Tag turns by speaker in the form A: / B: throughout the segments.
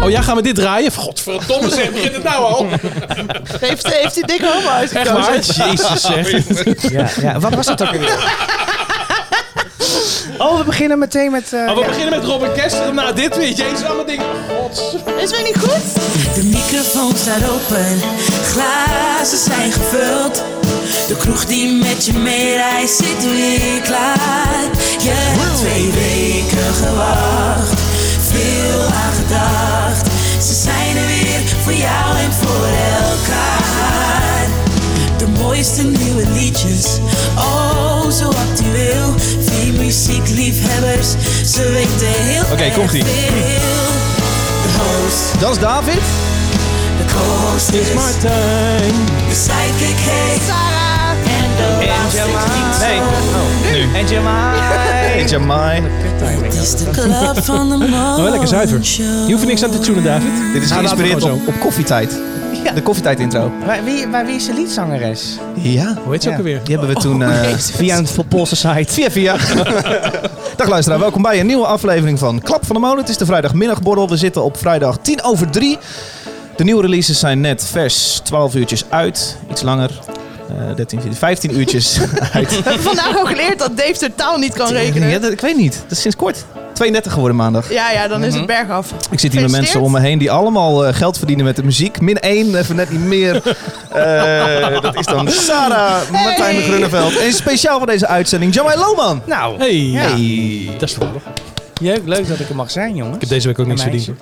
A: Oh ja, gaan we dit draaien? Godverdomme zeg, begint het nou al?
B: Heeft, heeft die dikke homo
A: Echt
B: uitgekozen?
A: waar? Jezus zeg.
C: Ja, ja. Wat was dat ook weer? Oh, we beginnen meteen met... eh,
A: Maar Oh, we beginnen met Robert Kester. Nou, dit weer. Jezus, allemaal dingen. Gods.
B: Is weer niet goed?
D: De microfoon staat open, glazen zijn gevuld. De kroeg die met je meereist zit weer klaar. Je hebt twee weken gewacht, veel aan gedacht. Ze zijn er weer voor jou en voor elkaar. De mooiste nieuwe liedjes, oh zo actueel. Vier muziekliefhebbers, ze weten heel
A: Oké,
D: erg
A: komt-ie.
D: veel. De host.
C: Dat is David.
D: De co-host is
A: Martijn.
D: de sidekick heet
B: Sarah.
D: En de laatste klinkt
C: Nee. Oh, nu. En Jamai.
E: Eentje mij.
D: Het is de club van de morgen.
A: Oh, lekker zuiver. Je hoeft er niks aan te tunen, David.
E: Dit is
A: Ah, laten we
E: geïnspireerd
A: gewoon
E: op, op koffietijd.
C: Ja.
E: De koffietijd intro.
C: Maar wie, maar wie is de liedzangeres?
E: Ja.
A: Hoe heet ze
C: Ja.
A: ook alweer?
E: Die hebben
C: Oh,
E: we toen... eh,
C: Via een Poolse site.
E: Via via. Dag luisteraar, welkom bij een nieuwe aflevering van Klap van de Molen. Het is de vrijdagmiddagborrel. We zitten op vrijdag 10 over 3. De nieuwe releases zijn net vers 12 uurtjes uit. Iets langer. Eh 13, 14, 15 uurtjes uit.
B: We hebben vandaag al geleerd dat Dave totaal niet kan
E: Ja,
B: rekenen.
E: dat- ik weet niet. Dat is sinds kort. 32 geworden maandag.
B: Ja, ja, dan is het bergaf.
E: Ik zit hier met mensen om me heen die allemaal eh, geld verdienen met de muziek. Min één, even net niet meer. Eh, dat is dan Sarah, Martijn de Grunneveld. En speciaal voor deze uitzending, Jamai Loman.
C: Nou,
A: Hey.
C: Ja.
E: Hey.
A: Dat is toevallig. Ik
C: leuk, leuk dat ik er mag zijn, jongens.
A: heb deze week ook niks verdiend. hoor.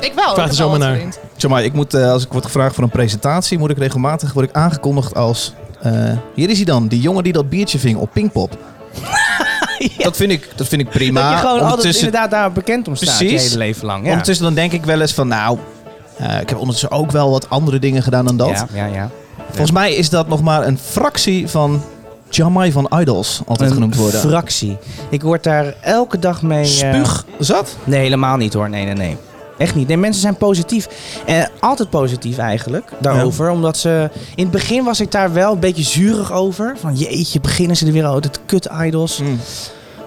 B: Ik wel.
C: Oh,
A: Vraag er
B: ik heb
A: zomaar
B: al wat
A: naar.
B: vriend.
E: Jamai, ik moet, eh, als ik word gevraagd voor een presentatie, moet ik regelmatig word ik aangekondigd als... eh, hier is hij dan, die jongen die dat biertje ving op Pinkpop. dat, vind ik, dat vind ik prima.
C: dat je gewoon altijd
E: Ondertussen-
C: inderdaad daar bekend om staat je
E: Precies.
C: hele leven lang. Ja.
E: Ondertussen dan denk ik wel eens van, nou... eh, ik heb ondertussen ook wel wat andere dingen gedaan dan dat.
C: Ja, ja, ja.
E: Volgens mij is dat nog maar een fractie van Jamai van Idols, altijd genoemd worden.
C: fractie. Ik word daar elke dag mee... eh,
E: Spuug zat?
C: Nee, helemaal niet hoor. Nee, nee, nee. Echt niet. Nee, mensen zijn positief. Eh, altijd positief eigenlijk daarover. Omdat ze. In het begin was ik daar wel een beetje zurig over. Van jeetje, beginnen ze er weer al. Het kut idols.
E: Mm.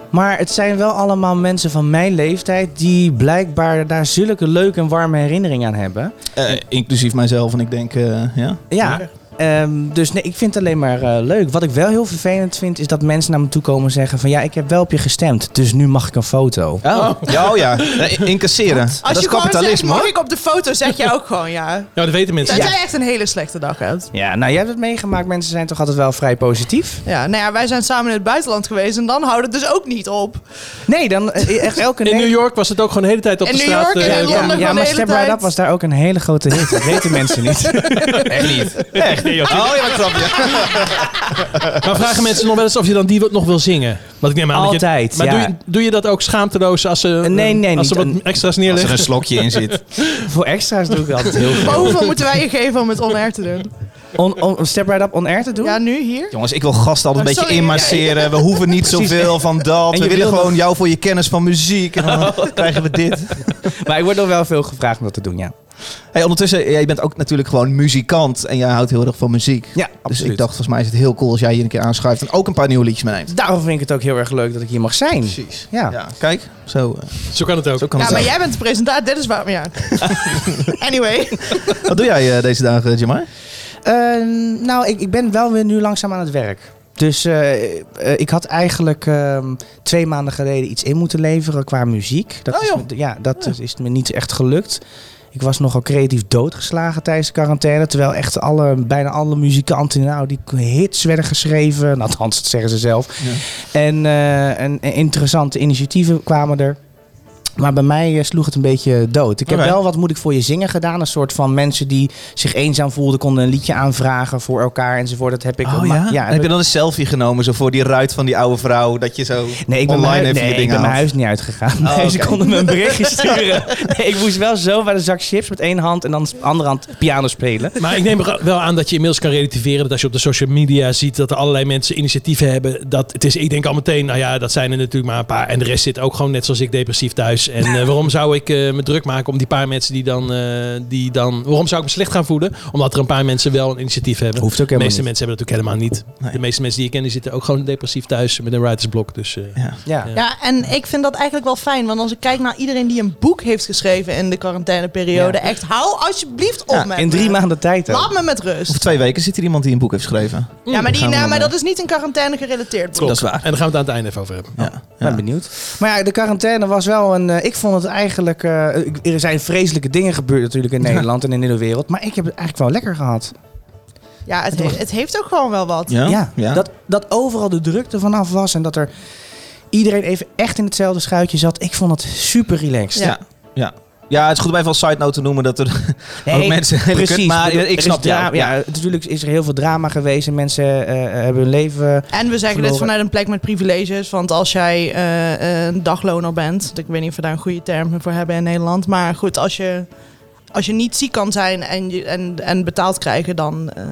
C: Maar het zijn wel allemaal mensen van mijn leeftijd. die blijkbaar daar zulke leuke en warme herinneringen aan hebben.
E: Eh, inclusief mijzelf en ik denk, eh, ja.
C: Ja. ehm, dus nee, ik vind het alleen maar eh, leuk. Wat ik wel heel vervelend vind, is dat mensen naar me toe komen en zeggen: van ja, ik heb wel op je gestemd, dus nu mag ik een foto.
E: Oh, ja, oh ja. Eh, Incasseren.
B: Als
E: dat
B: je
E: is
B: gewoon zegt,
E: kapitalisme
B: mag
E: hoor.
B: ik op de foto, zeg je ook gewoon ja.
A: Ja, Nou, dat weten mensen.
B: Dat jij echt een hele slechte dag hebt.
C: Ja, nou, jij hebt het meegemaakt. Mensen zijn toch altijd wel vrij positief?
B: Ja, nou ja, wij zijn samen in het buitenland geweest en dan houdt het dus ook niet op.
C: Nee, dan eh, echt elke
A: In
C: ne-
A: New York was het ook gewoon de hele tijd op de
B: In New
A: straat.
B: York en
A: eh,
B: in
A: ja.
B: Londen.
C: Ja,
B: Van de
C: maar
B: hele
C: Step Right
B: tijd.
C: Up was daar ook een hele grote hit. Dat weten mensen niet.
E: Echt niet. Echt. Oh ja, dat grapje.
A: Maar vragen mensen nog wel eens of je dan die wat nog wil zingen? Want ik neem aan dat je-
C: Altijd,
A: Maar
C: ja.
A: doe, je, doe je dat ook schaamteloos als ze,
C: nee, nee,
A: als ze
C: niet.
A: wat extra's
E: Als er
A: neerleggen?
E: een slokje in zit.
C: Voor extra's doe ik altijd heel
B: Maar
C: veel.
B: hoeveel moeten wij je geven om het on-air te doen?
C: On, on, Step Right Up on air te doen?
B: Ja, nu hier?
E: Jongens, ik wil gasten altijd een
B: Oh,
E: beetje
B: sorry.
E: inmasseren. We hoeven niet zoveel van dat.
C: En
E: We
C: je
E: willen
C: wil
E: gewoon jou voor je kennis van muziek. En dan krijgen we dit.
C: Maar ik word nog wel veel gevraagd om dat te doen, ja.
E: Hey, ondertussen, jij bent ook natuurlijk gewoon muzikant. En jij houdt heel erg van muziek.
C: Ja,
E: Dus
C: absoluut.
E: ik dacht, volgens mij is het heel cool als jij hier een keer aanschuift. En ook een paar nieuwe liedjes meeneemt.
C: Daarom vind ik het ook heel erg leuk dat ik hier mag zijn.
E: Precies.
C: Ja.
E: Ja, kijk. Zo, eh,
A: Zo kan het ook.
E: zo kan
B: Ja,
E: het
B: maar
E: ook.
B: jij bent de presentator, dit is waar. Ja. Anyway,
E: Wat doe jij eh, deze dagen, Jamai?
C: Eh, nou, ik, ik ben wel weer nu langzaam aan het werk. Dus eh, eh, ik had eigenlijk ehm, twee maanden geleden iets in moeten leveren qua muziek. Dat
E: Oh,
C: is,
E: joh.
C: me- ja, dat is- is me niet echt gelukt. Ik was nogal creatief doodgeslagen tijdens de quarantaine. Terwijl echt alle, bijna alle muzikanten, nou, die hits werden geschreven. Nou, althans, dat zeggen ze zelf. En, eh, en, en interessante initiatieven kwamen er. Maar bij mij eh, sloeg het een beetje dood. Ik heb
E: Oké.
C: wel wat moet ik voor je zingen gedaan. Een soort van mensen die zich eenzaam voelden, konden een liedje aanvragen voor elkaar enzovoort. Dat heb ik
E: Oh
C: maar-
E: ja? En
C: dat-
E: heb je dan een selfie genomen zo voor die ruit van die oude vrouw dat je zo
C: Nee, ik ben,
E: online
C: mijn, hui-
E: even
C: nee,
E: je
C: ik
E: dingen
C: ben mijn
E: haalt?
C: huis niet uitgegaan.
E: Oh,
C: nee, ze
E: oké.
C: konden me een berichtje sturen. Nee, ik moest wel zo bij de zak chips met één hand en dan de andere hand piano spelen.
A: Maar ik neem er wel aan dat je inmiddels kan relativeren dat als je op de social media ziet dat er allerlei mensen initiatieven hebben. Dat het is, ik denk al meteen, nou ja, dat zijn er natuurlijk maar een paar. En de rest zit ook gewoon net zoals ik depressief thuis. En eh, waarom zou ik eh, me druk maken om die paar mensen die dan, eh, die dan... Waarom zou ik me slecht gaan voelen? Omdat er een paar mensen wel een initiatief hebben.
C: Hoeft ook
A: de
C: helemaal
A: meeste mensen
C: niet.
A: hebben dat natuurlijk helemaal niet.
E: Nee.
A: De meeste mensen die ik ken, die zitten ook gewoon depressief thuis met een writersblok. Dus eh,
E: Ja.
C: Ja.
B: Ja, en ik vind dat eigenlijk wel fijn. Want als ik kijk naar iedereen die een boek heeft geschreven in de quarantaineperiode. Echt, hou alsjeblieft op
C: Ja,
B: met
C: in
B: me.
C: drie maanden tijd. hè.
B: Laat me met
E: Over
B: rust.
E: twee weken zit hier iemand die een boek heeft geschreven.
B: Ja, maar, die,
E: gaan we
B: nou,
E: dan,
B: maar
E: eh,
B: dat is niet een quarantaine gerelateerd boek.
A: klopt.
C: Dat is waar.
A: En daar gaan we het aan het einde even over hebben.
E: Ja.
C: Ik ben benieuwd. Maar ja, de quarantaine was wel een. eh, ik vond het eigenlijk. eh, ik- er zijn vreselijke dingen gebeurd natuurlijk in Nederland en in de hele wereld. Maar ik heb het eigenlijk wel lekker gehad.
B: Ja, het, he- het heeft ook gewoon wel wat.
E: Ja?
C: Ja,
E: Ja.
C: Dat, dat overal de drukte vanaf was en dat er iedereen even echt in hetzelfde schuitje zat. Ik vond het super relaxed.
B: Ja.
E: Ja, het is goed om even als side note te noemen dat er ook
C: Nee,
E: mensen heel
C: Precies,
E: kut, maar
C: bedoel,
E: ik
C: er
E: snap
C: is dra-
E: jou.
C: Ja, natuurlijk is er heel veel drama geweest en mensen eh, hebben hun leven.
B: En we zeggen dit
C: Verloren.
B: vanuit een plek met privileges. Want als jij eh, een dagloner bent. Ik weet niet of we daar een goede term voor hebben in Nederland. Maar goed, als je, als je niet ziek kan zijn en, je, en, en betaald krijgen, dan eh,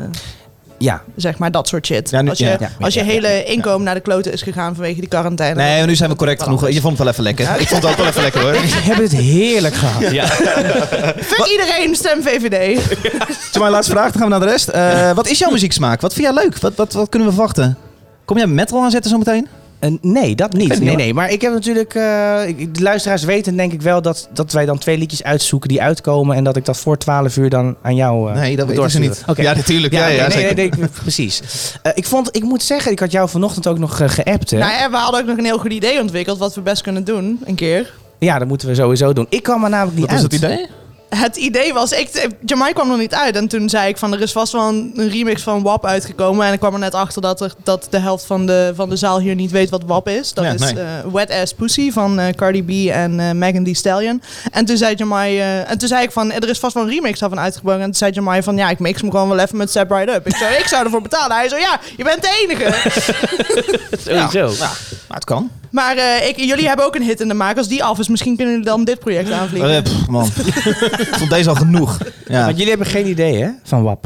C: Ja,
B: zeg maar dat soort shit.
E: Ja, nu-
B: als je,
E: ja,
C: ja,
B: als je
C: ja, ja,
B: hele inkomen naar de kloten is gegaan vanwege die quarantaine.
E: Nee, maar nu zijn we correct
B: Wel
E: genoeg.
B: anders.
E: Je vond het wel even lekker. Ik vond het ook wel even lekker hoor.
C: we hebben het heerlijk gehad.
B: Fuck iedereen, stem VVD.
E: Toen mijn laatste vraag, dan gaan we naar de rest. Eh, wat is jouw muzieksmaak? Wat vind jij leuk? Wat, wat, wat kunnen we verwachten? Kom jij metal aanzetten zometeen?
C: Eh, nee, dat
E: weet
C: niet.
E: het
C: Nee,
E: niet,
C: nee. Maar ik heb natuurlijk. eh, ik- de luisteraars weten denk ik wel dat, dat wij dan twee liedjes uitzoeken die uitkomen. En dat ik dat voor 12 uur dan aan jou. eh,
E: Nee, dat weten ze
C: doorsturen.
E: niet.
C: Oké.
E: Ja, natuurlijk. Ja, ja,
C: nee, nee,
E: zeker.
C: nee, nee, precies. Eh, ik, vond, ik moet zeggen, ik had jou vanochtend ook nog eh, geappt. Hè?
B: Nou ja, we hadden ook nog een heel goed idee ontwikkeld. Wat we best kunnen doen, een keer.
C: Ja, dat moeten we sowieso doen. Ik kwam er namelijk niet
E: Wat is
C: uit.
E: het idee?
B: Het idee was, ik, Jamai kwam nog niet uit. En toen zei ik van, er is vast wel een, een remix van WAP uitgekomen. En ik kwam er net achter dat, er, dat de helft van de, van de zaal hier niet weet wat WAP is. Dat
E: Ja,
B: is
E: nee.
B: eh, Wet Ass Pussy van eh, Cardi B en eh Megan Thee Stallion. En toen zei Jamai, eh, en toen zei ik van, er is vast wel een remix daarvan uitgebracht. En toen zei Jamai van, ja, ik mix hem gewoon wel even met Step Right Up. Ik zei, ik zou ervoor betalen. Hij zei, ja, je bent de enige.
C: Sowieso.
E: Ja, maar het kan.
B: maar eh, ik, jullie hebben ook een hit in de maak. Als die af is, misschien kunnen jullie dan dit project aanvliegen.
E: Eh, pff, man. ik vond deze al genoeg. Ja.
C: Want jullie hebben geen idee, hè? Van WAP.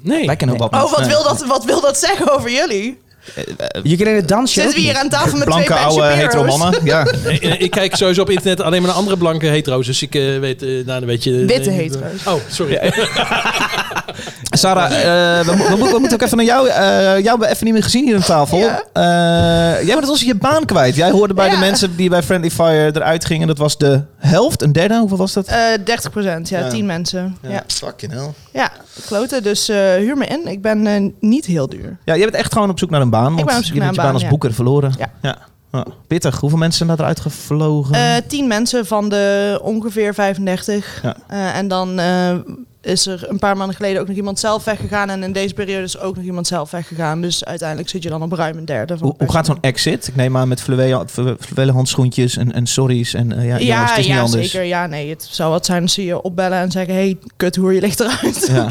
A: Nee.
E: Wij kennen ook wat
B: Oh, wat
E: mensen.
B: wil, dat, wat wil dat zeggen over jullie?
C: Eh, Je kent het dansje.
B: Zitten we
C: ook
B: hier aan tafel met
E: Blanke
B: twee
E: oude
B: Benchipero's?
E: hetero mannen. Ja.
A: Nee, eh, ik kijk sowieso op internet alleen maar naar andere blanke hetero's. Dus ik eh, weet, eh, nou, dan weet je...
B: Witte
A: nee,
B: hetero's.
A: Oh, sorry.
E: Sarah, eh, we, mo- we, mo- we moeten ook even naar jou. eh, jou hebben we even niet meer gezien hier aan tafel.
B: Ja.
E: Eh, jij bent ons je baan kwijt. Jij hoorde bij de
B: Ja.
E: mensen die bij Friendly Fire eruit gingen. Dat was de helft, een derde. Hoeveel was dat?
B: Eh 30 procent, ja,
E: Ja.
B: 10 mensen. Ja, ja.
E: fucking hell.
B: kloten. Dus eh, huur me in. Ik ben eh, niet heel duur.
E: Ja, jij bent echt gewoon op zoek naar een baan. Want
B: ben op zoek naar
E: je bent
B: een
E: je baan
B: baan,
E: als
B: ja.
E: boeker verloren.
B: Ja.
E: Ja. Pittig. Hoeveel mensen zijn daar eruit gevlogen?
B: Eh 10 mensen van de ongeveer 35.
E: Ja.
B: Eh, en dan eh, is er een paar maanden geleden ook nog iemand zelf weggegaan. En in deze periode is ook nog iemand zelf weggegaan. Dus uiteindelijk zit je dan op ruim een derde. Van
E: hoe,
B: de
E: hoe gaat zo'n
B: personen.
E: exit? Ik neem aan met fluwelen fluwelen handschoentjes en, en sorry's. En, eh, ja,
B: Ja,
E: jongens, het is
B: ja
E: niet anders.
B: zeker. Ja, nee, het zou wat zijn als ze je opbellen en zeggen... hey, kuthoer, je ligt eruit.
E: Ja.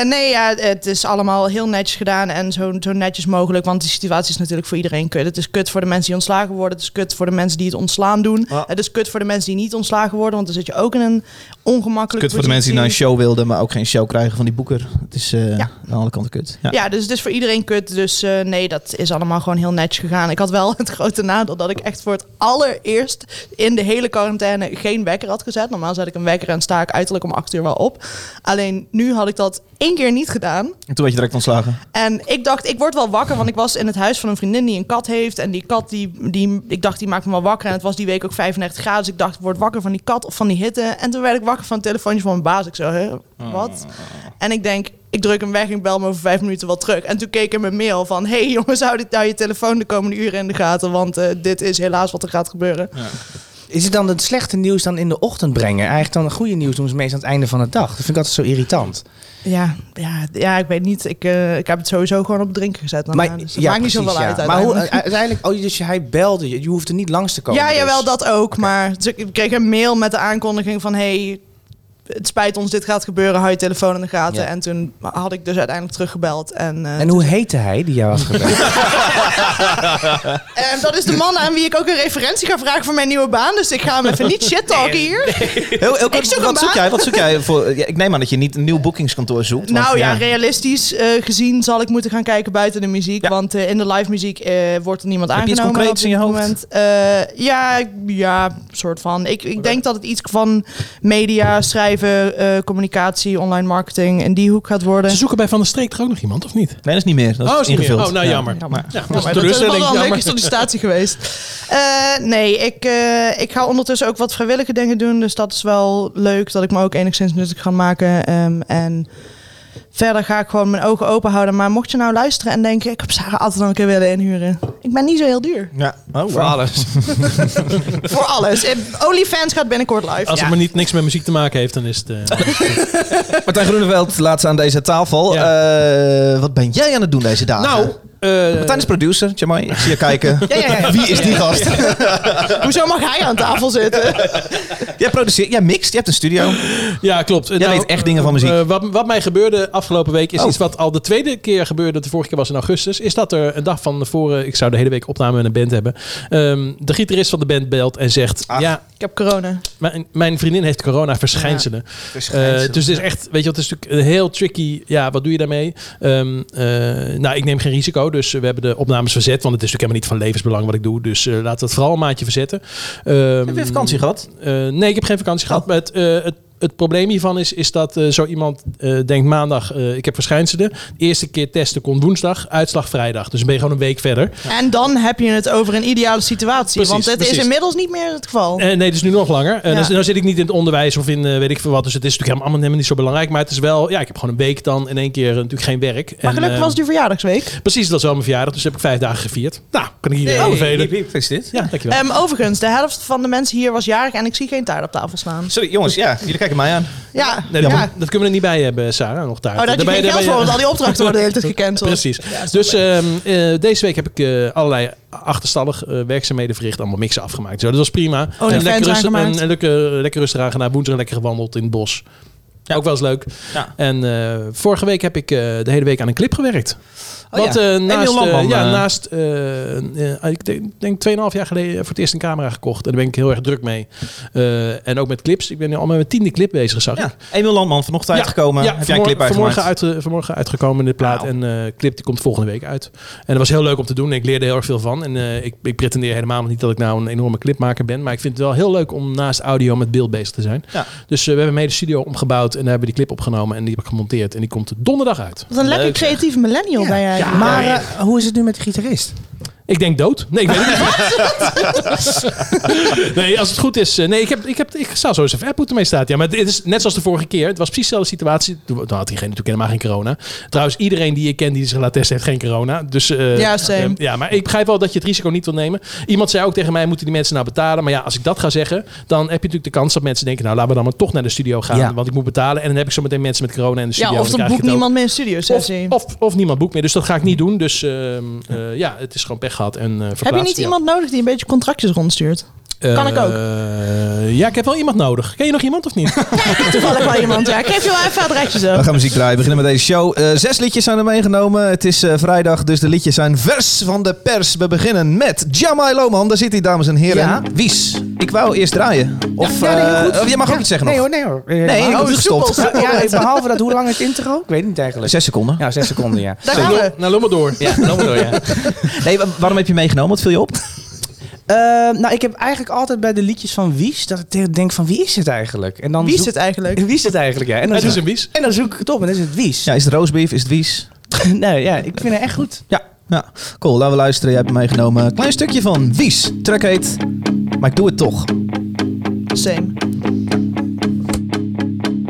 B: Eh, nee, ja, het is allemaal heel netjes gedaan en zo, zo netjes mogelijk. Want die situatie is natuurlijk voor iedereen kut. Het is kut voor de mensen die ontslagen worden. Het is kut voor de mensen die het ontslaan doen.
E: Ja.
B: Het is kut voor de mensen die niet ontslagen worden. Want dan zit je ook in een ongemakkelijke
E: Kut voor de mensen die naar een
B: positie.
E: show wilden, maar ook geen show krijgen van die boeker. Het is eh,
B: Ja.
E: aan de andere kant kut. Ja.
B: Ja, dus het is voor iedereen kut. Dus eh, nee, dat is allemaal gewoon heel netjes gegaan. Ik had wel het grote nadeel dat ik echt voor het allereerst in de hele quarantaine geen wekker had gezet. Normaal zet ik een wekker en sta ik uiterlijk om acht uur wel op. Alleen nu had ik dat één keer niet gedaan.
E: En toen werd je direct ontslagen.
B: En ik dacht, ik word wel wakker, want ik was in het huis van een vriendin die een kat heeft. En die kat, die, die, ik dacht, die maakt me wel wakker. En het was die week ook 35 graden, dus ik dacht, ik word wakker van die kat of van die hitte. En toen werd ik wakker van een telefoontje van mijn baas. Ik zo, hè, wat? En ik denk, ik druk hem weg en ik bel me over vijf minuten wel terug. En toen keek ik in mijn mail van, hey jongens, hou dit nou je telefoon de komende uren in de gaten. Want eh, dit is helaas wat er gaat gebeuren.
C: Is het dan het slechte nieuws dan in de ochtend brengen? Eigenlijk dan het goede nieuws doen ze meestal aan het einde van de dag. Dat vind ik altijd zo irritant.
B: Ja, ja, ja ik weet niet. Ik, eh, ik heb het sowieso gewoon op drinken gezet. daarna. dus het
C: ja,
B: maakt niet
C: precies,
B: zoveel
C: ja.
B: uit
C: Maar hoe,
B: uiteindelijk.
C: uiteindelijk, oh, dus hij belde je. Je hoeft er niet langs te komen.
B: Ja,
C: dus.
B: jawel, dat ook. Maar ze- ik kreeg een mail met de aankondiging van... hey, het spijt ons, dit gaat gebeuren, hou je telefoon in de gaten.
C: Ja.
B: En toen had ik dus uiteindelijk teruggebeld. En, eh,
C: En hoe heette hij die jou had gebeld?
B: en dat is de man aan wie ik ook een referentie ga vragen voor mijn nieuwe baan. Dus ik ga hem even niet shit talken hier.
E: Heel, heel kort,
B: Ik zoek een
E: wat, zoek
B: baan.
E: jij, wat zoek jij voor? Ja, ik neem aan dat je niet een nieuw boekingskantoor zoekt. want,
B: Nou ja, realistisch eh, gezien zal ik moeten gaan kijken buiten de muziek.
E: Ja.
B: Want eh, in de live muziek eh, wordt er niemand
E: Heb je iets
B: aangenomen.
E: concreets
B: op dit
E: in je hoofd?
B: moment. Eh, ja, ja, soort van. Ik, ik denk dat het iets van media, schrijven, eh, communicatie, online marketing in die hoek gaat worden.
A: Ze zoeken bij Van der Streek er ook nog iemand, of niet?
E: Nee, dat is niet meer. Dat is
A: is niet meer.
E: ingevuld.
A: Oh, nou
E: Ja.
A: jammer.
B: Ja,
A: maar,
B: maar-
A: ja,
B: Ja, maar dat is wel
A: teleurstelling.
B: een leuke
A: jammer.
B: sollicitatie geweest. Eh, nee, ik, eh, ik ga ondertussen ook wat vrijwillige dingen doen. Dus dat is wel leuk dat ik me ook enigszins nuttig ga maken. Ehm, en verder ga ik gewoon mijn ogen open houden. Maar mocht je nou luisteren en denken... ik heb Sarah altijd nog een keer willen inhuren. Ik ben niet zo heel duur.
E: Ja. Oh,
C: Voor
E: wow.
C: alles.
B: Voor alles. Eh, OnlyFans gaat binnenkort
A: Als
B: live. Ja.
A: het maar niet niks met muziek te maken heeft, dan is het... eh,
E: Martijn Groeneveld, laatste aan deze tafel. Eh, wat ben jij aan het doen deze dagen?
A: nou, eh,
E: Martijn is producer, Jamai. Ik zie je kijken.
B: Ja, ja, ja.
E: Wie is die gast?
B: Hoezo mag hij aan tafel zitten?
E: Jij produceert, jij mixt, je hebt een studio.
A: Ja, klopt. Jij
E: weet echt dingen van muziek.
A: wat, wat mij gebeurde afgelopen week is
E: Oh.
A: iets wat al de tweede keer gebeurde. De vorige keer was in augustus. Is dat er een dag van tevoren, ik zou de hele week opname met een band hebben. ehm, de gitarist van de band belt en zegt:
E: Ach.
A: Ja,
B: Ik heb corona.
A: mijn, mijn vriendin heeft corona-verschijnselen. Eh, dus het is echt, weet je, wat, het is natuurlijk heel tricky. Ja, wat doe je daarmee? Ehm, eh, nou, ik neem geen risico, dus we hebben de opnames verzet. Want het is natuurlijk helemaal niet van levensbelang wat ik doe. Dus eh, laten we het vooral een maandje verzetten. Ehm,
E: Heb je vakantie gehad? Oh.
A: eh, nee, ik heb geen vakantie gehad. Maar het, eh, het, het probleem hiervan is, is dat eh, zo iemand eh, denkt maandag, eh, ik heb verschijnselen. De eerste keer testen kon woensdag, uitslag vrijdag. Dus dan ben je gewoon een week verder.
B: En dan heb je het over een ideale situatie.
A: Precies,
B: want het
A: precies.
B: is inmiddels niet meer het geval.
A: Eh, nee, dus nu nog langer. En
B: Ja.
A: dan, dan zit ik niet in het onderwijs of in eh, weet ik veel wat. Dus het is natuurlijk helemaal, helemaal niet zo belangrijk. Maar het is wel, ja, ik heb gewoon een week dan in één keer eh, natuurlijk geen werk.
B: maar
A: En,
B: gelukkig
A: eh,
B: was het je verjaardagsweek.
A: Precies, dat is wel mijn verjaardag. Dus heb ik vijf dagen gevierd. Nou, kan ik iedereen
B: Hey.
A: aanbevelen.
E: Is dit?
A: Ja, dankjewel.
B: Ehm, overigens, de helft van de mensen hier was jarig en ik zie geen taart op tafel staan.
E: Sorry, jongens, ja, jullie kijken mij aan.
B: Ja,
A: Nee, dat,
B: ja.
A: dat kunnen we er niet bij hebben, Sarah. Nog daar.
B: Oh, dat je
A: Daarbij-
B: geen geld
A: daarbij-
B: voor, want al die opdrachten worden de hele tijd gecanceld.
A: Precies. dus ehm, eh, deze week heb ik eh, allerlei achterstallig eh, werkzaamheden verricht. Allemaal mixen afgemaakt. Zo, dat was prima.
B: OnlyFans
A: en lekker, rustig,
B: aangemaakt.
A: en, en lekker, lekker rustig aan gedaan. Woensdag lekker gewandeld in het bos. Ja. Ook wel eens leuk.
E: Ja.
A: En eh, vorige week heb ik eh, de hele week aan een clip gewerkt.
E: Oh
A: Wat
E: ja.
A: eh,
E: Emiel
A: naast, eh,
E: Landman,
A: ja,
E: eh.
A: naast eh, eh, ik denk- denk 2,5 jaar geleden voor het eerst een camera gekocht. En daar ben ik heel erg druk mee. Eh, en ook met clips. Ik ben nu al met mijn tiende clip bezig, zag ik.
E: Ja. Emil Landman, vanochtend uitgekomen.
A: Ja,
E: Heb jij een clip
A: vanmor-
E: uitgemaakt? Nou.
A: vanmorgen, uit, eh, vanmorgen uitgekomen in de plaat.
E: Wauw.
A: En eh clip die komt volgende week uit. En dat was heel leuk om te doen. Ik leerde heel erg veel van. En eh, ik, ik pretendeer helemaal niet dat ik nou een enorme clipmaker ben. Maar ik vind het wel heel leuk om naast audio met beeld bezig te zijn.
E: Ja.
A: Dus eh, we hebben mee de studio omgebouwd. En daar hebben we die clip opgenomen. En die heb ik gemonteerd. En die komt donderdag uit.
B: Wat een lekker
E: Leuk,
B: creatieve millennial ben jij.
C: Maar eh, hoe is het nu met de gitarist?
A: Ik denk dood. Nee, ik weet het niet. nee, als het goed is. eh, Nee, ik, heb, ik, heb, ik zou zo eens even app moeten mee staat. Ja, maar het is net zoals de vorige keer. Het was precies dezelfde situatie. Toen toen had diegene natuurlijk helemaal geen corona. Trouwens, iedereen die ik ken die zich laat testen heeft geen corona. Dus, eh,
B: Ja, same.
A: eh, ja, maar ik begrijp wel dat je het risico niet wil nemen. Iemand zei ook tegen mij, moeten die mensen nou betalen? Maar ja, als ik dat ga zeggen, dan heb je natuurlijk de kans dat mensen denken... nou, laten we dan maar toch naar de studio gaan,
C: Ja.
A: want ik moet betalen. En dan heb ik zo meteen mensen met corona in de studio.
B: dus ja,
A: en
B: of
A: dan
B: dan
A: krijg
B: boekt
A: ik het ook.
B: niemand meer een studio
A: Of,
B: sessie.
A: of, of niemand boekt meer. Dus dat ga ik niet doen. Dus ehm, eh, ja, het is gewoon pech gehad. En, eh,
B: Heb je
A: verplaatst.
B: niet
A: Ja.
B: iemand nodig die een beetje contractjes rondstuurt? Kan ik ook?
A: Eh, ja, ik heb wel iemand nodig. Ken je nog iemand of niet?
B: Toevallig wel iemand, ja. Ik geef je wel even het rijtje zo.
E: We gaan muziek draaien. We beginnen met deze show. Eh, zes liedjes zijn er meegenomen. Het is eh, vrijdag, dus de liedjes zijn vers van de pers. We beginnen met Jamai Loman. Daar zit hij, dames en heren.
C: Ja.
E: Wies, ik wou eerst draaien. Of,
C: Ja, nee, heel
E: eh,
C: goed.
E: oh, jij mag ook
C: Ja.
E: iets zeggen
C: nee,
E: nog.
C: Hoor, nee hoor. Eh,
E: Nee, ik
C: maar-
E: heb het gestopt.
C: Oh, ja, behalve dat, hoe lang het intro? Ik weet niet eigenlijk.
E: Zes seconden.
C: Ja, zes seconden, ja.
B: Daar gaan we.
A: Nou, loop maar door.
C: Ja, dan door, ja.
E: Nee, wa- waarom heb je meegenomen? Wat viel je op?
C: Eh, nou, ik heb eigenlijk altijd bij de liedjes van Wies dat ik te- denk van wie is het eigenlijk? En dan
B: Wie is
C: zoek-
B: het eigenlijk?
C: Wie is het eigenlijk? Ja. En, dan
A: Het is
C: zoek...
A: een wies.
C: en dan zoek ik het op en dan is het Wies.
E: Ja, is het roastbeef? Is het wies?
C: nee, ja, ik vind het echt goed.
E: Ja, ja. Cool, laten we luisteren. Jij hebt hem meegenomen. Een Klein stukje van Wies. Track heet Maar ik doe het toch.
B: Same.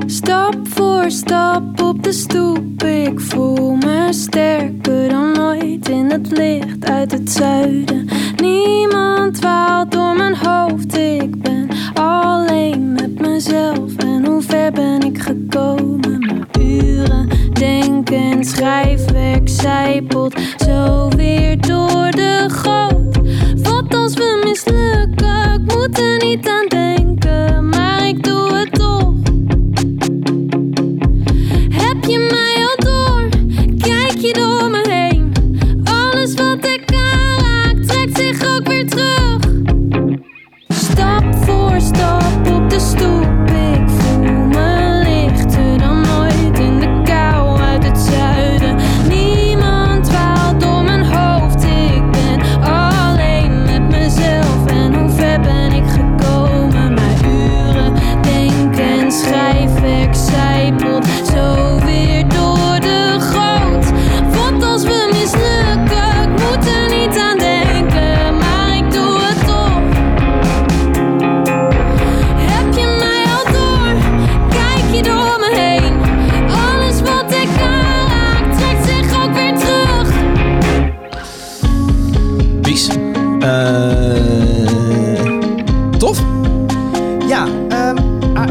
F: Stap voor stap op de stoep, ik voel me sterker dan ooit in het licht uit het zuiden. Niemand dwaalt door mijn hoofd, ik ben alleen met mezelf. En hoe ver ben ik gekomen? Maar uren denken, schrijfwerk zijpelt zo weer door de goot. Wat als we mislukken? Ik moet er niet aan denken, maar ik doe het toch.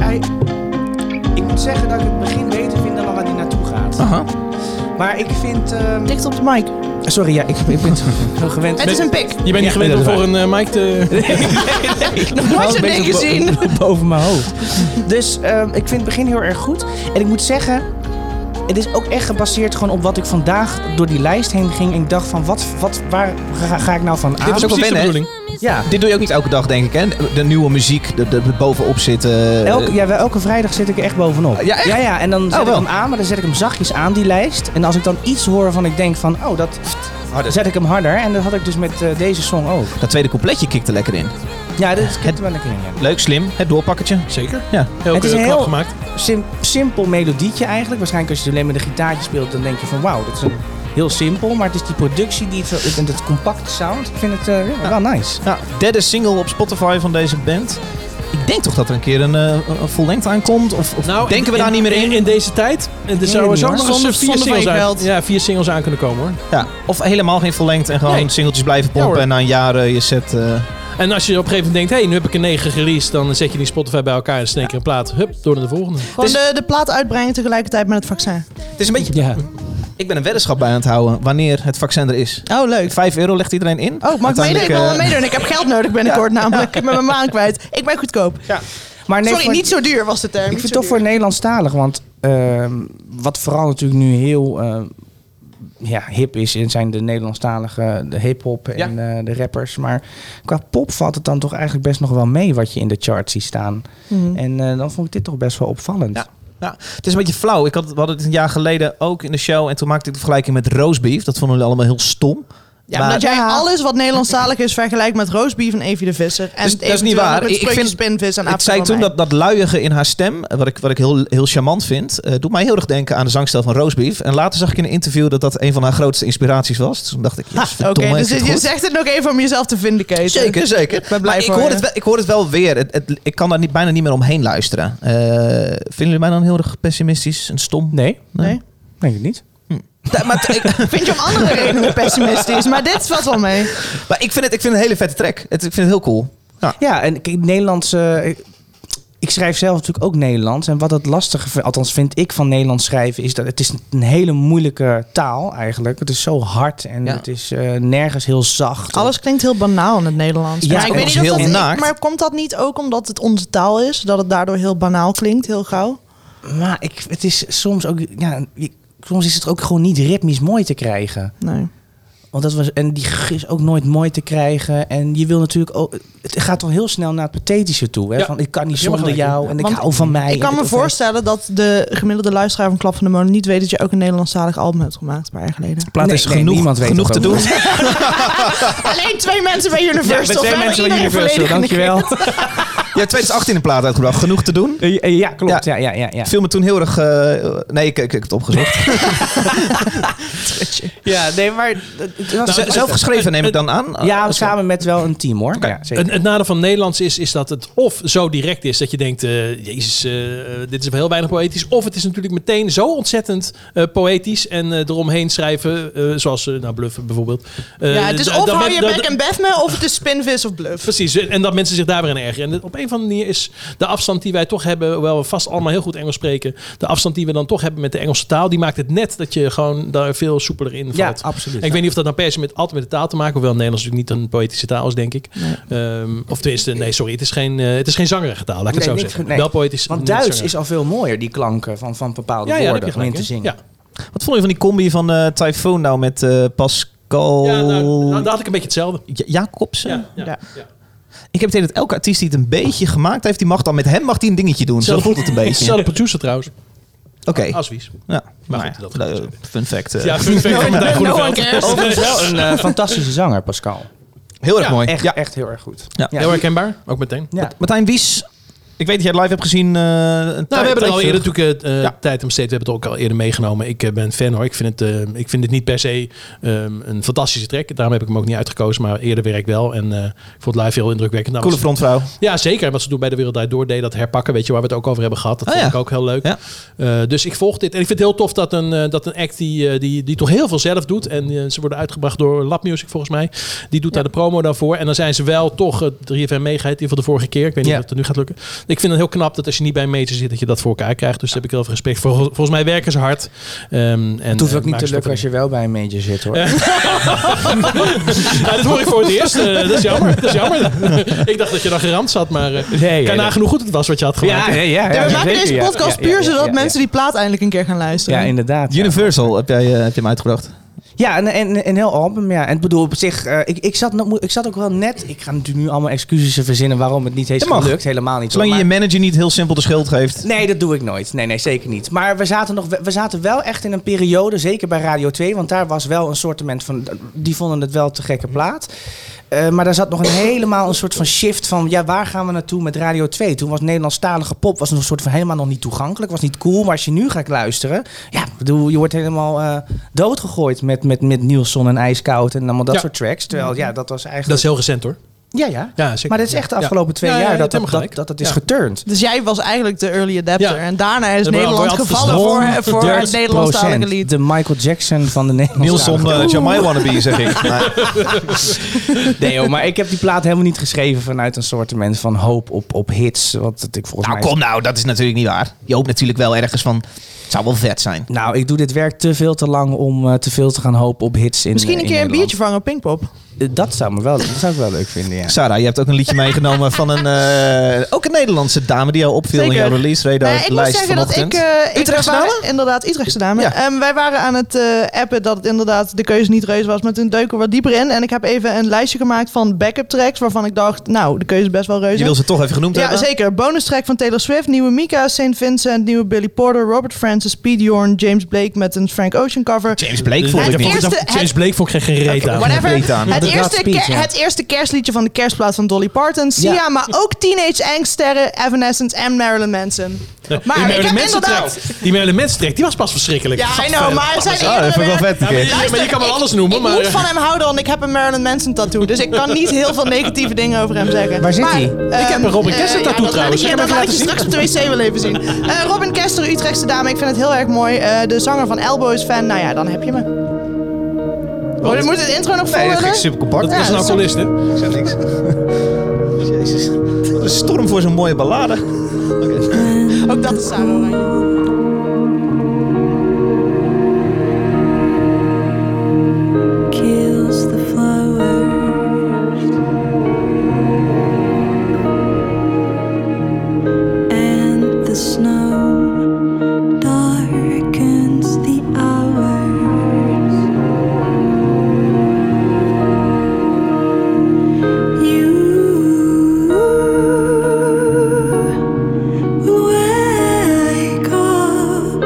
A: Eh,
C: moet zeggen dat ehm, ik het begin beter vind dan waar die naartoe gaat.
E: Aha.
C: Maar ik vind... ehm,
B: Dicht op de mic.
C: Sorry, ja, ik, ik ben zo gewend.
B: Het is een pik.
A: Je bent
C: Ja,
A: niet gewend
C: nee,
A: om
C: dat is
A: voor een eh, mic te... Nou,
B: Nog nooit zo'n ding gezien.
C: boven mijn hoofd. Dus ehm, ik vind het begin heel erg goed. En ik moet zeggen, het is ook echt gebaseerd gewoon op wat ik vandaag door die lijst heen ging. En ik dacht van, wat, wat, waar ga, ga ik nou van aan?
E: Dit is ook wel
A: precies de
E: wennen, hè?
A: bedoeling.
C: ja.
E: Dit doe je ook niet elke dag, denk ik, hè? De nieuwe muziek, de, de, de bovenop zitten.
C: Elke, ja, wel, elke vrijdag zit ik er echt bovenop.
E: Eh, Ja, echt? Oh,
C: ja, ja, en dan zet ik
E: wel.
C: hem aan, maar dan zet ik hem zachtjes aan, die lijst. En als ik dan iets hoor waarvan ik denk van, oh, dat...
E: Harder.
C: Zet ik hem harder en dat had ik dus met eh, deze song ook.
E: Dat tweede coupletje kikt er lekker in.
C: Ja, dat is er wel lekker in. ja.
E: Leuk, slim. Het doorpakketje.
A: Zeker.
E: Ja.
A: Heel
C: Het is
A: knap
C: heel-
A: gemaakt.
C: Sim- simpel melodietje eigenlijk. Waarschijnlijk als je alleen met een gitaartje speelt, dan denk je van wauw, dat is een, heel simpel. Maar het is die productie die het, zo- en dat compacte sound. Ik vind het eh, ja, wel nice.
E: Ja, derde single op Spotify van deze band. Ik denk toch dat er een keer een, eh, een vollengte aankomt? Of, of
A: Nou,
E: denken we
A: in-
E: daar niet meer in?
A: In, in deze tijd. En Er zouden
C: niet,
A: zo
C: hoor.
A: nog eens
B: Zonder-
A: vier
B: zonder
A: singles
B: van je
A: aan,
B: geld.
A: ja, vier singles aan kunnen komen hoor.
E: Ja. Of helemaal geen vollengte en gewoon
A: Nee.
E: singeltjes blijven pompen
A: hoor.
E: en na een jaar eh, je set... eh,
A: En als je op een gegeven moment denkt, hé, hey, nu heb ik een 9 gereleased, dan zet je die Spotify bij elkaar en sneak er een plaat. Hup, door naar de volgende. Dus
B: Gewoon de, de plaat uitbrengen tegelijkertijd met het vaccin.
E: Het is een beetje...
C: Ja.
E: Ik ben een weddenschap bij aan het houden wanneer het vaccin er is.
B: Oh, leuk.
E: Vijf euro legt iedereen in.
B: Oh, mag ik meedoen? Ik
E: Uiteindelijk,
B: wil wel
E: eh,
B: meedoen. Ik heb geld nodig binnenkort namelijk. Ik ben mijn maan kwijt. Ik ben goedkoop.
C: Maar nee,
B: Sorry,
C: voor-
B: niet zo duur was de term.
C: Ik
B: Niet
C: vind het
B: zo
C: toch voor
B: duur.
C: Nederlandstalig, want ehm, wat vooral natuurlijk nu heel ehm, ja, hip is, en zijn de Nederlandstalige, de hip-hop en eh, de rappers. Maar qua pop valt het dan toch eigenlijk best nog wel mee wat je in de charts ziet staan. En eh, dan vond ik dit toch best wel opvallend.
E: Ja. Ja, het is een beetje flauw. Ik had, we hadden het een jaar geleden ook in de show. En toen maakte ik de vergelijking met roastbeef. Dat vonden jullie allemaal heel stom.
B: Ja, omdat jij alles wat Nederlandstalig is vergelijkt met roastbeef en Evie de Visser. En
E: Dus dat is niet waar.
B: Ik
E: Ik- ik
B: vind
E: vind-
B: spinvis en
E: Ik
B: Aap
E: zei
B: van
E: toen
B: mij.
E: dat, dat luiige in haar stem, eh, wat ik, wat ik heel, heel charmant vind, eh, doet mij heel erg denken aan de zangstijl van Roastbeef. En later zag ik in een interview dat dat een van haar grootste inspiraties was. Dus toen dacht ik, yes,
B: Oké, dus
E: verdomme, ik
B: je
E: vind het goed.
B: zegt het nog even om jezelf te vindicaten.
E: Zeker, zeker.
B: ben blij
E: maar ik
B: voor
E: hoor,
B: je.
E: het wel, ik hoor het wel weer. Het, het- ik kan daar niet, bijna niet meer omheen luisteren. Eh, vinden jullie mij dan heel erg pessimistisch en stom?
C: Nee,
B: Nee.
C: denk ik niet.
E: Ja, maar, t- ik,
B: Vind je om andere redenen pessimistisch, maar dit valt wel mee.
E: maar ik, vind het, ik vind het een hele vette track. Het, ik vind het heel cool.
C: Ja, en kijk, Nederlands. eh, ik schrijf zelf natuurlijk ook Nederlands. En wat het lastige, vind- althans vind ik van Nederlands schrijven, is dat het is een hele moeilijke taal eigenlijk. Het is zo hard en
E: Ja.
C: het is eh, nergens heel zacht.
B: Alles klinkt heel banaal in het Nederlands.
C: Ja,
B: Maar ik
C: alles
B: weet niet of
E: heel
B: dat ik-
E: naakt.
B: Maar komt dat niet ook omdat het onze taal is? Dat het daardoor heel banaal klinkt, heel gauw?
C: Maar ik, het is soms ook. Ja, je- soms is het ook gewoon niet ritmisch mooi te krijgen.
B: Nee.
C: Want dat was, en die g is ook nooit mooi te krijgen. En je wil natuurlijk ook. Het gaat al heel snel naar het pathetische toe. Hè?
A: Ja.
C: Van ik kan niet
A: Je mag
C: zonder
A: gelijk
C: jou en ik
B: Want
C: hou van mij.
B: Ik kan
C: en
B: me
C: of hij-
B: voorstellen dat de gemiddelde luisteraar van Klap van de Molen niet weet dat je ook een Nederlandstalig album hebt gemaakt een paar jaar geleden.
C: Plaat
E: Nee,
C: is
E: nee,
C: genoeg,
E: niemand weet
C: genoeg
E: het
C: te
E: ook.
C: doen.
B: Alleen twee mensen bij Universal. Verder iedereen volledig
C: dankjewel.
E: Je hebt 2018 een plaat uitgebracht. Genoeg te doen.
C: Eh, eh, Ja, klopt. Ja, ja, ja, ja.
E: viel me toen heel erg... eh, nee, ik, ik, ik heb het opgezocht.
C: ja nee, maar...
E: Z- Zelf geschreven neem ik dan aan?
C: ja, samen met wel een team, hoor. Ja, zeker.
A: Het, het nadeel van Nederlands is, is dat het of zo direct is dat je denkt, eh, jezus, eh, dit is wel heel weinig poëtisch. Of het is natuurlijk meteen zo ontzettend eh, poëtisch en eh, eromheen schrijven, eh, zoals eh, nou, Bluff bijvoorbeeld. Eh,
B: Ja, het is
A: dat-
B: of
A: dat
B: hou
A: men-
B: je
A: dat-
B: bek en bef me, of het is spinvis of bluff.
A: Precies, en dat mensen zich daar weer aan ergeren. En op een of andere manier is de afstand die wij toch hebben, hoewel we vast allemaal heel goed Engels spreken, de afstand die we dan toch hebben met de Engelse taal, die maakt het net dat je gewoon daar veel soepeler in valt.
C: Ja, absoluut.
A: En ik weet niet of dat nou per se met, altijd met de taal te maken, hoewel Nederlands natuurlijk niet een poëtische taal is, denk ik. Ehm, of tenminste, nee, sorry, het is geen, eh, het is geen zangerige taal, laat ik het
C: Nee,
A: zo
C: niet
A: zeggen.
C: goed, nee.
A: Wel poëtisch.
C: Want
A: niet
C: Duits
A: zangerig.
C: is al veel mooier, die klanken van, van bepaalde
A: ja, ja, daar heb
C: woorden
A: je
C: om in
A: gelijk,
C: te
A: hè.
C: zingen.
A: Ja.
E: Wat vond je van die combi van eh Typhoon nou met eh, Pascal...
A: Ja, nou, nou, daar had ik een beetje hetzelfde.
E: Ja- Jacobsen?
A: Ja, ja,
B: Ja.
A: ja.
E: Ik heb het idee dat elke artiest die het een beetje gemaakt heeft, die mag dan met hem mag die een dingetje doen. Zo
A: Zelf-
E: voelt het een beetje.
A: Hetzelfde producer trouwens,
E: Oké.
A: Aswies.
E: Ja.
A: Maar
E: Nou
A: goed,
E: ja,
A: dat gaat
E: eh, fun fact. eh,
A: Ja, fun fact van Martijn Groeneveld.
C: Overigens wel een eh, fantastische zanger, Pascal.
E: Heel erg
A: Ja,
E: mooi.
C: Echt,
E: Ja.
C: echt heel erg goed.
E: Ja.
A: Heel herkenbaar, ook meteen.
C: Ja.
E: Martijn Wies, ik weet dat jij het live hebt gezien. eh, een
A: Nou,
E: tijd-
A: we hebben er al
E: tijdje
A: eerder natuurlijk eh, eh,
E: Ja.
A: tijd om besteed. We hebben het ook al eerder meegenomen. Ik eh, ben fan hoor. Ik vind het, eh, ik vind het niet per se ehm, een fantastische track. Daarom heb ik hem ook niet uitgekozen. Maar eerder werk wel. En eh, ik vond het live heel indrukwekkend. Nou,
E: Coole
A: wat ze-
E: frontvrouw.
A: ja, zeker. En Wat ze doen bij de Wereld Draait Door deed dat herpakken. Weet je waar we het ook over hebben gehad. Dat
E: Oh,
A: vond
E: ja.
A: ik ook heel leuk.
E: Ja.
A: Eh, dus ik volg dit. En ik vind het heel tof dat een, eh, dat een act die, eh, die, die toch heel veel zelf doet. En eh, ze worden uitgebracht door Lab Music volgens mij. Die doet daar de promo daarvoor. En dan zijn ze wel toch eh, 3FM meegeheid. In ieder geval de vorige keer. Ik weet niet
E: Ja.
A: of het nu gaat lukken. Ik vind het heel knap dat als je niet bij een major zit, dat je dat voor elkaar krijgt. Dus daar heb ik heel veel respect voor. Vol- Volgens mij werken ze hard. Ehm, en,
C: Het hoeft ook
A: eh,
C: niet
A: maken
C: te
A: ze
C: lukken als je wel bij een major zit hoor.
A: Ja, dit hoor ik voor het eerst. Eh, dat is jammer. Dat is jammer. ik dacht dat je dan geramd zat, maar eh
C: Nee,
A: kan nagenoeg goed het was wat je had gemaakt.
C: ja, ja,
B: we maken deze podcast puur zodat mensen die plaat eindelijk een keer gaan luisteren.
C: Ja, inderdaad. ja.
E: Universal heb jij eh, heb je hem uitgebracht.
C: Ja, en en een heel album, ja. En ik bedoel, op zich, eh, ik, ik, zat, nog mo- ik zat ook wel net... Ik ga natuurlijk nu allemaal excuses verzinnen waarom het niet heeft
E: Dat mag.
C: gelukt. Helemaal niet.
E: Zolang je
C: hoor.
E: je manager niet heel simpel de schuld geeft.
C: Nee, dat doe ik nooit. Nee, nee, zeker niet. Maar we zaten, nog, we zaten wel echt in een periode, zeker bij Radio 2, want daar was wel een sortiment van. Die vonden het wel te gekke
A: Mhm.
C: plaat. Eh, maar daar zat nog een helemaal een soort van shift van, ja, waar gaan we naartoe met Radio 2? Toen was Nederlandstalige pop was nog een soort van helemaal nog niet toegankelijk, was niet cool. Maar als je nu gaat luisteren, ja, ik bedoel, je wordt helemaal eh, doodgegooid met, met, met Nielsen en IJskoud en allemaal dat
A: Ja. Mhm.
C: soort tracks. Terwijl, ja, dat was eigenlijk.
A: Dat is heel recent hoor.
C: Ja, ja.
A: Ja, zeker.
C: Maar dit is echt de afgelopen twee
A: Ja, ja,
C: jaar
A: je
C: dat,
A: hebt
C: dat,
A: helemaal
C: dat,
A: gelijk.
C: dat het is
A: Ja.
C: geturnd.
B: Dus jij was eigenlijk de early adapter.
A: Ja.
B: En daarna is
A: Ja, maar
B: Nederland
A: word je altijd
B: gevallen voor, voor het
C: 100%
B: Nederlandstalige lied.
C: De Michael Jackson van de Nederlandse
E: Nielson uh, Jamai wannabe, zeg ik. Maar,
C: Nee joh, maar ik heb die plaat helemaal niet geschreven vanuit een sortiment van hoop op, op hits. Wat het- ik volgens
E: nou
C: mij...
E: kom nou, dat is natuurlijk niet waar. Je hoopt natuurlijk wel ergens van, het zou wel vet zijn.
C: Nou, ik doe dit werk te veel te lang om eh, te veel te gaan hopen op hits in
B: Misschien een
C: eh, in
B: keer een
C: Nederland.
B: biertje vangen op Pinkpop.
C: Eh, Dat zou, me wel, dat zou ik wel leuk vinden, ja.
E: Sarah, je hebt ook een liedje meegenomen van een, eh, ook een Nederlandse dame die jou opviel in
B: Zeker.
E: jouw release
B: Nee,
E: radar
B: ik moet
E: lijst
B: zeggen dat ik...
E: vanochtend.
B: eh ik
E: Utrechtse
B: waren-
E: dame?
B: Inderdaad, Utrechtse dame.
E: Ja.
B: Ehm, wij waren aan het eh, appen dat het inderdaad de keuze niet reuze was. Maar toen deuk ik er wat dieper in. En ik heb even een lijstje gemaakt van backup tracks. Waarvan ik dacht, nou, de keuze is best wel reuze.
E: je wil ze toch even genoemd
B: Ja,
E: hebben?
B: zeker. Bonus track van Taylor Swift, nieuwe Mika, St. Vincent, nieuwe Billy Porter, Robert Francis, Pete Jorn, James Blake met een Frank Ocean cover.
E: James Blake vond ik
B: Het
E: niet.
B: eerste-
A: James
B: het-
A: Blake vond ik geen reet aan.
B: Whatever.
E: Reet aan.
B: Het,
C: Inderdaad,
B: eerste,
C: Pete,
B: ke-
C: ja.
B: het eerste kerstliedje van de kerstplaat van Dolly Parton, Sia,
C: Ja.
B: maar ook Teenage Angststerren, Evanescence en Marilyn Manson.
A: die
B: Maar ik
A: Marilyn
B: heb
A: Manson
B: inderdaad...
A: trekt- Die Marilyn Manson trekt, die was pas verschrikkelijk.
B: Ja, I
A: Gadver.
B: know, maar er zijn
E: Oh, dat
B: eerdere
E: vind ik wel vet. een
A: Ja, maar,
E: keer.
A: je, maar je kan wel alles noemen,
B: Ik
A: maar... eh,
B: moet van hem houden, want ik heb een Marilyn Manson tattoo. Dus ik kan niet heel veel negatieve dingen over hem zeggen.
C: Waar zit
B: Maar,
C: hij?
B: ehm,
A: heb een Robin
B: eh,
A: Kester tattoo
B: ja,
A: trouwens. Ik heb
B: Dat
A: hem
B: laat ik je
A: laten
B: straks op de wc wel even zien. Eh, Robin Kester, Utrechtse dame. Ik vind het heel erg mooi. Eh, de zanger van Elbow is fan. Nou ja, dan heb je me. Oh, dit moet het intro nog
E: Nee, dat
B: volgen?
E: ging super compact.
A: Dat was
B: Ja,
A: een
B: dat is-
A: alcoholist, hè?
E: Ik zeg niks. Jezus. Wat een storm voor zo'n mooie ballade.
B: Ook dat is Sarah Oranje.
F: kills the flowers. And the snow darkens the hours. You wake up.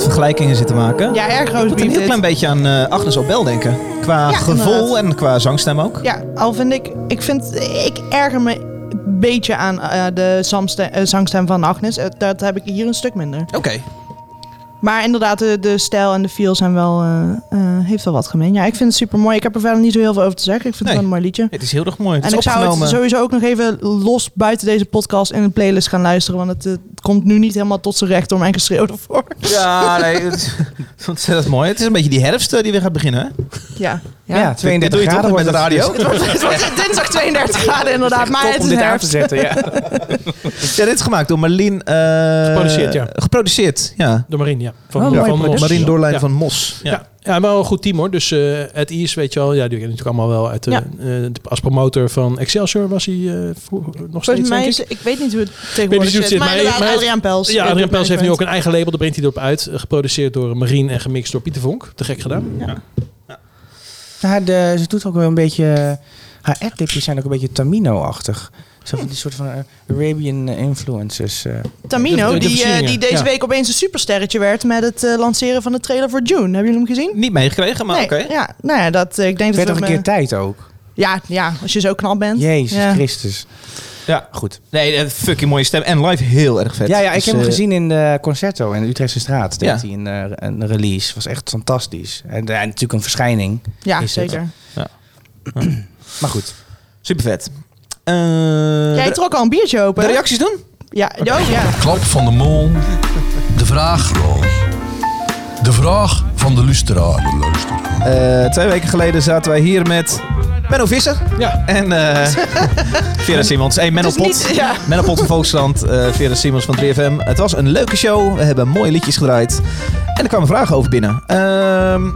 E: vergelijkingen zitten maken.
B: Ja, erg
E: Ik moet een
B: roosbief
E: heel
B: dit.
E: klein beetje aan eh, Agnes Obel denken. Qua
B: Ja,
E: gevoel
B: inderdaad.
E: en qua zangstem ook.
B: Ja, al vind ik, ik vind, ik erger me een beetje aan eh, de zamste- eh, zangstem van Agnes. Eh, dat heb ik hier een stuk minder.
E: Oké.
B: Maar inderdaad, de, de stijl en de feel zijn wel, eh, eh, heeft wel wat gemeen. Ja, ik vind het super mooi. Ik heb er verder niet zo heel veel over te zeggen. Ik vind het
E: Nee.
B: wel een mooi liedje.
E: Het is heel erg mooi. Het
B: En ik
E: is
B: zou
E: opgenomen.
B: het sowieso ook nog even los buiten deze podcast in een playlist gaan luisteren. Want het, eh, komt nu niet helemaal tot zijn recht door mijn geschreeuw ervoor.
E: Ja, nee. Het is ontzettend mooi. Het is een beetje die herfst eh, die weer gaat beginnen. Hè?
B: Ja.
C: Ja, 32
E: Dit doe je toch
C: graden
E: met de
C: wordt het.
E: radio?
B: Het wordt dinsdag 32 graden inderdaad, maar
C: Top
B: het
C: om
B: is
C: dit aan te
B: herfst.
C: zetten, ja.
E: Ja, dit is gemaakt door Marleen... eh,
A: Geproduceerd, ja.
E: Geproduceerd, ja.
A: Door Marien, ja. Van,
C: Oh,
A: ja,
C: mooi
A: van
C: producer.
A: Mos.
E: Marien Doorlijn
A: Ja.
E: van Mos.
A: Ja. ja, maar wel een goed team hoor. Dus eh Ed East, weet je wel, ja, die ken je natuurlijk allemaal wel. Uit, de-
B: Ja.
A: eh, als promotor van Excelsior was hij eh, vroeger nog steeds,
B: Volgens mij
A: denk ik.
B: is, ik weet niet hoe het
A: weet
B: tegenwoordig
A: niet hoe het
B: zit,
A: zit,
B: maar
A: maar-
B: inderdaad,
A: maar-
B: Adriaan Pels.
A: Ja, Adrian Pels heeft nu ook
B: management.
A: een eigen label, daar brengt hij erop uit. Eh, Geproduceerd door Marien en gemixt door Pieter Vonk. Te gek gedaan.
C: Haar, Nou, de, ze doet ook wel een beetje... eh, Haar adlibjes zijn ook een beetje Tamino-achtig. Zo van die soort van eh, Arabian influences. eh.
A: De-
B: Tamino,
A: de- de
B: die, eh,
A: versieringen,
B: die deze
A: ja.
B: week opeens een supersterretje werd met het eh, lanceren van de trailer voor June. Hebben jullie hem gezien?
E: Niet meegekregen, maar
B: nee,
E: oké.
B: ja, nou ja, dat, eh, ik denk dat
C: werd
B: we
C: nog een
B: hem,
C: keer tijd ook.
B: eh, ja, ja, als je zo knap bent.
C: Jezus
B: Ja.
C: Christus.
E: Ja.
C: Goed.
E: Nee, eh, fucking mooie stem. En live heel erg vet.
C: Ja, ja ik
E: Dus,
C: heb hem
E: eh,
C: gezien in de Concerto in de Utrechtse Straat. Deed
E: Ja.
C: hij een, eh, een release. Was echt fantastisch. En ja, natuurlijk een verschijning.
B: Ja,
C: Is het.
B: zeker.
C: Maar goed.
E: Super vet. Eh,
B: Jij trok al een biertje open.
E: de
B: hè?
E: reacties doen?
B: Ja, oh, ja.
G: Klap van de mol. De vraagrol. De vraag van de luisteraar.
E: Eh, twee weken geleden zaten wij hier met Menno Visser.
A: Ja.
E: En eh Vera Simons. Hey, Menno
B: Het is
E: Pot.
B: niet- ja.
E: Menno Pot van Volksland. eh, Vera Simons van 3FM. Het was een leuke show. We hebben mooie liedjes gedraaid. En er kwamen vragen over binnen. Ehm,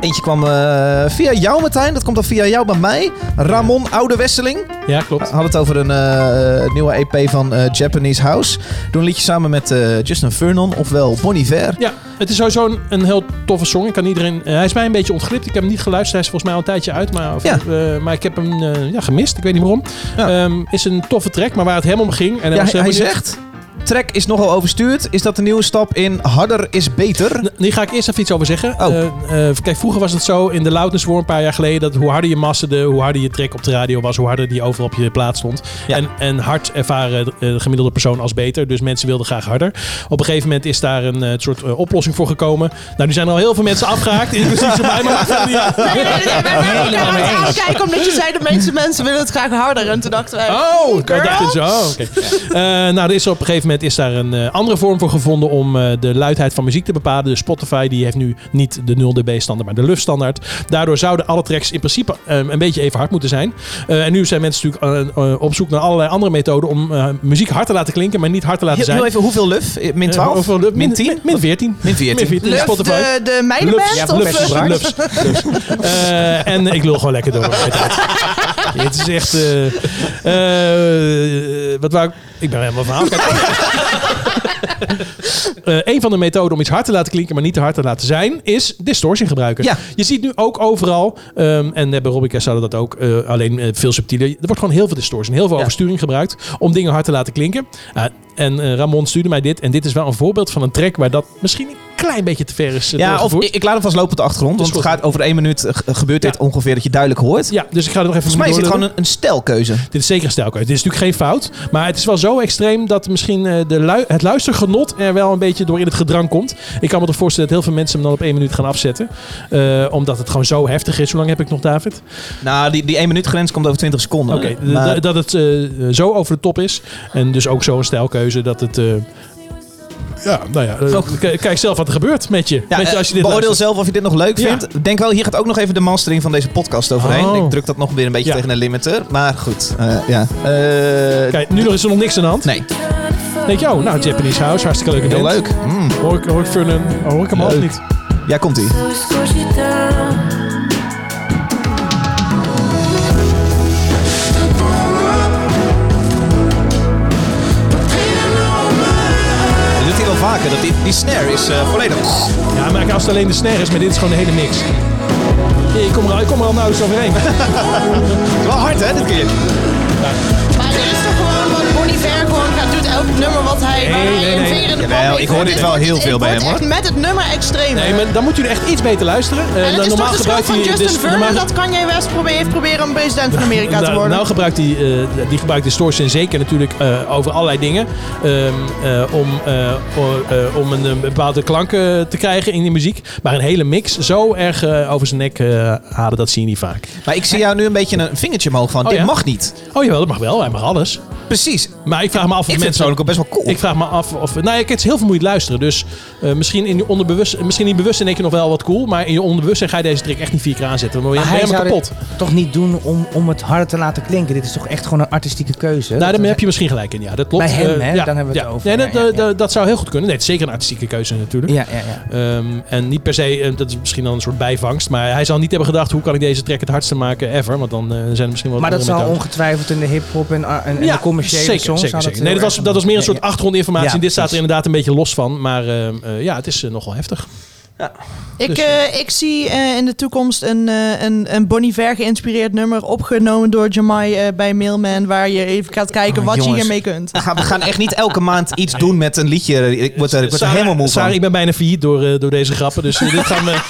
E: eentje kwam eh, via jou, Martijn. Dat komt dan via jou bij mij. Ramon Oude Wesseling.
A: Ja, klopt.
E: We hadden het over een eh, nieuwe EP van eh, Japanese House. Doe een liedje samen met eh, Justin Vernon, ofwel Bon Iver.
A: Ja, het is sowieso een, een heel toffe song. Ik kan iedereen, eh, hij is mij een beetje ontglipt. Ik heb hem niet geluisterd. Hij is volgens mij al een tijdje uit. Maar, of-
E: Ja.
A: eh, maar ik heb hem eh, ja, gemist. Ik weet niet waarom.
E: Ja.
A: Ehm, is een toffe track, maar waar het helemaal om ging. En hij
E: Ja,
A: was
E: hij,
A: helemaal
E: hij
A: niet-
E: zegt... Track is nogal overstuurd. Is dat de nieuwe stap in harder is beter?
A: N- Hier ga ik eerst even iets over zeggen.
E: Oh.
A: Eh, eh, kijk, vroeger was het zo in de Loudness War een paar jaar geleden... dat hoe harder je masterde, hoe harder je track op de radio was... hoe harder die overal op je plaats stond.
E: Ja.
A: En, en hard ervaren eh, de gemiddelde persoon als beter. Dus mensen wilden graag harder. Op een gegeven moment is daar een eh, soort eh, oplossing voor gekomen. Nou, nu zijn er al heel veel mensen afgehaakt. Inclusief voor mij, maar maakt verder niet uit.
B: Nee, nee, nee, nee, wij waren elkaar aan het aankijken omdat je zei de meeste mensen willen het graag harder. En toen dachten wij,
A: Oh, ik
B: girl.
A: dacht
E: dus."
A: zo. Oh, oké. Eh, nou, er is op een gegeven moment is daar een eh, andere vorm voor gevonden om eh, de luidheid van muziek te bepalen. Dus Spotify die heeft nu niet de 0 dB standaard, maar de LUF standaard. Daardoor zouden alle tracks in principe eh, een beetje even hard moeten zijn. Eh, en nu zijn mensen natuurlijk eh, eh, op zoek naar allerlei andere methoden om eh, muziek hard te laten klinken, maar niet hard te laten
E: Heel,
A: zijn.
E: heel even, hoeveel luf? Eh, Min
A: Eh,
E: 12?
A: hoeveel luf?
E: Min 10?
A: Min, min 14.
E: Min 14.
A: Min 14
B: Luf,
A: Spotify.
B: de, eh, de meidenband?
A: Lufs,
B: of,
A: lufs,
B: eh,
A: lufs, lufs. Eh, en ik lul gewoon lekker door. Het is echt... eh, eh, wat wou ik... Ik ben helemaal verhaal. Eh een van de methoden om iets hard te laten klinken, maar niet te hard te laten zijn, is distortion gebruiken.
E: Ja.
A: Je ziet nu ook overal, ehm, en bij Robbie zouden dat ook, eh, alleen eh, veel subtieler. Er wordt gewoon heel veel distortion, heel veel
E: Ja.
A: oversturing gebruikt om dingen hard te laten klinken. Ah, en eh, Ramon stuurde mij dit, en dit is wel een voorbeeld van een track waar dat misschien een klein beetje te ver is. eh,
E: Ja, of
A: doorgevoerd.
E: ik, ik laat hem vast lopen op de achtergrond.
A: Is
E: Want het
A: goed.
E: gaat over één minuut eh, ge- gebeurt dit
A: Ja.
E: ongeveer dat je duidelijk hoort.
A: Ja, dus ik ga er nog even
E: Volgens mij is
A: mee
E: dit
A: doorlullen.
E: gewoon een, een stijlkeuze.
A: Dit is zeker een stijlkeuze. Dit is natuurlijk geen fout. Maar het is wel zo extreem dat misschien eh, de lui- het luistergenot er wel een beetje door in het gedrang komt. Ik kan me toch voorstellen dat heel veel mensen hem dan op één minuut gaan afzetten. Eh, omdat het gewoon zo heftig is. Hoe lang heb ik nog, David?
E: Nou, die, die één minuut grens komt over 20 seconden.
A: Oké, d-
E: Maar-
A: d- dat het eh, zo over de top is. En dus ook zo'n stijlkeuze dat het... eh, ja, nou ja. eh, k- kijk zelf wat er gebeurt met je.
E: Ja,
A: met je als je dit
E: eh, beoordeel
A: luistert.
E: zelf of je dit nog leuk
A: Ja.
E: vindt. Denk wel, hier gaat ook nog even de mastering van deze podcast overheen.
A: Oh.
E: Ik druk dat nog weer een beetje
A: Ja.
E: tegen een limiter. Maar goed, eh, ja. Eh,
A: Kijk, nu nog is er nog niks aan de hand.
E: nee,
A: Denk je, oh, nou, Japanese House, hartstikke leuke
E: heel
A: band.
E: leuk. Mm.
A: Hoor ik, hoor ik Vernon? Hoor ik hem al of
E: Leuk.
A: niet?
E: Ja, komt ie. Dat doet hij wel vaker. Dat die, die snare is eh, volledig...
A: Ja, maar als het alleen de snare is, maar dit is gewoon de hele mix. nou Ik kom er, al- ik kom er al nauwelijks overheen.
E: Wel hard hè, dit keer.
B: Maar er is toch gewoon wat Bonnie Ver gewoon gaat doet elk nummer wat hij, waar
E: Nee,
B: hij
E: nee,
B: een
E: nee.
B: vinger in de
E: Jawel,
B: pap
E: ik
B: heeft.
E: hoor dit
B: Het
E: wel
B: wordt-
E: heel
B: het
E: veel bij
B: wordt
E: hem, hoor.
B: echt met het nummer extreem.
A: Nee, maar dan moet jullie echt iets beter luisteren. Eh,
B: en
A: dan
B: het is toch de schuld van Justin
A: dus-
B: Vernon
A: normaal-
B: dat Kanye West probeert, heeft proberen een president van Amerika te
A: nou,
B: worden.
A: nou gebruikt hij, eh, die gebruikt distortion zeker natuurlijk eh, over allerlei dingen. Ehm, eh, Om eh, o- eh, om een, eh, bepaalde klank eh, te krijgen in die muziek. Maar een hele mix zo erg eh, over zijn nek eh halen, dat zie je niet vaak.
E: Maar ik zie jou nu een beetje een vingertje omhoog van,
A: Oh,
E: dit
A: ja?
E: mag niet.
A: Oh jawel, dat mag wel. Hij mag alles.
E: Precies.
A: Maar ik vraag me af of
E: Ik vind het
A: mensen...
E: persoonlijk ook best wel cool.
A: Ik vraag me af of... Nou ja, kijk, het is heel vermoeiend luisteren. Dus eh, misschien in je onderbewust, misschien in je bewustzijn denk je nog wel wat cool. Maar in je onderbewustzijn ga je deze trick echt niet vier keer aanzetten. Dan word je
C: Maar hij
A: helemaal
C: zou
A: kapot.
C: dit toch niet doen om, om het harder te laten klinken. Dit is toch echt gewoon een artistieke keuze.
A: Nou,
C: Dat
A: daar
C: is-
A: heb je misschien gelijk in. Ja, dat klopt.
C: Bij hem,
A: Eh,
C: hè?
A: ja,
C: Dan hebben we het
A: ja.
C: over.
A: Nee,
C: Ja,
A: dat, eh,
C: ja,
A: dat-
C: ja.
A: dat zou heel goed kunnen. Nee, het is zeker een artistieke keuze natuurlijk.
C: Ja, ja, ja.
A: Ehm, en niet per se, eh, dat is misschien dan een soort bijvangst. Maar hij zal niet hebben gedacht, hoe kan ik deze track het hardste maken ever? Want dan eh, zijn er misschien wel
C: Maar dat
A: andere
C: zal
A: methoden.
C: ongetwijfeld in de hip-hop en, eh, en, en
A: Ja,
C: de commerciële
A: zeker,
C: songs.
A: zeker,
C: zou
A: zeker.
C: heel
A: Nee, dat was,
C: erg-
A: dat was meer een
C: Ja,
A: soort
C: ja.
A: achtergrondinformatie.
C: Ja,
A: en dit staat er
C: precies.
A: inderdaad een beetje los van. Maar ehm, eh, ja, het is eh, nogal heftig.
B: Ik,
A: Dus-
B: eh, ik zie eh, in de toekomst een, eh, een, een Bonnie Ver geïnspireerd nummer opgenomen door Jamai eh, bij Mailman. Waar je even gaat kijken
C: Oh,
B: wat je
C: jongens.
B: hiermee kunt.
E: We gaan, we gaan echt niet elke maand iets doen met een liedje. Ik word er, ik word er
A: Sarah-
E: helemaal moe
A: Sarah, ik
E: van.
A: ben bijna failliet door, eh, door deze grappen. Dus eh, dit, gaan we,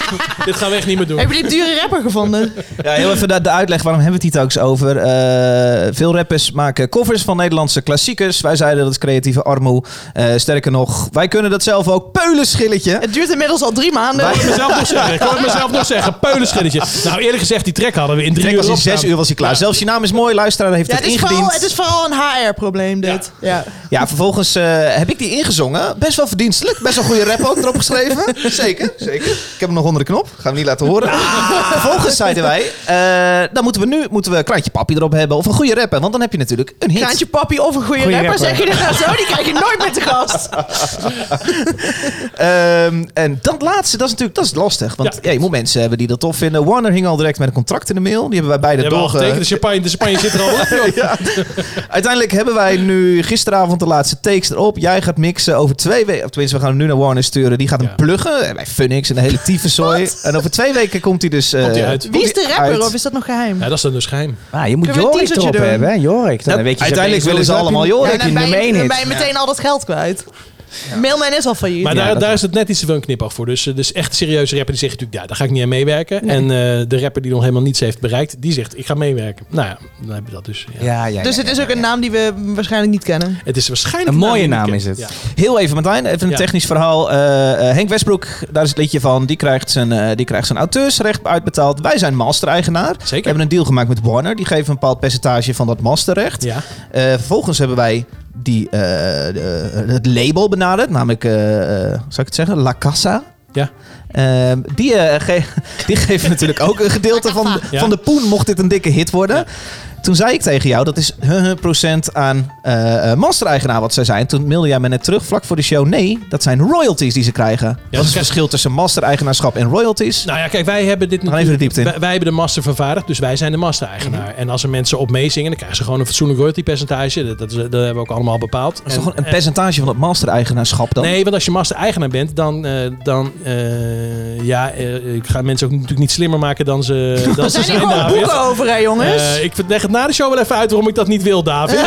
A: dit gaan we echt niet meer doen.
B: Heb je die dure rapper gevonden?
E: Ja, heel even de, de uitleg, waarom hebben we het hier telkens over? Eh, veel rappers maken covers van Nederlandse klassiekers. Wij zeiden dat is creatieve armoe. Eh, sterker nog, wij kunnen dat zelf ook. Peulenschilletje.
B: Het duurt inmiddels al drie maanden.
A: Ik hoor het mezelf nog zeggen. Ik hoor het mezelf nog zeggen. Peulenschilletje. Nou, eerlijk gezegd, die track hadden we in drie
E: Trek
A: uur
E: was in zes
A: opgenomen.
E: uur was hij klaar.
A: Ja.
E: Zelfs je naam is mooi, luisteraar heeft
B: ja,
E: het
B: het, is vooral,
E: ingediend.
B: het is vooral een HR-probleem dit. Ja.
E: Ja, vervolgens eh, heb ik die ingezongen. Best wel verdienstelijk. Best wel goede rap ook erop geschreven. Zeker, zeker. Ik heb hem nog onder de knop. Gaan we niet laten horen.
B: Ah.
E: Vervolgens zeiden wij, eh, dan moeten we nu moeten we een kraantje papi erop hebben. Of een goede rapper. Want dan heb je natuurlijk een hit.
B: Kraantje papi of een goede
C: Goeie
B: rapper,
C: rapper.
B: zeg je dat nou zo? Die krijg je nooit meer te gast.
E: Ehm, en dat laatste, dat is natuurlijk dat is lastig. Want
A: Ja.
E: ja, je moet mensen hebben die dat tof vinden. Warner hing al direct met een contract in de mail. Die
A: Die
E: hebben wij beide
A: hebben we al
E: door.
A: getekend. dus De champagne, de champagne zit er al op. joh.
E: Uiteindelijk hebben wij nu gisteravond de laatste takes erop. Jij gaat mixen over twee weken. Of tenminste, we gaan hem nu naar Warner sturen. Die gaat hem
A: Ja.
E: pluggen. En bij Funix en de hele tyfuszooi. En over twee weken komt hij dus... eh,
A: Komt hij uit.
B: Wie is de
E: hij
B: rapper
E: uit.
B: of is dat nog geheim?
A: Ja, dat is dan dus geheim.
C: Ah, je moet
B: Kunnen we een
C: Jorik
B: teasertje
C: erop
B: doen?
C: hebben, hè? Jorik. Dan
E: Ja,
C: weet je
E: uiteindelijk
C: zo-
E: willen ze
C: heb je-
E: allemaal Jorik.
C: heb je
B: dan ben
C: een
B: je,
C: nummer
B: dan
C: één
B: ben je
C: hit.
B: meteen al dat geld kwijt. Mailman is al failliet.
A: Maar
C: Ja,
A: daar,
C: dat
A: daar is het net iets te veel een knipoog voor. Dus, eh, dus echt serieuze rapper die zegt natuurlijk, ja, daar ga ik niet aan meewerken. En eh, de rapper die nog helemaal niets heeft bereikt, die zegt, ik ga meewerken. Nou ja, dan heb je dat dus. Ja.
C: Ja, ja, ja.
B: dus het is ook een naam die we waarschijnlijk niet kennen.
A: Het is waarschijnlijk
C: Een mooie
A: die je
C: naam
A: kent.
C: is het.
A: Ja.
E: Heel even Martijn, even een
A: Ja.
E: technisch verhaal. Eh, eh, Henk Westbroek, daar is het liedje van. Die krijgt zijn, eh, die krijgt zijn auteursrecht uitbetaald. Wij zijn master-eigenaar. We
A: Zeker.
E: hebben een deal gemaakt met Warner. Die geven een bepaald percentage van dat masterrecht.
A: Ja.
E: Eh, vervolgens hebben wij die, eh, de- het label benaderd, namelijk, eh, eh, zou ik het zeggen, La Casa.
A: Ja.
E: Ehm, die, eh, ge- die geven natuurlijk ook een gedeelte van de,
A: Ja.
E: van de poen, mocht dit een dikke hit worden.
A: Ja.
E: Toen zei ik tegen jou, dat is huh, huh, procent aan eh eh, master-eigenaar wat zij zijn. Toen mailde jij me net terug, vlak voor de show. Nee, dat zijn royalties die ze krijgen. wat is
A: dat
E: het
A: krijg-
E: verschil tussen master-eigenaarschap en royalties?
A: dus Nou ja, kijk, wij hebben dit
E: gaan even de diepte in.
A: Wij, wij hebben de master vervaardigd, dus wij zijn de master-eigenaar. En als er mensen op meezingen, dan krijgen ze gewoon een fatsoenlijk royalty-percentage. Dat, dat, is- dat hebben we ook allemaal bepaald.
E: dat is toch gewoon een percentage van dat master-eigenaarschap dan?
A: Nee, want als je master-eigenaar bent, dan, eh, dan eh, ja, eh, ik ga mensen ook natuurlijk niet slimmer maken dan ze, dan
B: Er
A: ze
B: zijn hier
A: zijn.
B: gewoon
A: David.
B: boeken over, hè, jongens?
A: Eh, ik leg het na de show wel even uit waarom ik dat niet wil, David.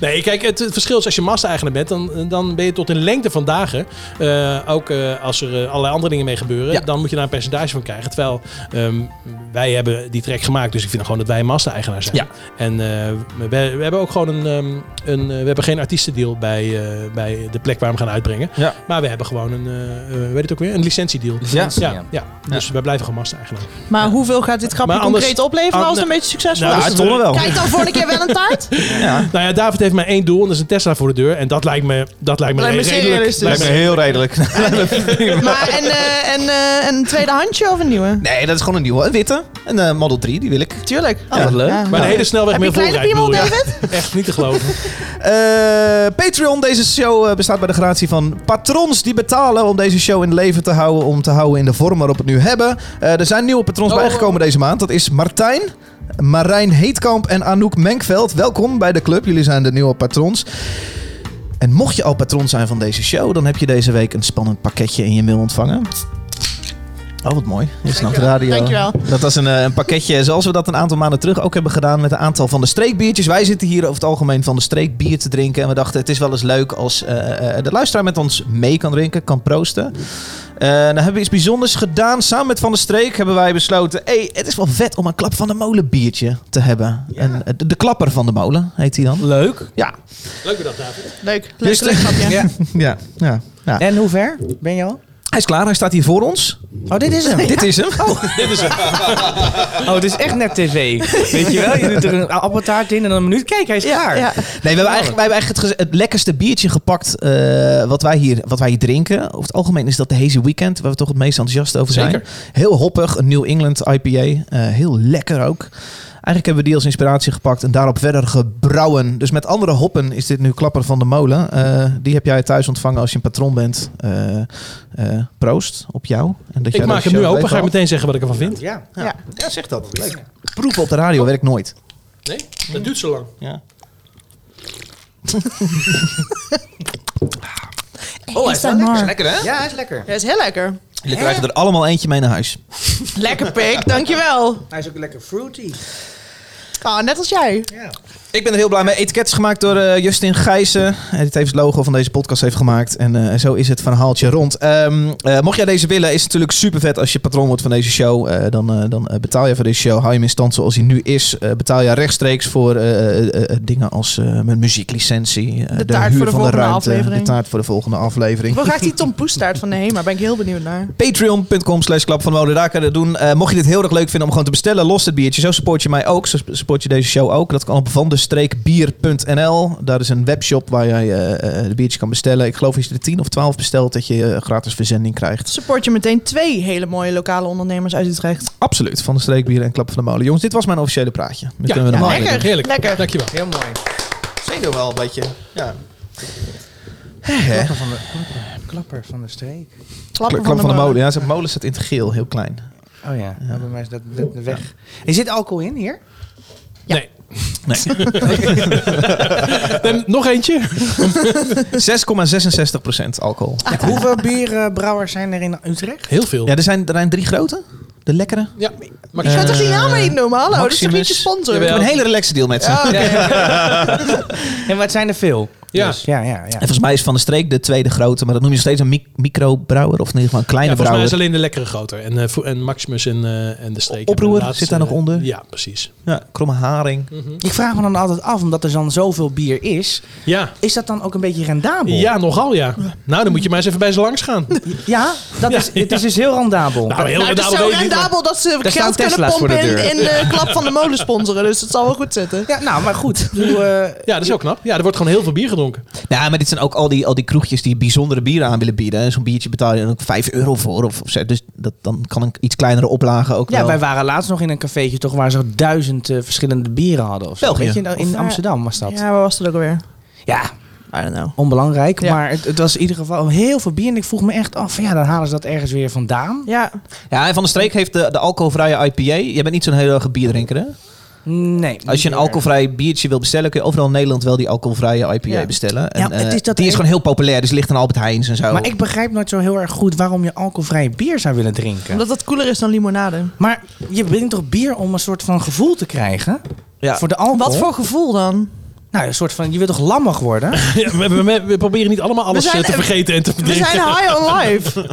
A: nee, kijk, het, het verschil is als je massa-eigenaar bent, dan, dan ben je tot in lengte van dagen. eh, ook eh, als er eh, allerlei andere dingen mee gebeuren,
E: Ja.
A: dan moet je daar een percentage van krijgen. Terwijl ehm, wij hebben die track gemaakt, dus ik vind gewoon dat wij massa-eigenaar zijn.
E: Ja.
A: En eh, we, we hebben ook gewoon een, ehm, een eh, we hebben geen artiestendeal bij, eh, bij de plek waar we hem gaan uitbrengen.
E: Ja.
A: Maar we hebben gewoon een, eh, eh, weet het ook weer, een licentiedeal.
E: Licentie,
A: ja,
C: ja.
A: ja. Dus wij blijven gewoon massa-eigenaar.
B: maar hoeveel gaat dit grapje
A: Maar anders-
B: concreet opleveren
A: Ah,
B: als het een
A: nee.
B: beetje succesvol
A: Nou,
B: is?
E: ja,
A: dus-
E: tonnen wel.
B: Krijg ik dan volgende keer wel een taart?
E: Ja.
A: Nou ja, David heeft maar één doel en dat is een Tesla voor de deur. En dat lijkt me, dat lijkt me,
B: Lijkt me zeer
A: redelijk.
B: realistisch.
E: Lijkt me heel redelijk.
B: Maar en, eh, en, eh, een tweede handje of een nieuwe?
E: Nee, dat is gewoon een nieuwe. Een witte. Een eh, Model 3, die wil ik.
B: Tuurlijk.
E: Oh, wat leuk.
A: Maar de hele snelweg
B: Heb je
A: meer
B: kleine
A: voorrijden. bedoel
B: piemel,
A: je?
B: David?
A: Echt niet te geloven.
E: Eh, Patreon, deze show eh, bestaat bij de gratie van patrons die betalen om deze show in leven te houden. Om te houden in de vorm waarop we het nu hebben. Eh, er zijn nieuwe patrons
A: Oh.
E: bijgekomen deze maand. Dat is Martijn. Marijn Heetkamp en Anouk Menkveld. Welkom bij de club. Jullie zijn de nieuwe patrons. En mocht je al patron zijn van deze show, dan heb je deze week een spannend pakketje in je mail ontvangen. Oh, wat mooi. Je snapt de radio.
B: Dankjewel.
E: Dat was een, eh, een pakketje zoals we dat een aantal maanden terug ook hebben gedaan met een aantal van de streekbiertjes. Wij zitten hier over het algemeen van de streek bier te drinken. En we dachten het is wel eens leuk als eh, eh, de luisteraar met ons mee kan drinken, kan proosten. Eh dan hebben we iets bijzonders gedaan. Samen met Van de Streek hebben wij besloten, hey, het is wel vet om een klap van de molen biertje te hebben. En eh, de, de klapper van de molen heet hij dan.
A: Leuk.
E: Ja.
A: Leuk bedacht, David.
B: Leuk. Leuk,
E: Dus-
B: leuk grapje.
E: Ja. ja. ja.
C: En hoe ver ben je al?
E: Hij is klaar, hij staat hier voor ons.
C: Oh, dit is hem.
E: Dit is hem.
A: Dit is het.
C: Oh, het is echt net tv. Weet je wel? Je doet er een appeltaart in en dan een minuut. Kijk, hij is klaar.
B: ja.
E: Nee, we hebben eigenlijk, wij hebben eigenlijk het, gez- het lekkerste biertje gepakt eh, wat, wij hier, wat wij hier drinken. Over het algemeen is dat de Hazy Weekend, waar we toch het meest enthousiast over zijn.
A: Zeker.
E: Heel hoppig, een New England IPA. eh, heel lekker ook. Eigenlijk hebben we die als inspiratie gepakt en daarop verder gebrouwen. Dus met andere hoppen is dit nu Klapper van de Molen. Eh, die heb jij thuis ontvangen als je een patroon bent. Eh, eh, proost op jou. En dat
A: Ik
E: jij
A: maak
E: dat
A: hem nu
E: show
A: open.
E: weet
A: Ga ik
E: al.
A: meteen zeggen wat ik ervan vind.
C: Ja.
E: Ja. ja, zeg dat. Leuk. Proeven op de radio werkt nooit.
A: Nee, dat duurt zo lang.
E: Ja.
A: Oh, hij staat lekker.
E: Lekker hè?
C: Ja, hij is lekker.
B: Dat is heel lekker.
E: Jullie krijgen er allemaal eentje mee naar huis.
B: Lekker pik, dankjewel.
C: Hij is ook lekker fruity.
B: Ah, net als jij.
C: Ja.
E: Ik ben er heel blij mee. Etiket is gemaakt door eh, Justin Gijzen. En dit heeft het logo van deze podcast heeft gemaakt. En eh, zo is het verhaaltje rond. Ehm, eh, mocht jij deze willen, is het natuurlijk super vet als je patroon wordt van deze show. Eh, dan eh, dan eh, betaal je voor deze show. Hou je hem in stand zoals hij nu is. Eh, betaal je rechtstreeks voor eh, eh, eh, dingen als eh, mijn muzieklicentie. eh,
B: De taart
E: huur
B: voor de
E: van de
B: volgende
E: ruimte.
B: aflevering.
E: De taart voor de volgende aflevering.
B: Hoe raakt die Tom Poestaart van de HEMA? Daar Ben ik heel benieuwd naar.
E: Patreon.com slash klap van de molen. Daar kan je dat doen. Eh, mocht je dit heel erg leuk vinden om gewoon te bestellen, los het biertje. Zo support je mij ook. Zo sp- support je deze show ook. Dat kan op van de streekbier.nl. Daar is een webshop waar jij eh, eh, de biertje kan bestellen. Ik geloof als je er 10 of 12 bestelt, dat je eh, gratis verzending krijgt.
B: Support je meteen twee hele mooie lokale ondernemers uit Utrecht.
E: Absoluut. Van de streekbier en klap van de molen. Jongens, dit was mijn officiële praatje. Nu
A: Ja,
E: kunnen we
A: ja,
E: normaal
B: lekker.
E: weer
A: Heerlijk.
B: Lekker.
A: Dankjewel.
C: Heel mooi.
E: doen. Zenuw wel een beetje. Ja.
C: Klapper van de, klapper, klapper van de streek.
B: Klappen
E: Klap van de molen. Ja, zijn molen staat in het geel. Heel klein.
C: Oh ja, nou, bij mij is dat, dat weg. Er zit alcohol in hier?
A: Nee. Eh, En nog eentje.
E: 6,66 alcohol.
C: Hoeveel bierbrouwers zijn er in Utrecht?
A: Heel veel.
E: Ja, er zijn, er zijn drie grote. De lekkere.
A: Ja.
B: Je gaat toch geen naam mee noemen? Hallo, dat is toch niet je
E: Maximus.
B: sponsor?
A: Eh,
E: Ik
A: Jawel.
E: heb een hele relaxe deal met ze.
C: En wat zijn er veel?
A: Ja.
C: Dus, ja, ja, ja.
E: En volgens mij is Van de Streek de tweede grote, maar dat noem je nog steeds een mic- microbrouwer of in ieder geval een kleine
A: Ja, volgens mij is
E: brouwer.
A: alleen de lekkere groter. En, eh, vo- en Maximus en, eh, en de streek.
E: Oproer
A: En de laatste, eh,
E: zit daar nog onder?
A: Ja, precies.
E: Ja, kromme haring.
C: Ik vraag me dan altijd af, omdat er dan zoveel bier is,
A: Ja.
C: is dat dan ook een beetje rendabel?
A: Ja, nogal ja. Nou, dan moet je maar eens even bij ze langs gaan.
C: Ja, dat
A: Ja,
C: is, het
A: ja.
C: is dus heel rendabel.
A: Nou, heel
B: Nou, het is
A: rendabel
B: zo
A: weet ik niet, maar-
B: rendabel dat ze
C: staan
B: geld kunnen
C: Tesla's voor de
B: pompen in,
C: deur.
B: in de klap van de molen sponsoren. Dus het zal wel goed zitten.
C: ja, nou, maar goed. Doe, eh,
A: Ja, dat is ook knap. Ja, er wordt gewoon heel veel bier gedronken.
E: Ja, maar dit zijn ook al die, al die kroegjes die bijzondere bieren aan willen bieden. En zo'n biertje betaal je dan ook 5 euro voor. Of, of zo. Dus dat, dan kan een iets kleinere oplage ook
C: ja,
E: wel.
C: wij waren laatst nog in een cafeetje toch waar ze duizend eh, verschillende bieren hadden. Of zo.
E: België.
C: Weet je, nou, in
B: Of, eh,
C: Amsterdam was dat. Ja,
B: Ja, waar was het ook alweer? I don't know.
C: onbelangrijk.
B: Ja.
C: Maar het, het was in ieder geval heel veel bier. En ik vroeg me echt af, van, ja, dan halen ze dat ergens weer vandaan.
B: Ja,
E: Ja, en Van de Streek heeft de, de alcoholvrije IPA. Jij bent niet zo'n heel erg bierdrinker, hè?
C: Nee.
A: Oh.
E: Als je een
C: niet erg.
E: alcoholvrij biertje wil bestellen, kun je overal in Nederland wel die alcoholvrije IPA
B: Ja.
E: bestellen. En,
C: Ja, maar het
E: eh,
C: is dat
E: die is
C: een-
E: gewoon heel populair, dus ligt aan Albert Heijns en zo.
C: Maar ik begrijp nooit zo heel erg goed waarom je alcoholvrije bier zou willen drinken.
B: omdat dat cooler is dan limonade.
C: Maar je drinkt toch bier om een soort van gevoel te krijgen?
E: Ja.
C: Voor de alcohol?
B: Wat voor gevoel dan?
C: Nou, een soort van, je wilt toch lammig worden?
A: Ja, we, we- we- we proberen niet allemaal alles
B: We zijn-
A: eh, te vergeten en te
B: We
A: verdrinken.
B: zijn high on life.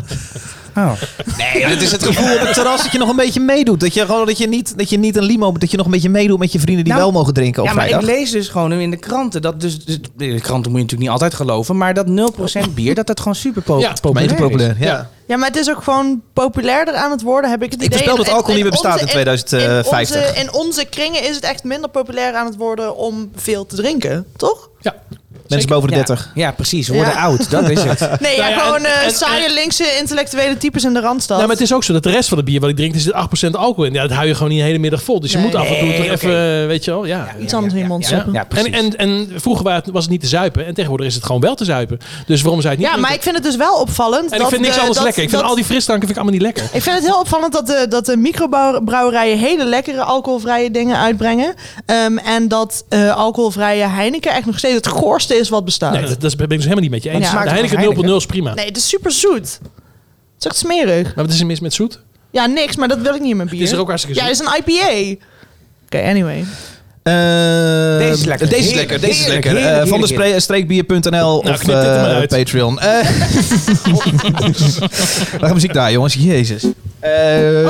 C: Oh.
E: Nee, het is het gevoel op het terras dat je nog een beetje meedoet. Dat je, gewoon, dat je, niet, dat je niet een limo, dat je nog een beetje meedoet met je vrienden die
C: Nou,
E: wel mogen drinken op
C: Ja, maar
E: vrijdag.
C: ik lees dus gewoon in de kranten dat dus, dus- de kranten moet je natuurlijk niet altijd geloven, maar dat 0% bier dat dat gewoon super po-
A: Ja,
C: populair
E: Mede
C: is.
E: populair, ja.
A: Ja.
B: Ja, maar het is ook gewoon populairder aan het worden, heb ik het
E: Ik
B: idee.
E: voorspel dat
B: En-
E: alcohol niet meer bestaat
B: onze-
E: in 2050.
B: In onze, in onze kringen is het echt minder populair aan het worden om veel te drinken, toch?
A: Ja.
E: Mensen boven de
C: Ja,
E: 30.
C: Ja, precies. We worden
B: Ja.
C: oud, dat is het.
B: Nee, ja,
A: Nou ja,
B: gewoon
A: en-
B: eh,
A: en-
B: saaie
A: en-
B: linkse intellectuele types in de Randstad.
A: Ja, maar het is ook zo dat de rest van de bier wat ik drink, er zit 8% alcohol in. Ja, dat hou je gewoon niet de hele middag vol. Dus je
B: Nee.
A: moet af en toe
C: Nee,
A: toch
C: oké.
A: even, eh, weet je wel, ja.
C: Ja,
B: Iets anders in je mond
A: Ja.
B: stoppen.
C: Ja,
A: en,
C: precies.
A: en, en vroeger wa- was het niet te zuipen en tegenwoordig is het gewoon wel te zuipen. Dus waarom zou je het
B: Ja,
A: niet
B: maar ik
A: drinken?
B: vind het dus wel opvallend.
A: En
B: dat
A: ik vind niks
B: de-
A: anders
B: dat-
A: lekker. Ik vind
B: dat-
A: al die frisdranken vind ik allemaal niet lekker.
B: Ik vind het heel opvallend dat de, dat de microbrouwerijen hele lekkere alcoholvrije dingen uitbrengen. Ehm, en dat eh, alcoholvrije Heineken echt nog steeds het goorste is wat bestaat.
A: Nee,
B: Nee,
A: dat, dat ben ik dus helemaal niet met je eens.
B: het smaakt
A: de
C: toch
A: Heineken
C: Heineken?
A: 0.0 is prima.
B: het is super zoet. Het is echt smerig.
A: Maar wat is er mis met zoet?
B: Ja, niks, maar dat wil ik niet in mijn bier.
A: Het is er ook hartstikke
B: Ja,
A: zoet.
B: het is een IPA. Oké, anyway.
E: Eh,
C: Deze is lekker.
E: Deze is
C: Heerlijk,
E: lekker. Deze is
C: heerlijk,
E: lekker. Eh,
C: heerlijk,
E: van de
C: heerlijk.
E: spree- streekbier.nl
A: Nou,
E: of
A: knip dit er maar
E: eh,
A: uit.
E: Patreon. Eh we gaan muziek draaien, jongens. Jezus.
A: Oh,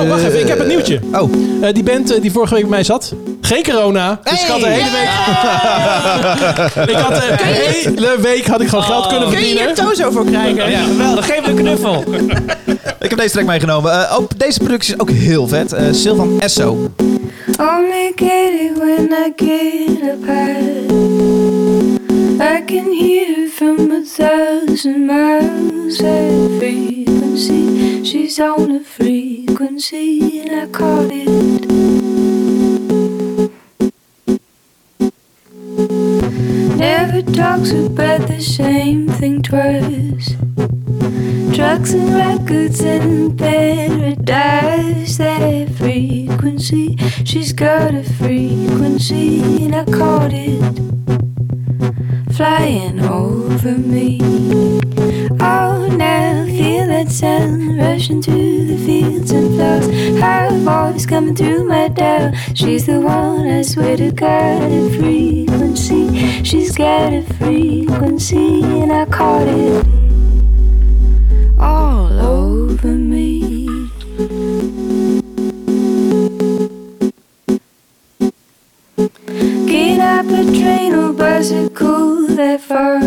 A: wacht even, ik heb een nieuwtje.
E: Oh,
A: Eh, die band eh, die vorige week bij mij zat, geen corona. Dus ik had de hele week. ik had eh, de hele week had ik gewoon geld kunnen
B: Kun je
A: verdienen.
B: hier tozo voor krijgen?
C: Ja, geweldig. Geef me een knuffel.
E: ik heb deze track meegenomen. Eh, ook, deze productie is ook heel vet. Eh, Sylvan Esso.
F: Only get it when I get up high. I can hear from a thousand miles her frequency. She's on a frequency, and I caught it. Never talks about the same thing twice. Drugs and records in paradise, that frequency. She's got a frequency, and I caught it flying over me. Oh, now feel that sun rushing through the fields and flowers. Her voice coming through my dial. She's the one I swear to God, a frequency. She's got a frequency, and I caught it all over me. Get up a train or bicycle that far.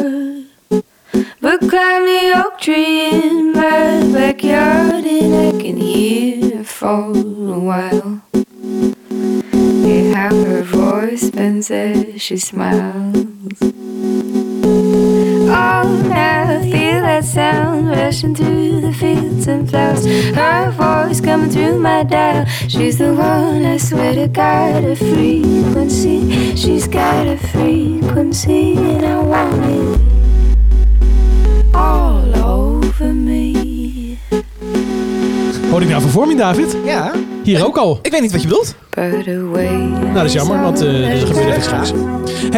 F: But climb the oak tree in my backyard and I can hear her for a while. Hear how her voice bends as she smiles. Oh, now I feel that sound rushing through the fields and flowers. Her voice coming through my dial. She's the one I swear to God, a frequency. She's got a frequency, and I want it all over me.
A: Hoor ik nou vervorming, David?
C: Ja.
A: Hier ook al.
E: Ik weet niet wat je bedoelt.
F: But away.
A: Nou, dat is jammer, want eh er gebeurt echt niks. Hé,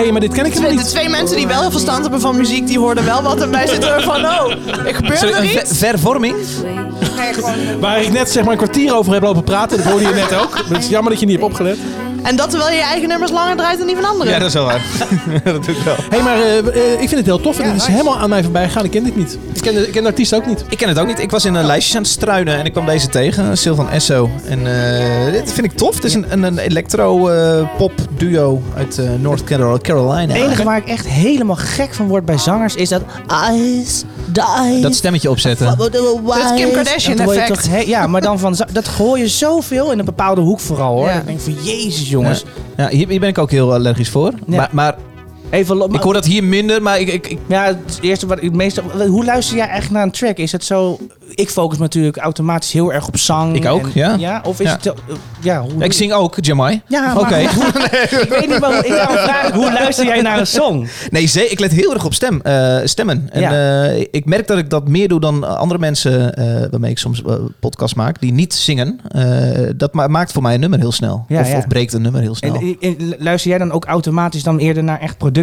A: hey, maar dit ken ik helemaal
B: De
A: niet.
B: twee mensen die wel heel verstand hebben van muziek, die hoorden wel wat. En wij zitten er van, oh, er gebeurt er
E: Sorry,
B: iets.
E: vervorming.
A: Waar ik net zeg maar een kwartier over heb lopen praten, dat hoorde je net ook. Het is jammer dat je niet hebt opgelet.
B: En dat terwijl je je eigen nummers langer draait dan die van anderen.
E: Ja, dat is wel waar. dat doe ik wel.
A: Hé, hey, maar eh, eh, ik vind het heel tof en dit is helemaal aan mij voorbij gegaan. Ik ken dit niet. Ik ken de, ik ken de artiest ook niet. Oh.
E: Ik ken het ook niet. Ik was in een lijstje aan het struinen en ik kwam deze tegen. Sylvan Esso. En eh, dit vind ik tof. Het is een, een, een electro-pop duo uit eh, North Carol- Carolina.
C: Het enige waar ik echt helemaal gek van word bij zangers is dat eyes, die.
E: Dat stemmetje opzetten.
C: Dat
B: is Kim Kardashian
C: hoor je
B: effect.
C: toch, hè? ja, maar dan van za- dat gooi je zoveel in een bepaalde hoek vooral hoor.
B: Ja.
C: Dan denk ik van jezus jongens.
E: Ja, hier, hier ben ik ook heel allergisch voor.
C: Ja.
E: Maar, maar
C: Even lo-
E: ik hoor dat hier minder, maar ik... ik, ik
C: Ja, het eerste wat ik meestal. Hoe luister jij eigenlijk naar een track? Is het zo? Ik focus me natuurlijk automatisch heel erg op zang.
E: Ik ook, ja.
C: Ja, of is
E: Ja.
C: het? eh, Ja, hoe,
E: ik zing ook, Jamai.
C: Ja,
E: Oké.
C: maar- Ik weet niet waarom. Ik daarom vraag ik, hoe luister jij naar een song?
E: Nee, ze, ik let heel erg op stem, eh, stemmen. En
C: Ja.
E: eh, ik merk dat ik dat meer doe dan andere mensen eh, waarmee ik soms eh, podcast maak, die niet zingen. Eh, dat ma- maakt voor mij een nummer heel snel.
C: Ja,
E: of,
C: ja.
E: of breekt een nummer heel snel.
C: En, eh, en luister jij dan ook automatisch dan eerder naar echt productie?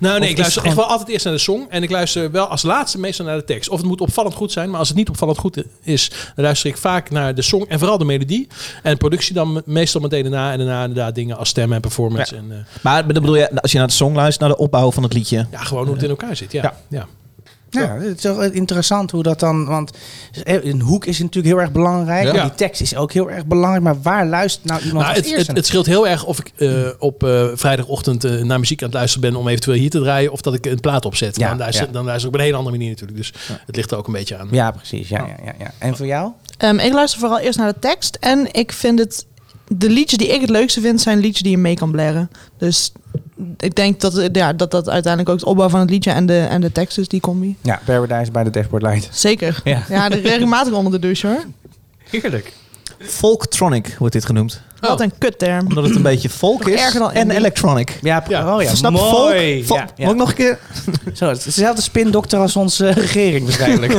A: Nou
C: Of
A: nee,
C: is
A: ik luister
C: het
A: echt wel altijd eerst naar de song. En ik luister wel als laatste meestal naar de tekst. Of het moet opvallend goed zijn. Maar als het niet opvallend goed is, dan luister ik vaak naar de song. En vooral de melodie. En productie dan me- meestal meteen daarna. En daarna inderdaad dingen als stemmen en performance. En eh,
E: Maar dan bedoel je, nou, als je naar de song luistert, naar de opbouw van het liedje.
A: ja, gewoon hoe het in elkaar zit. Ja.
E: Ja.
A: Ja.
C: Ja, het is wel interessant hoe dat dan. Want eh, een hoek is natuurlijk heel erg belangrijk.
A: Ja.
C: maar Die tekst is ook heel erg belangrijk. Maar waar luistert nou iemand
A: Nou,
C: als
A: het,
C: eerste?
A: het, het scheelt heel erg of ik eh, op eh, vrijdagochtend eh, naar muziek aan het luisteren ben om eventueel hier te draaien. Of dat ik een plaat opzet.
C: Ja,
A: Ja, dan, luister,
C: ja.
A: dan luister ik op een hele andere manier natuurlijk. Dus het ligt er ook een beetje aan.
C: Ja, precies. Ja, ja, ja, ja. En voor jou?
B: Ehm, ik luister vooral eerst naar de tekst. En ik vind het. De liedjes die ik het leukste vind, zijn liedjes die je mee kan blerren. Dus ik denk dat eh, ja, dat, dat uiteindelijk ook de opbouw van het liedje en de, en de tekst is, die combi.
C: Ja, Paradise bij de Dashboard Light.
B: Zeker.
C: Ja.
B: Ja, de- regelmatig onder de douche hoor.
C: Heerlijk.
E: Folktronic wordt dit genoemd.
A: Oh.
B: Wat een kutterm.
E: Omdat het een beetje folk
B: Nog
E: is
B: erger dan
E: en
B: indie.
E: electronic.
C: Ja,
A: Ja.
C: Oh ja,
E: Snap je
C: mooi.
E: folk? Fol-
C: Ja, ja.
E: Moet ik nog een keer?
C: Zo, het is dezelfde spindokter als onze regering waarschijnlijk.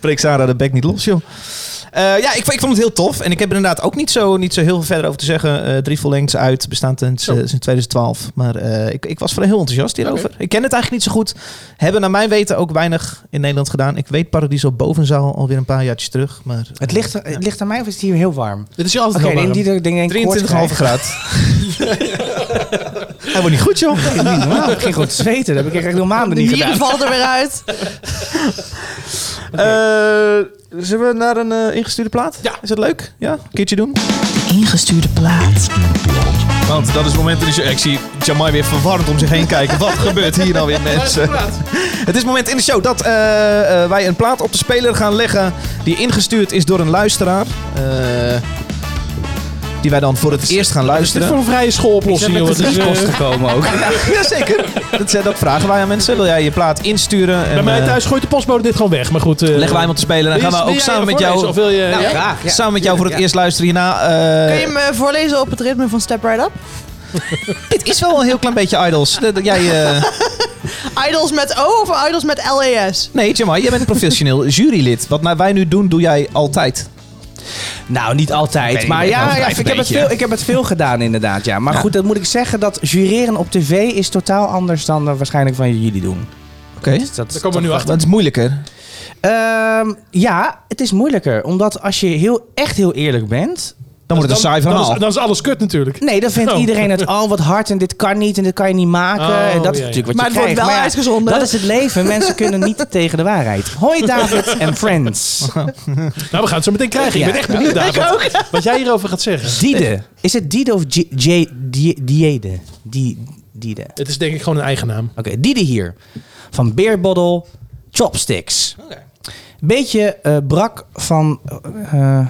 E: Breek Sarah de bek niet los, joh. Eh, Eh, ja, ik, ik vond het heel tof. En ik heb er inderdaad ook niet zo, niet zo heel veel verder over te zeggen. Eh, drie vollengtes uit, bestaan sinds, eh, sinds 2012. Maar eh, ik, ik was vooral heel enthousiast hierover. Ik ken het eigenlijk niet zo goed. Hebben naar mijn weten ook weinig in Nederland gedaan. Ik weet Paradiso Bovenzaal alweer een paar jaartjes terug. Maar,
C: Het ligt, het ligt aan mij of is het hier heel warm?
A: Dit is hier altijd
C: Oké,
A: heel
C: in
A: warm.
C: die dingen denk ik
E: 23,5
C: graden.
E: graad. Hij wordt niet goed, joh.
C: Nou, ik ging gewoon te zweten. Dat heb ik echt heel maanden
B: De
C: niet
B: nieren
C: gedaan.
B: vallen er weer uit.
E: Eh, zullen we naar een eh, ingestuurde plaat?
A: Ja.
E: Is dat leuk? Ja, een keertje doen.
B: Ingestuurde plaat.
E: Want dat is het moment dat ik zie Jamai weer verwarrend om zich heen kijken. Wat gebeurt hier nou weer, mensen? Het is het moment in de show dat eh, eh, wij een plaat op de speler gaan leggen die ingestuurd is door een luisteraar. Eh, die wij dan voor het eerst gaan
A: Dit is
E: luisteren.
A: voor een vrije schooloplossing, joh. Wat is, eh,
C: gekomen ook.
E: Jazeker. Dat, zijn- dat vragen wij aan mensen. Wil jij je plaat insturen? En,
A: Bij mij
E: eh,
A: thuis gooit de postbode dit gewoon weg. Maar goed. eh,
E: leggen wij hem op de speler en
A: wil je-
E: gaan we
A: wil
E: ook
A: jij
E: samen
A: hem
E: met jou...
A: voorlezen Of wil je...
C: Nou,
A: ja?
C: graag. Ja.
E: Samen met jou voor het
C: Ja.
E: eerst luisteren hierna. eh,
B: Kun je hem eh, voorlezen op het ritme van Step Right Up?
E: Dit is wel een heel klein beetje idols. Dat- dat Jij, eh,
B: Idols met O of Idols met E LAS?
E: nee, Jamai, jij bent een professioneel jurylid. Wat nou wij nu doen, doe jij altijd.
C: Nou, niet altijd.
E: Oké,
C: maar ja,
E: overdrijf
C: ja,
E: een
C: ik, heb het
E: beetje.
C: veel, ik heb het veel gedaan inderdaad. Ja. Maar
E: Ja.
C: goed, dat moet ik zeggen dat jureren op tv is totaal anders dan eh, waarschijnlijk van jullie doen.
E: Oké.
C: Dus dat,
A: Daar komen we nu achter.
E: Dat is moeilijker.
C: Ehm, ja, het is moeilijker. Omdat als je heel, echt heel eerlijk bent...
E: Dan wordt het een saai
A: dan,
E: verhaal.
A: is, dan is alles kut natuurlijk.
C: Nee, dan vindt
A: Nou. Oh.
C: iedereen het al wat hard en dit kan niet en dit kan je niet maken.
A: Oh,
C: en dat
A: ja,
C: is
A: ja.
C: natuurlijk wat
B: Maar
C: je
B: het wordt
C: krijgt.
B: wel
C: ja,
B: uitgezonden.
C: Dat is het leven. Mensen kunnen niet tegen de waarheid. Hoi David en friends.
A: Nou, we gaan het zo meteen krijgen. Ik
C: Ja.
A: ben echt benieuwd, David. Wat jij hierover gaat zeggen.
C: Diede. Is het Diede of J- J- Die- Diede? Die- Diede.
A: Het is denk ik gewoon een eigen naam.
C: Oké, Diede hier. Van Beerbottle Chopsticks. Beetje eh, brak van... eh,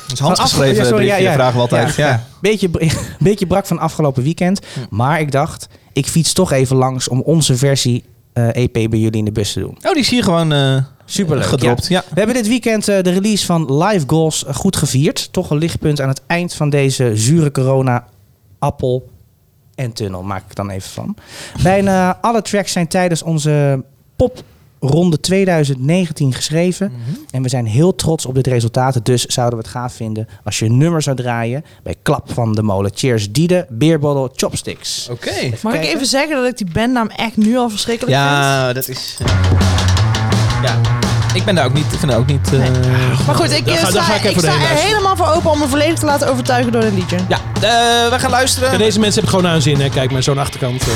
E: Dat is handgeschreven
C: Ja, sorry,
E: briefje,
C: ja, ja.
E: vragen we altijd. Ja. Hm.
C: Ja, beetje, br- beetje brak van afgelopen weekend. Maar ik dacht, ik fiets toch even langs om onze versie eh, EP bij jullie in de bus te doen.
E: Oh, die is hier gewoon eh
C: Superleuk,
E: gedropt. Ja.
C: We hebben dit weekend eh, de release van Live Goals eh, goed gevierd. Toch een lichtpunt aan het eind van deze zure corona appel en tunnel maak ik dan even van. Bijna alle tracks zijn tijdens onze popronde 2019 geschreven. En we zijn heel trots op dit resultaat. Dus zouden we het gaaf vinden als je een nummer zou draaien bij Klap van de Molen. Cheers Diede, Beerbottle, Chopsticks.
E: Oké.
B: Mag ik
C: kijken.
B: even zeggen dat ik die bandnaam echt nu al verschrikkelijk vind?
E: Ja, dat is... eh, Ja. Ik ben daar ook niet... Ik vind daar ook niet... eh,
B: Maar goed, ik,
A: Daar
B: eh,
A: ga- daar
B: sta,
A: ga ik
B: ik
A: even
B: sta
A: doorheen
B: er
A: luisteren.
B: helemaal voor open om me volledig te laten overtuigen door een liedje.
E: Ja, eh, we gaan luisteren.
A: Ja, deze mensen hebben het gewoon aanzien. Hè. Kijk maar, zo'n achterkant. eh.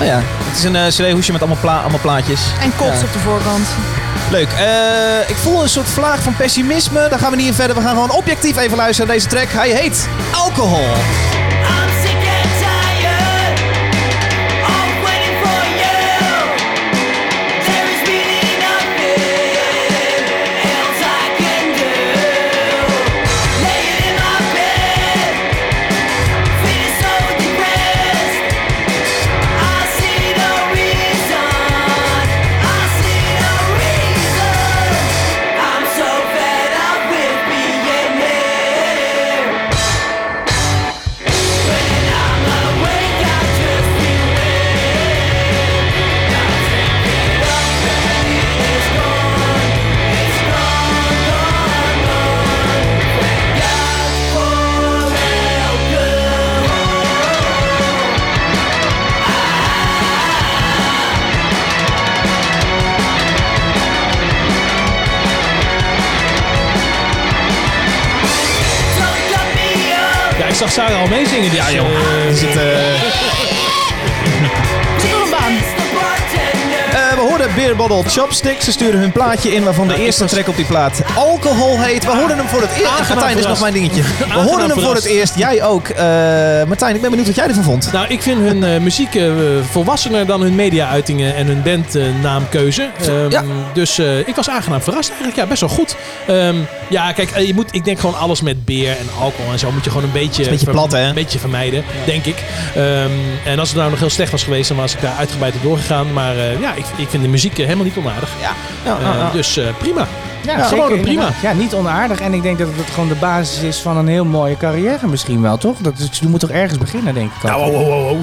E: Oh, ja. Het is een eh cd-hoesje met allemaal, pla allemaal plaatjes.
B: En kops
E: Ja.
B: op de voorkant.
E: Leuk. Eh, ik voel een soort vlaag van pessimisme. Daar gaan we niet in verder. We gaan gewoon objectief even luisteren naar deze track. Hij heet Alcohol.
D: I'm sick and tired of waiting for you. There is really nothing else I can do. Laying in my bed, feeling so depressed. I see no reason. I see no reason. I'm so fed up with being here. Don't cut me up.
A: Ja, ik zag Sarah al meezingen. Dus, ja, joh.
E: Is het, eh, eh, we hoorden Beer Bottle Chopsticks. Ze sturen hun plaatje in waarvan
A: Nou,
E: de eerste track op die plaat Alcohol heet. We hoorden hem voor het eerst.
A: Aangenaam
E: Martijn, dit is nog
A: verrast.
E: mijn dingetje. We
A: Aangenaam
E: hoorden hem voor het
A: verrast.
E: eerst. Jij ook. Eh, Martijn, ik ben benieuwd wat jij ervan vond.
A: Nou, ik vind hun eh, muziek eh, volwassener dan hun media-uitingen en hun bandnaamkeuze.
E: Ja.
A: Dus eh, ik was aangenaam verrast eigenlijk. Ja, best wel goed. Ehm, ja, kijk, eh, je moet, ik denk gewoon alles met beer en alcohol en zo moet je gewoon een beetje,
E: een beetje
A: ver-
E: plat, hè?
A: een beetje vermijden, denk ik. Ehm, en als het nou nog heel slecht was geweest, dan was ik daar uitgebreid op doorgegaan. Maar eh, ja, ik, ik vind de muziek eh, helemaal niet onaardig.
E: Ja,
A: Eh, Dus eh, prima.
C: Ja,
A: gewoon een prima.
C: inderdaad. Ja, niet onaardig. En ik denk dat het gewoon de basis is van een heel mooie carrière misschien wel, toch? Dat, is- je moet toch ergens beginnen, denk ik. ook.
A: Nou, oh, oh, oh, oh.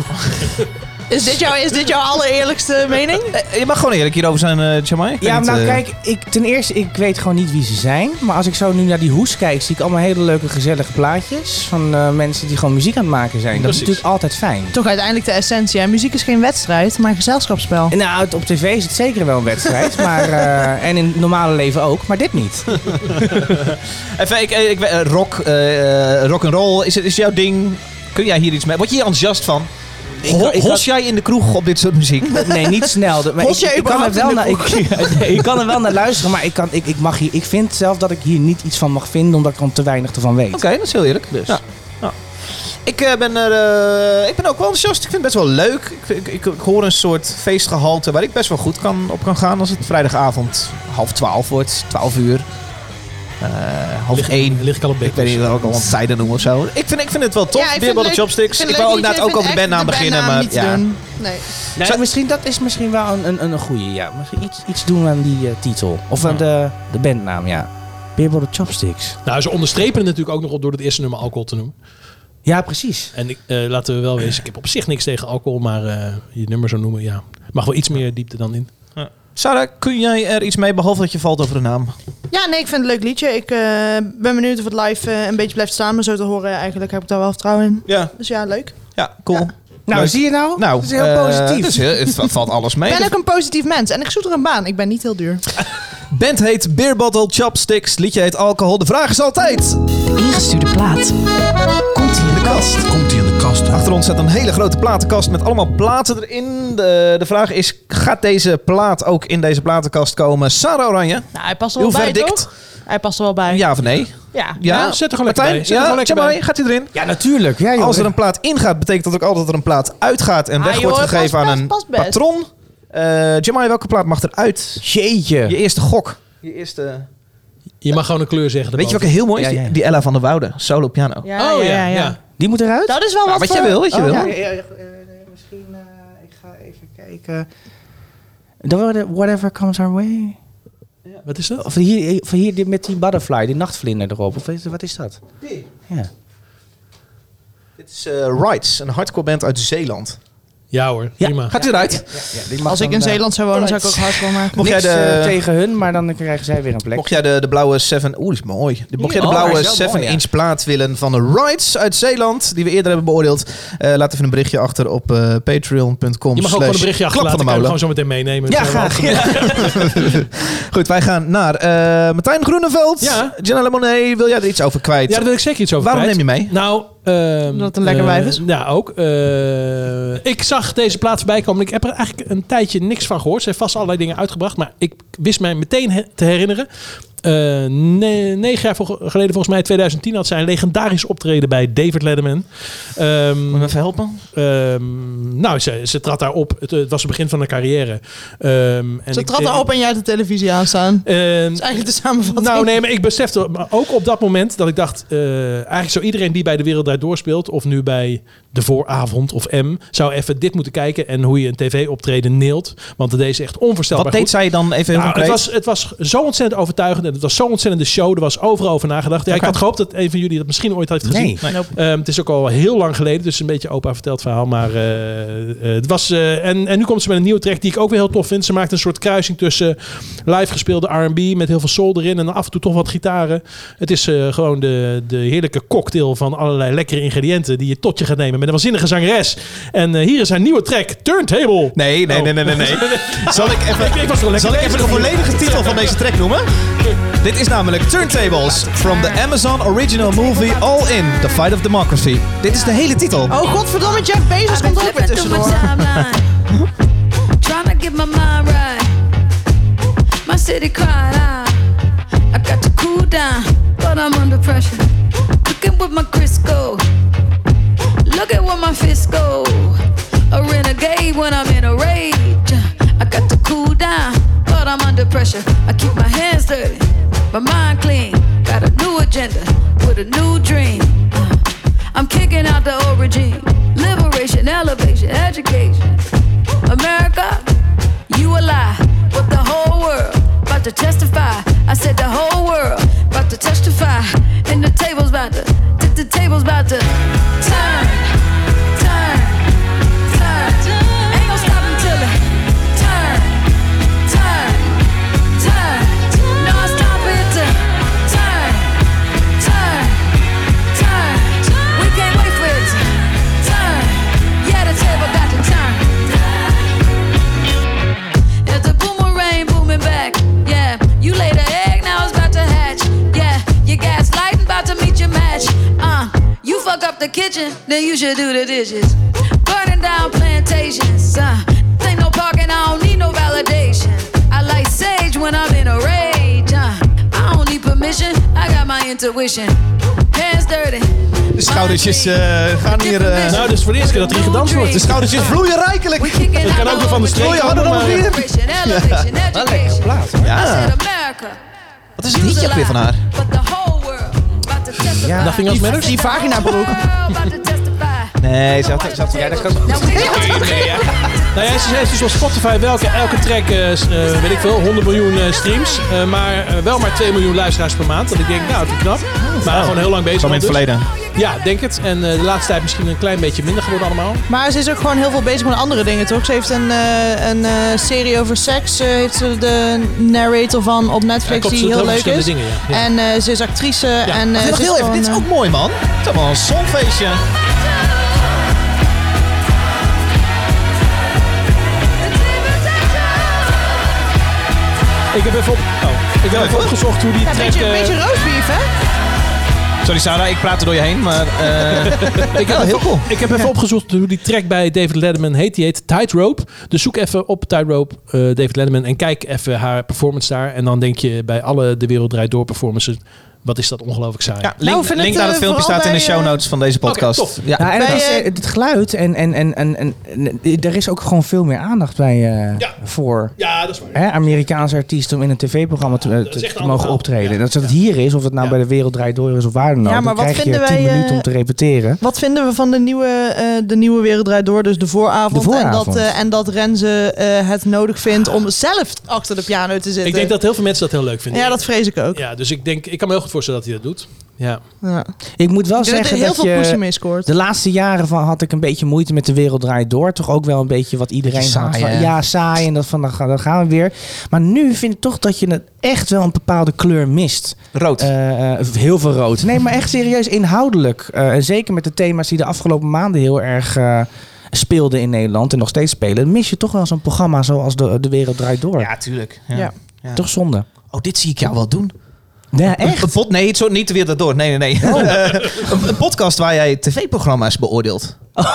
B: Is dit, jouw, is dit jouw allereerlijkste mening?
E: Eh, Je mag gewoon eerlijk hierover zijn, eh Jamai. Ik
C: Ja,
E: weet
C: maar nou
E: niet, eh,
C: kijk, ik, ten eerste, ik weet gewoon niet wie ze zijn. Maar als ik zo nu naar die hoes kijk, zie ik allemaal hele leuke, gezellige plaatjes. Van eh, mensen die gewoon muziek aan het maken zijn. Dat
A: Precies.
C: is natuurlijk altijd fijn.
B: Toch uiteindelijk de essentie. Hè? Muziek is geen wedstrijd, maar een gezelschapsspel.
C: En Nou, het- op tv is het zeker wel een wedstrijd. maar, eh, en in het normale leven ook, maar dit niet.
E: Even, ik, ik, eh, rock, eh rock and roll, is, het- is jouw ding? Kun jij hier iets mee? Word je hier enthousiast van? Ho-
C: ik
E: Hos jij in de kroeg op dit soort muziek?
C: Nee, niet snel. Dat- Maar ik,
B: Hos jij
C: ik kan er
B: überhaupt
C: wel
B: in de
C: naar, ik, nee, ik kan er wel naar luisteren, maar ik, kan, ik, ik, mag hier, ik vind zelf dat ik hier niet iets van mag vinden, omdat ik er te weinig ervan weet.
E: Oké, dat is heel eerlijk. Dus. Ja. Ja. Ik, eh, ben er, eh, ik ben ook wel enthousiast. Ik vind het best wel leuk. Ik, ik, ik, ik hoor een soort feestgehalte waar ik best wel goed kan, op kan gaan als het vrijdagavond half twaalf wordt, twaalf uur. Eh, half één.
A: Ligt ik al op bed.
E: Ik weet niet of ook al een tijden noemen of zo. Ik vind, ik vind het wel
B: Ja,
E: tof.
B: ik vind
E: Weerbal
B: leuk-
E: Chopsticks. Ik,
B: vind leuk
E: wou ook
B: niet,
E: inderdaad
B: ik
E: ook
B: vind
E: over de
B: echt
E: bandnaam beginnen.
B: bandnaam
E: Maar
B: niet
E: ja.
B: doen. Nee.
C: Nee,
E: Zou-
C: misschien, dat is misschien wel een, een, een goede, ja. Misschien iets, iets doen aan die eh, titel. Of aan de, de bandnaam, ja. Beerbal de Chopsticks.
A: Nou, ze onderstrepen het natuurlijk ook nog op door het eerste nummer alcohol te noemen.
C: Ja, precies.
A: En ik, eh, laten we wel wezen, ik heb op zich niks tegen alcohol, maar eh, je nummer zo noemen, ja. Mag wel iets meer diepte dan in.
E: Sarah, kun jij er iets mee behalve dat je valt over de naam?
B: Ja, nee, ik vind het een leuk liedje. Ik eh, ben benieuwd of het live eh, een beetje blijft staan. Maar zo te horen, eigenlijk heb ik daar wel vertrouwen in.
E: Ja,
B: Dus ja, leuk.
E: ja cool.
C: Nou,
E: Leuk.
C: zie je nou?
E: Nou,
C: dat is heel
E: eh,
C: positief.
E: het is heel- het va- valt alles mee.
B: Ik ben ook een positief mens en ik zoek er een baan. Ik ben niet heel duur.
E: De band heet Beer Bottle Chopsticks. Liedje heet Alcohol. De vraag is altijd...
D: Ingestuurde plaat.
E: Komt hij in de kast?
G: Komt hij in de kast?
E: Achter ons staat een hele grote platenkast met allemaal platen erin. De, de vraag is, gaat deze plaat ook in deze platenkast komen? Sarah Oranje,
B: Nou, hij past er
E: uw
B: wel bij,
E: verdict.
B: toch? Hij past er wel bij.
E: Ja of nee?
B: Ja.
A: Ja, zet er gewoon lekker
E: Martijn,
A: bij. Zet er gewoon
E: ja,
A: lekker
E: Jamai,
A: bij.
E: gaat hij erin?
C: ja, natuurlijk. Ja, joh.
E: Als er een plaat ingaat, betekent dat ook altijd dat er een plaat uitgaat en
B: Ah,
E: weg
B: joh,
E: wordt
B: past
E: gegeven aan
B: best,
E: een
B: past best.
E: patron. Eh Jamai, welke plaat mag eruit?
C: Jeetje.
E: Je eerste gok. Je eerste...
A: Je mag gewoon een kleur zeggen.
E: Weet je welke
A: erboven.
E: heel mooi is?
C: Ja, ja, ja.
E: Die, die Ella van der Woude, solo piano.
B: Ja,
A: Oh
B: ja, ja, ja.
C: Die moet eruit?
B: Dat is wel
E: Ja,
B: wat,
E: wat
B: voor... Oh,
E: je wil, wat je wil.
C: ja, ja, ja, eh, nee, misschien, eh, ik ga even kijken. Dan worden Whatever Comes Our Way.
A: Wat is dat?
C: Of hier, of hier die- met die butterfly, die nachtvlinder erop. Of weet je- wat is dat? Ja.
E: Dit is eh, Rights, een hardcore band uit Zeeland.
A: Ja hoor, prima.
E: Gaat hij eruit?
B: Als ik
E: eh,
B: in Zeeland zou wonen, zou ik ook hardcore maken.
E: Mocht jij
C: Niks
E: de-
C: eh, tegen hun, maar dan krijgen zij weer een plek.
E: Mocht jij de, de blauwe 7... Oeh, die is mooi. De- Mocht jij de
C: Oh, hij
E: blauwe
C: is wel
E: 7
C: mooi, ja.
E: inch plaat willen van de Rights uit Zeeland, die we eerder hebben beoordeeld, eh, laat even een berichtje achter op eh, patreon.com.
A: Je mag ook
E: slash
A: gewoon een berichtje
E: Klap
A: achterlaten. Ik
E: van de
A: kan hem
E: molen.
A: gewoon zo meteen meenemen.
C: Ja,
A: Zo,
C: graag.
A: want-
E: Goed, wij gaan naar eh Martijn Groeneveld.
A: Ja.
E: Janelle Monet, wil jij er iets over kwijt?
A: Ja, daar wil ik zeker iets over
E: Waarom
A: kwijt.
E: neem je mee?
A: Nou, ehm,
B: Omdat het een lekker
A: eh,
B: wijf is.
A: Ja, ook. Eh, ik zag deze plaat voorbij komen. en Ik heb er eigenlijk een tijdje niks van gehoord. Ze heeft vast allerlei dingen uitgebracht. Maar ik wist mij meteen he- te herinneren. Eh, ne- negen jaar vol- geleden, volgens mij 2010, had zij een legendarisch optreden bij David Letterman. Ehm,
E: even helpen?
A: ehm, nou, ze, ze trad daar op. Het, het was het begin van haar carrière. Ehm, en
B: Ze
A: ik-
B: trad
A: ik-
B: erop en jij had de televisie aanstaan.
A: Ehm,
B: Dat is eigenlijk de samenvatting.
A: nou nee, maar ik besefte maar ook op dat moment dat ik dacht... eh, eigenlijk zou iedereen die bij De Wereld Draait Door speelt... of nu bij De Vooravond of M... zou even dit moeten kijken en hoe je een tv-optreden neelt. Want deze is echt onvoorstelbaar
E: Wat deed
A: goed.
E: zij dan even heel
A: Nou, het,
E: concreet?
A: was, het was zo ontzettend overtuigend en het was zo'n ontzettende show. Er was overal over nagedacht. Ja, Ik
E: Oké.
A: had gehoopt dat een van jullie dat misschien ooit had gezien.
C: Nee.
A: Ehm, het is ook al heel lang geleden, dus een beetje opa verteld verhaal. Maar eh, eh, het was. eh, en, en nu komt ze met een nieuwe track die ik ook weer heel tof vind. Ze maakt een soort kruising tussen live gespeelde RB met heel veel soul erin en af en toe toch wat gitaren. Het is eh, gewoon de, de heerlijke cocktail van allerlei lekkere ingrediënten die je tot je gaat nemen met een waanzinnige zangeres. En eh, hier is haar nieuwe track, Turntable. Oh.
E: Nee, nee, nee, nee, nee. nee. Zal ik
A: Ik-
E: even,
A: ik was wel lekker
E: zal ik even de
A: bezig.
E: volledige titel van deze track noemen? Dit is namelijk Turntables from the Amazon original movie All In, The Fight of Democracy. Dit is de hele titel.
B: Oh, godverdomme, Jeff Bezos komt er ook weer tussendoor.
F: Trying to get my mind right. My city cried out. I got to cool down, but I'm under pressure. Cooking with my Crisco. Look at what my fist go. A renegade when I'm in a rage. I got to cool down, but I'm under pressure. I keep my hands dirty, my mind clean. Got a new agenda with a new dream. Uh, I'm kicking out the old regime. Liberation, elevation, education. America, you a lie, but the whole world about to testify. I said the whole world about to testify, and the table's about to, t- the table's about to turn, turn, turn.
H: uh. kitchen, then you should do the dishes. Burning down plantations, uh. Ain't no parking, I don't need no validation. I like sage when I'm in a rage, uh. I don't need permission, I got my intuition. Hands dirty.
E: De schoudertjes eh, gaan hier... eh,
A: Nou, dus voor de eerste keer dat er hier gedanst wordt.
E: de
H: uh.
E: schoudertjes vloeien rijkelijk.
A: Ik kan ook nog van de streek
E: Gooi je handen
A: komen,
E: omhoog hier.
H: Celebration, elevation, education.
E: Ja.
B: Nou,
H: America.
E: Wat is het liedje ook weer van haar?
H: But the whole world about to testify.
C: Ja.
A: Nothing else matters?
C: Die vagina broek.
H: About to testify.
E: Nee, ze had... ze had-
H: Ja, dat kan. Nou, weet je wat?
A: Nou ja, ze heeft dus op Spotify welke, elke track, eh, s- eh, weet ik veel, 100 miljoen eh, streams. eh, maar eh, wel maar 2 miljoen luisteraars per maand. En ik denk, nou, dat is knap. Maar gewoon heel lang bezig.
E: Kwam in het
A: al dus.
E: verleden.
A: Ja, denk het. En eh, de laatste tijd misschien een klein beetje minder geworden allemaal.
B: Maar ze is ook gewoon heel veel bezig met andere dingen, toch? Ze heeft een, eh, een eh, serie over seks. Ze heeft ze de narrator van op
A: Ja,
B: Netflix
A: klopt, ze
B: die
A: doet
B: heel
A: heel
B: leuk
A: veel
B: is.
A: verschillende dingen, ja.
B: En eh, ze is actrice. En, eh,
E: Wacht,
B: ze
E: wacht, heel even.
B: gewoon,
E: Dit is
B: eh,
E: ook mooi, man. Het is allemaal een songfeestje.
A: Ik heb even, op, oh, ik heb even opgezocht hoe die
B: ja, een
A: track...
B: beetje, een
A: eh,
B: beetje roastbeef, hè?
E: Sorry, Sarah. Ik praat er door je heen, maar...
A: Eh,
E: eh,
A: ik, heb
E: Oh, heel
A: even,
E: cool.
A: ik heb even opgezocht hoe die track bij David Letterman heet. Die heet Tightrope. Dus zoek even op Tightrope eh, David Letterman en kijk even haar performance daar. En dan denk je bij alle De Wereld Draait Door performances, wat is dat ongelooflijk saai.
E: Ja,
B: Nou,
E: link,
B: we vinden
E: link
B: het,
E: naar het
B: eh,
E: filmpje
B: vooral
E: staat in de
B: bij,
E: show
B: eh,
E: notes van deze podcast.
A: Oké, tof.
E: ja.
C: Ja, en het,
B: Bij,
C: is,
B: eh,
C: eh, het geluid en, en, en, en, en, en er is ook gewoon veel meer aandacht bij eh,
A: Ja.
C: voor
A: Ja, dat is waar.
C: hè, Amerikaanse artiesten om in een tv-programma te, te-
A: dat is echt
C: te
A: een
C: mogen
A: ander
C: optreden.
A: verhaal.
C: Dat het hier is, of het nou
A: Ja.
C: bij de Wereld Draait Door is of waar dan ook,
B: Ja, maar
C: dan
B: wat
C: krijg je
B: vinden
C: 10
B: wij, eh,
C: minuten om te repeteren.
B: Wat vinden we van de nieuwe, eh, de nieuwe Wereld Draait Door? Dus de vooravond.
C: De vooravond.
B: En, dat, eh, en dat Renze eh, het nodig vindt om zelf achter de piano te zitten.
A: Ik denk dat heel veel mensen dat heel leuk vinden.
B: Ja, dat vrees ik ook. Oh,
A: Ja, dus ik denk, ik kan me heel goed voorstellen dat hij dat doet. Ja.
B: Ja.
C: Ik moet wel
B: Ik denk dat er
C: zeggen
B: heel
C: dat
B: veel poesie
C: je...
B: mee scoort.
C: De laatste jaren van had ik een beetje moeite met de wereld draait door. Toch ook wel een beetje wat iedereen
E: Beetje saai,
C: had van,
E: hè?
C: Ja, saai. En dat van, dan gaan, dan gaan we weer. Maar nu vind ik toch dat je het echt wel een bepaalde kleur mist.
E: Rood.
C: Eh, eh, heel veel rood. Nee, maar echt serieus inhoudelijk. Eh, en zeker met de thema's die de afgelopen maanden heel erg eh, speelden in Nederland. En nog steeds spelen. Mis je toch wel zo'n programma zoals de, de wereld draait door.
E: ja, tuurlijk. Ja.
B: Ja.
C: Toch zonde.
E: Oh, dit zie ik jou wel doen.
C: Ja, echt.
E: Een pod, nee, zo, niet weer daardoor. Nee, nee, nee. een, een podcast waar jij tv-programma's beoordeelt.
B: Dat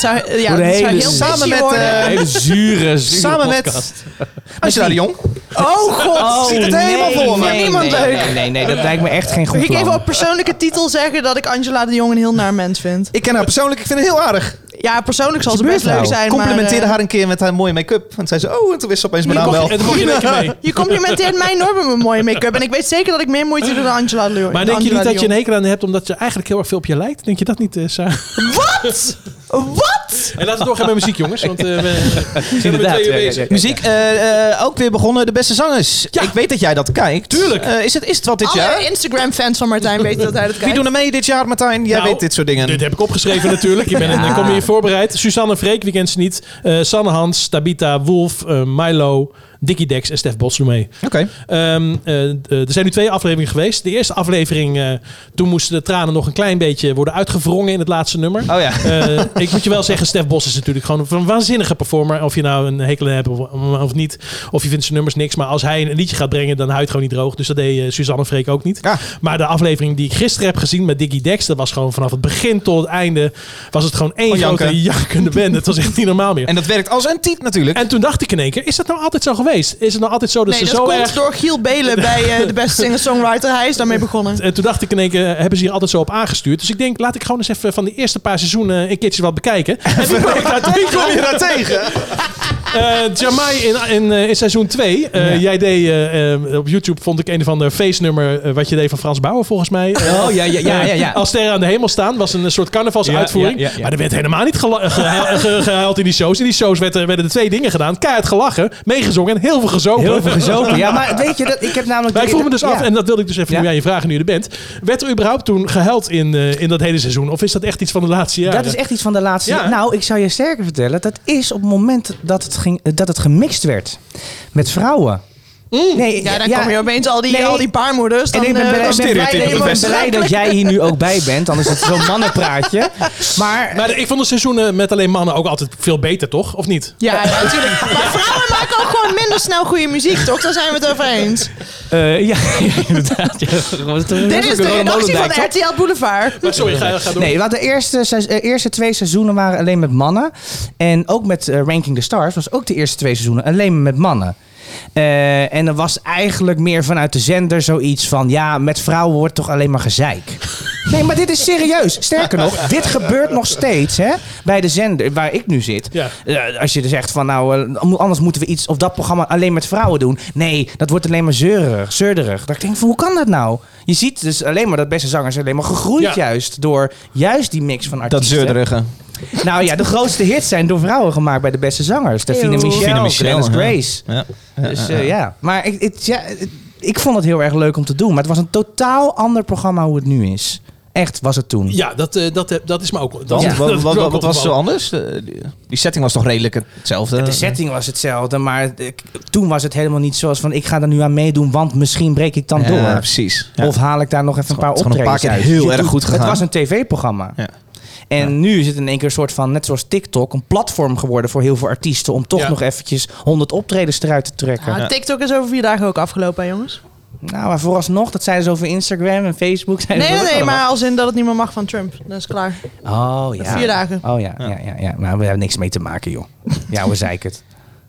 B: zou, eh, ja,
C: Voor de
B: dat zou
C: hele-
B: heel
E: Samen
B: samen
E: met,
B: met
E: eh,
G: Hele zure, zure
E: Samen
G: podcast.
E: met Angela de Jong.
B: Oh god!
E: Ziet het helemaal voor me.
B: Niemand
C: nee,
B: leuk.
C: Nee, nee, nee, dat lijkt me echt geen goed
B: Mag ik even
C: plan.
B: op persoonlijke titel zeggen dat ik Angela de Jong een heel naar mens vind?
E: Ik ken haar persoonlijk. Ik vind het heel aardig.
B: Ja, persoonlijk zal ze
C: Gebeurt
B: best leuk
C: nou.
B: zijn, maar...
E: Complimenteerde
B: eh,
E: haar een keer met haar mooie make-up. En zei ze, oh, en toen wist ze opeens mijn
A: En
E: naam wel.
A: dan mocht je een beetje mee.
B: Je complimenteert mij enorm met mijn mooie make-up. En ik weet zeker dat ik meer moeite doe dan Angela de Jong.
A: Maar denk je
B: Angela
A: niet dat
B: de
A: je een
B: Jong.
A: hekel aan hebt omdat je eigenlijk heel erg veel op je lijkt? Denk je dat niet, eh Sarah?
B: Wat?
E: Oh,
B: Wat?
A: En laten we doorgaan met muziek, jongens. Want eh, we we zijn er met
C: Inderdaad,
A: twee uur
C: ja, ja,
A: bezig.
C: ja.
E: Muziek, eh, eh, ook weer begonnen. De beste zangers. Ik weet dat jij dat kijkt.
A: Tuurlijk.
E: Eh, is, het, is het wat dit
B: Alle
E: jaar?
B: Instagram-fans van Martijn weten dat hij dat
E: Wie
B: kijkt.
E: doen er mee dit jaar, Martijn? Jij
A: Nou,
E: weet dit soort dingen.
A: Dit heb ik opgeschreven natuurlijk. Ik, ben, ik kom hier voorbereid. Suzanne Freek, wie kent ze niet? Eh, Sanne Hans, Tabita, Wolf, eh, Milo, Dickie Dex en Stef Bos doen mee.
E: Oké.
A: Ehm, eh, eh, er zijn nu twee afleveringen geweest. De eerste aflevering, eh, toen moesten de tranen nog een klein beetje worden uitgewrongen in het laatste nummer.
E: Oh ja.
A: Eh, ik moet je wel zeggen, Stef Bos is natuurlijk gewoon een waanzinnige performer. Of je nou een hekel aan hebt of, of niet. Of je vindt zijn nummers niks. Maar als hij een liedje gaat brengen, dan houdt het gewoon niet droog. Dus dat deed eh, Suzanne Freek ook niet.
E: Ja.
A: Maar de aflevering die ik gisteren heb gezien met Diggy Dex, dat was gewoon vanaf het begin tot het einde, was het gewoon één
E: Oh, janken.
A: grote jankende band. Het was echt niet normaal meer.
E: En dat werkt als een tiet natuurlijk.
A: En toen dacht ik in één keer, is dat nou altijd zo geweest? Is het nou altijd zo dat
B: Nee,
A: ze
B: dat
A: zo
B: komt
A: erg...
B: door Giel Belen bij eh, de beste singer-songwriter. Hij is daarmee begonnen.
A: En toen dacht ik in één keer, hebben ze hier altijd zo op aangestuurd? Dus ik denk, laat ik gewoon eens even van die eerste paar seizoenen een keertje wat bekijken. En toen kwam ik daar toen kwam
E: kom
A: ik
E: je daar tegen?
A: Eh, Jamai in, in, eh, in seizoen 2. Jij deed eh, eh, op YouTube, vond ik een of ander feestnummer. eh, wat je deed van Frans Bauer, volgens mij. Eh,
E: Oh, ja, ja, ja, ja, ja.
A: Als sterren aan de hemel staan, was een soort carnavalsuitvoering.
E: Ja, ja, ja, ja.
A: Maar er werd helemaal niet gela- gehe- ge- gehuild in die shows. In die shows werd er- werden er twee dingen gedaan: keihard gelachen, meegezongen en heel veel gezogen.
C: Heel veel gezopen. Ja, maar weet je, dat, ik heb namelijk...
A: Maar ik vroeg me dus af,
C: Ja.
A: en dat wilde ik dus even
C: Ja.
A: nu aan je vragen, nu je er bent. Werd er überhaupt toen gehuild in, eh, in dat hele seizoen? Of is dat echt iets van de laatste jaren?
C: Dat is echt iets van de laatste.
A: Ja.
C: Nou, ik zou je sterker vertellen. Dat is op het moment dat het, ging, dat het gemixt werd met vrouwen. Nee,
B: Mm. Ja, dan komen je opeens al die,
C: Nee.
B: al die baarmoeders. Dan,
C: En ik ben
B: eh,
C: blij-
B: dan-
C: ben blij-
E: stereotype
C: ik ben
E: best.
C: blij dat jij hier nu ook bij bent. Anders is het zo'n mannenpraatje. Maar
A: Maar ik vond de seizoenen met alleen mannen ook altijd veel beter, toch? Of niet?
B: ja, ja, natuurlijk. Maar vrouwen maken ook gewoon minder snel goede muziek, toch? Daar zijn we het over eens.
C: eh, ja, inderdaad. ja.
B: Dit is de redactie van RTL Boulevard.
A: Maar sorry, ga, ga door.
C: Nee, want de eerste, se- eh, eerste twee seizoenen waren alleen met mannen. En ook met eh, Ranking the Stars was ook de eerste twee seizoenen alleen met mannen. Eh, en er was eigenlijk meer vanuit de zender zoiets van... ja, met vrouwen wordt toch alleen maar gezeik. Nee, maar dit is serieus. Sterker nog, dit gebeurt nog steeds hè, bij de zender waar ik nu zit.
A: Ja.
C: Eh, als je er zegt van nou, eh, anders moeten we iets of dat programma alleen met vrouwen doen. Nee, dat wordt alleen maar zeurig, zeurderig. Dat ik denk van hoe kan dat nou? Je ziet dus alleen maar dat beste zangers alleen maar gegroeid
A: Ja.
C: juist door juist die mix van
E: Dat
C: artiesten.
E: zeurderige.
C: Nou ja, de grootste hits zijn door vrouwen gemaakt bij de beste zangers. Davina
B: Eeuw.
C: Michel,
E: Davina Michel,
C: Glennis
E: ja.
C: Grace.
E: Ja.
C: Dus eh, ja, maar ik, het- ja, het- ik vond het heel erg leuk om te doen. Maar het was een totaal ander programma hoe het nu is. Echt was het toen.
A: Ja, dat, eh, dat, eh, dat is me ook. Dat,
E: Dan,
A: dat is
E: wat,
A: me
E: wat-
A: ook
E: wat was zo
A: opgevallen.
E: anders? Eh, die- Die setting was toch redelijk hetzelfde?
C: De setting was hetzelfde, maar eh, k- toen was het helemaal niet zoals van ik ga er nu aan meedoen, want misschien breek ik dan
E: Ja,
C: door.
E: precies. Ja.
C: Of haal ik daar nog even een paar
E: Het is gewoon
C: optredens
E: een paar keer
C: uit.
E: heel
C: Je
E: erg
C: doet-
E: goed gegaan.
C: Het was een tv-programma.
E: Ja.
C: En nu is het in één keer een soort van, net zoals TikTok, een platform geworden voor heel veel artiesten om toch
A: Ja.
C: nog eventjes 100 optredens eruit te trekken.
B: Ah, TikTok is over vier dagen ook afgelopen, hè, jongens.
C: Nou, maar vooralsnog, dat zeiden ze over Instagram en Facebook.
B: Nee,
C: zeiden ze
B: nee,
C: ook
B: nee, maar
C: allemaal.
B: als in dat het niet meer mag van Trump. Dat is klaar.
C: Oh ja.
B: Vier dagen.
C: Oh ja, ja, ja, ja, Maar we hebben niks mee te maken, joh. Ja, we zeiken het.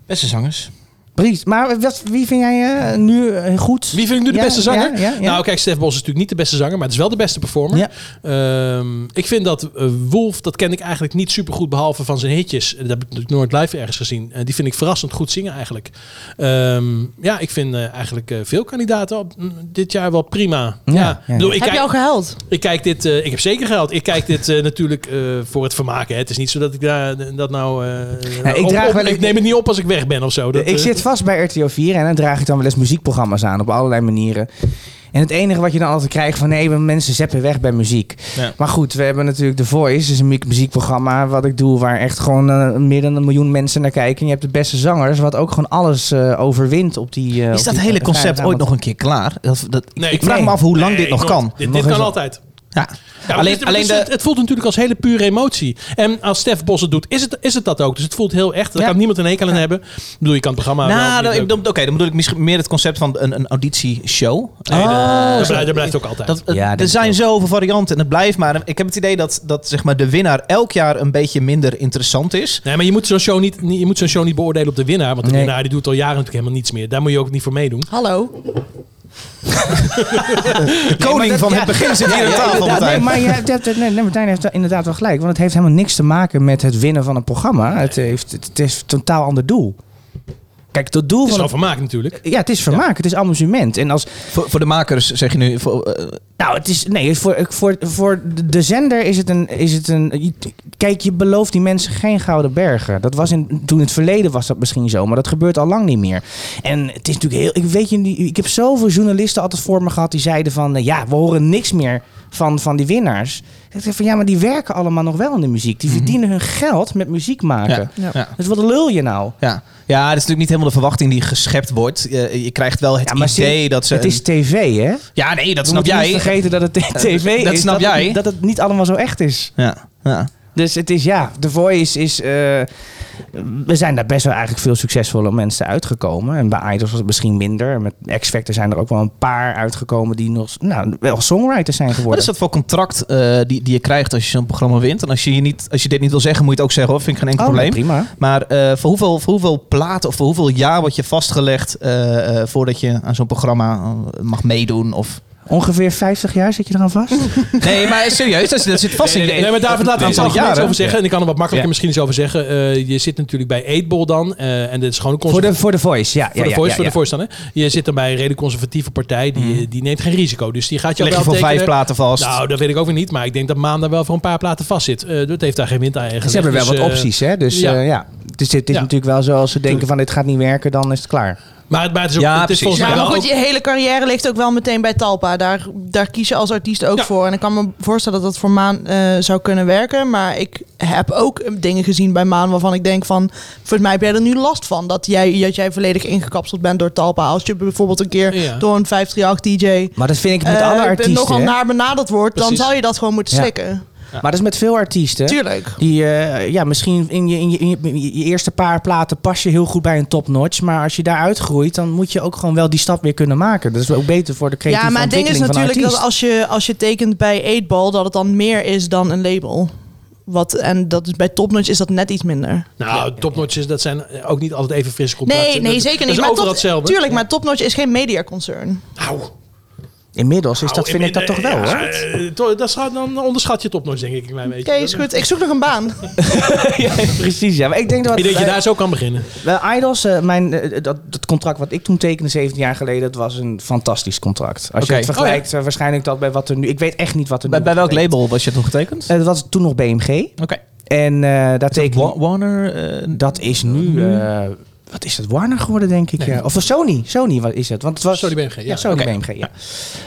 E: Beste zangers.
C: Bries, maar wat, wie vind jij eh, nu eh, goed?
A: Wie vind ik nu de
C: Ja,
A: beste zanger?
C: ja, ja, ja.
A: Nou, kijk, Stef Bos is natuurlijk niet de beste zanger, maar het is wel de beste performer.
C: Ja.
A: Ehm, ik vind dat eh, Wolf, dat ken ik eigenlijk niet super goed, behalve van zijn hitjes. Eh, Dat heb ik natuurlijk nooit live ergens gezien. Eh, die vind ik verrassend goed zingen eigenlijk. Ehm, ja, ik vind eh, eigenlijk eh, veel kandidaten op, mm, dit jaar wel prima. Ja,
C: Ja, ja,
A: Ik bedoel, ik
B: Heb
A: kijk-
B: je al gehuild?
A: ik kijk dit, eh, ik heb zeker geld. Ik kijk dit eh, natuurlijk eh, voor het vermaken. Hè. Het is niet zo dat ik daar, dat nou. eh,
C: Ja, ik
A: op-
C: draag
A: op-
C: wel-
A: ik neem het niet op als ik weg ben of zo. Dat,
C: ik
A: eh,
C: zit vast bij RTO 4 en dan draag ik dan wel eens muziekprogramma's aan op allerlei manieren. En het enige wat je dan altijd krijgt van nee, mensen zeppen weg bij muziek.
E: Ja.
C: Maar goed, we hebben natuurlijk The Voice, is een mu- muziekprogramma wat ik doe waar echt gewoon eh, meer dan een miljoen mensen naar kijken. En je hebt de beste zangers, wat ook gewoon alles eh, overwint op die. eh,
E: Is
C: op
E: dat
C: die
E: hele concept
C: vrijdagavond.
E: ooit nog een keer klaar? Dat, dat, ik-
A: Nee.
E: ik vraag
C: Nee.
E: me af hoe lang
A: nee,
E: dit nog
A: nooit.
E: kan.
A: Dit, dit
C: Nog eens
A: kan
C: een-
A: altijd.
E: Ja.
A: Ja,
E: Alleen-
A: alleen, het,
E: alleen
A: is-
E: de-
A: het, het voelt natuurlijk als hele pure emotie. En als Stef Bos het doet, is het, is het dat ook. Dus het voelt heel echt. Daar
C: Ja.
A: kan niemand een hekel aan hebben. Ik bedoel, je kan het programma.
E: nou,
A: wel,
E: dan- ik- dan- oké, dan bedoel ik misschien meer het concept van een, een auditieshow.
A: Nee, dat-
E: Eh,
A: Oh, dat, blijft, dat blijft ook altijd.
E: dat,
C: Ja,
E: er
C: denk ik
E: zijn
C: ook.
E: zoveel varianten en het blijft maar. Ik heb het idee dat, dat zeg maar, de winnaar elk jaar een beetje minder interessant is.
A: nee, maar je moet zo'n show, niet- niet- je moet zo'n show niet beoordelen op de winnaar. Want de
C: Nee.
A: winnaar die doet al jaren natuurlijk helemaal niets meer. Daar moet je ook niet voor meedoen.
E: Oh,
B: Hallo.
E: De koning
C: dat-
E: van
C: ja.
E: het begin zit hier aan
C: Ja,
E: tafel.
C: inderdaad. nee,
E: Martijn.
C: maar je hebt- hebt- nee, nee, Martijn heeft inderdaad wel gelijk. Want het heeft helemaal niks te maken met het winnen van een programma. Het, heeft, het, is een totaal ander doel. Kijk, het doel
A: Het is
C: van
A: wel vermaak natuurlijk.
C: Ja, het is vermaak, het is amusement. En als,
E: Voor, voor de makers zeg je nu. Voor, eh,
C: nou, het is, nee, voor, voor, voor de zender is het, een, is het een. Kijk, je belooft die mensen geen gouden bergen. Dat was in, toen in het verleden was dat misschien zo, maar dat gebeurt al lang niet meer. En het is natuurlijk heel. Ik weet je, niet, ik heb zoveel journalisten altijd voor me gehad die zeiden van, eh, ja, we horen niks meer van, van die winnaars. Ik zeg van, ja, maar die werken allemaal nog wel in de muziek. Die verdienen hun geld met muziek maken.
E: Mhm. ja. Ja.
C: Dus wat lul je nou?
E: Ja. ja, dat is natuurlijk niet helemaal de verwachting die geschept wordt. Eh, Je, je krijgt wel het
C: Ja, maar
E: idee
C: zie-
E: dat ze.
C: Het is
E: een-
C: tv, hè?
E: ja, nee, dat
C: We
E: snap
C: moeten
E: jij.
C: niet vergeten dat het tv
E: dat
C: is.
E: snap
C: dat het-
E: jij.
C: dat het niet allemaal zo echt is.
E: Ja, ja.
C: Dus het is ja, The Voice is. eh, we zijn daar best wel eigenlijk veel succesvolle mensen uitgekomen. En bij Idols was het misschien minder. Met X Factor zijn er ook wel een paar uitgekomen die nog nou, wel songwriters zijn
E: Wat
C: geworden.
E: is dat voor contract eh, die, die je krijgt als je zo'n programma wint? En als je, je niet, als je dit niet wil zeggen, moet je het ook zeggen hoor. Vind ik geen enkel
C: Oh, nou,
E: probleem.
C: prima.
E: Maar eh, voor, hoeveel, voor hoeveel platen of voor hoeveel jaar wordt je vastgelegd eh, eh, voordat je aan zo'n programma eh, mag meedoen? Of...
C: Ongeveer 50 jaar zit je eraan vast.
E: Nee, maar serieus, dat, dat zit vast
A: Nee, nee,
E: in je...
A: nee, maar David, laat ik iets
E: aantal
A: algemeens
E: jaren.
A: over zeggen. En ik kan er wat makkelijker
E: Ja.
A: misschien eens over zeggen. Eh, je zit natuurlijk bij Eetbol dan. eh, en dit is gewoon een
C: voor,
A: concept.
C: de, voor The Voice, ja.
A: Voor
C: ja,
A: de
C: ja,
A: voice,
C: ja,
A: voor de
C: ja. Mhm.
A: voice dan, hè? Je zit dan bij een redelijk conservatieve partij, die, die neemt geen risico. Dus die gaat jou
E: Leg je
A: wel
E: voor vijf
A: tekenen.
E: platen vast.
A: Nou, dat weet ik ook weer niet, maar ik denk dat Maan daar wel voor een paar platen vast zit. Eh, dat heeft daar geen wind aan gelegd.
C: Ze hebben wel
A: Dus,
C: wat
A: eh,
C: opties, hè? Dus
A: ja.
C: ja. ja. Dus dit is
A: Ja.
C: natuurlijk wel zo, als ze denken van dit gaat niet werken, dan is het klaar.
A: Maar, het- maar het is ook
E: Ja,
A: het is
E: precies.
A: volgens
B: Ja,
A: mij
B: maar
A: wel
B: goed, je
A: ook-
B: hele carrière ligt ook wel meteen bij Talpa. Daar, daar kies je als artiest ook
A: Ja.
B: voor. En ik kan me voorstellen dat dat voor Maan eh, zou kunnen werken. Maar ik heb ook eh, dingen gezien bij Maan waarvan ik denk van... Volgens mij heb jij er nu last van. Dat jij, dat jij volledig ingekapseld bent door Talpa. Als je bijvoorbeeld een keer
A: Ja.
B: door een 538 DJ...
C: Maar dat vind ik met
B: eh,
C: alle artiesten.
B: nogal
C: hè?
B: naar benaderd wordt, dan
A: Precies.
B: zou je dat gewoon moeten
C: Ja.
B: slikken.
C: Maar dat is met veel artiesten.
B: Tuurlijk.
C: Die eh, ja, misschien in je, in, je, in je- in je eerste paar platen pas je heel goed bij een topnotch. Maar als je daaruit groeit, dan moet je ook gewoon wel die stap weer kunnen maken. Dat is ook beter voor de creatieve
B: Ja, maar het ding is
C: ontwikkeling van
B: natuurlijk
C: een
B: dat
C: artiest.
B: als je, als je tekent bij 8-ball, dat het dan meer is dan een label. Wat, en dat is, bij Topnotch is dat net iets minder.
A: Nou, topnotches, dat zijn ook niet altijd even frisse contracten.
B: Nee, nee,
A: Dat-
B: zeker
A: Dat
B: niet.
A: is
B: Maar
A: overal
B: top,
A: hetzelfde.
B: tuurlijk, maar Topnotch is geen mediaconcern.
A: Nou,
C: Inmiddels is dat, vind ik dat toch
A: eh,
C: wel, hoor.
A: hoor. Dat schat, dan onderschat je topnotch, denk ik, een klein beetje.
B: Oké, is goed. Ik zoek nog een baan.
C: ja, precies. Ja, maar ik denk dat...
A: Ik denk dat je
C: eh,
A: daar zo kan beginnen.
C: Wel, Idols, eh, mijn, eh, dat, dat contract wat ik toen tekende 17 jaar geleden, dat was een fantastisch contract.
E: Oké.
C: Als
E: Oh,
C: je het vergelijkt, eh, waarschijnlijk dat bij wat er nu... Ik weet echt niet wat er
E: Bij,
C: nu...
E: bij welk
C: wordt getekend.
E: label was je toen getekend?
C: Eh, dat was toen nog BMG.
E: Oké.
C: En eh daar tekende...
E: Wa- Warner. eh, Mm-hmm.
C: Dat is nu... eh, wat is dat? Warner geworden, denk ik.
A: Nee.
C: Ja. Of Sony. Sony wat is het. Want het was...
A: Sorry, BMG. Ja,
C: Ja, Sony
E: oké.
C: BMG, ja.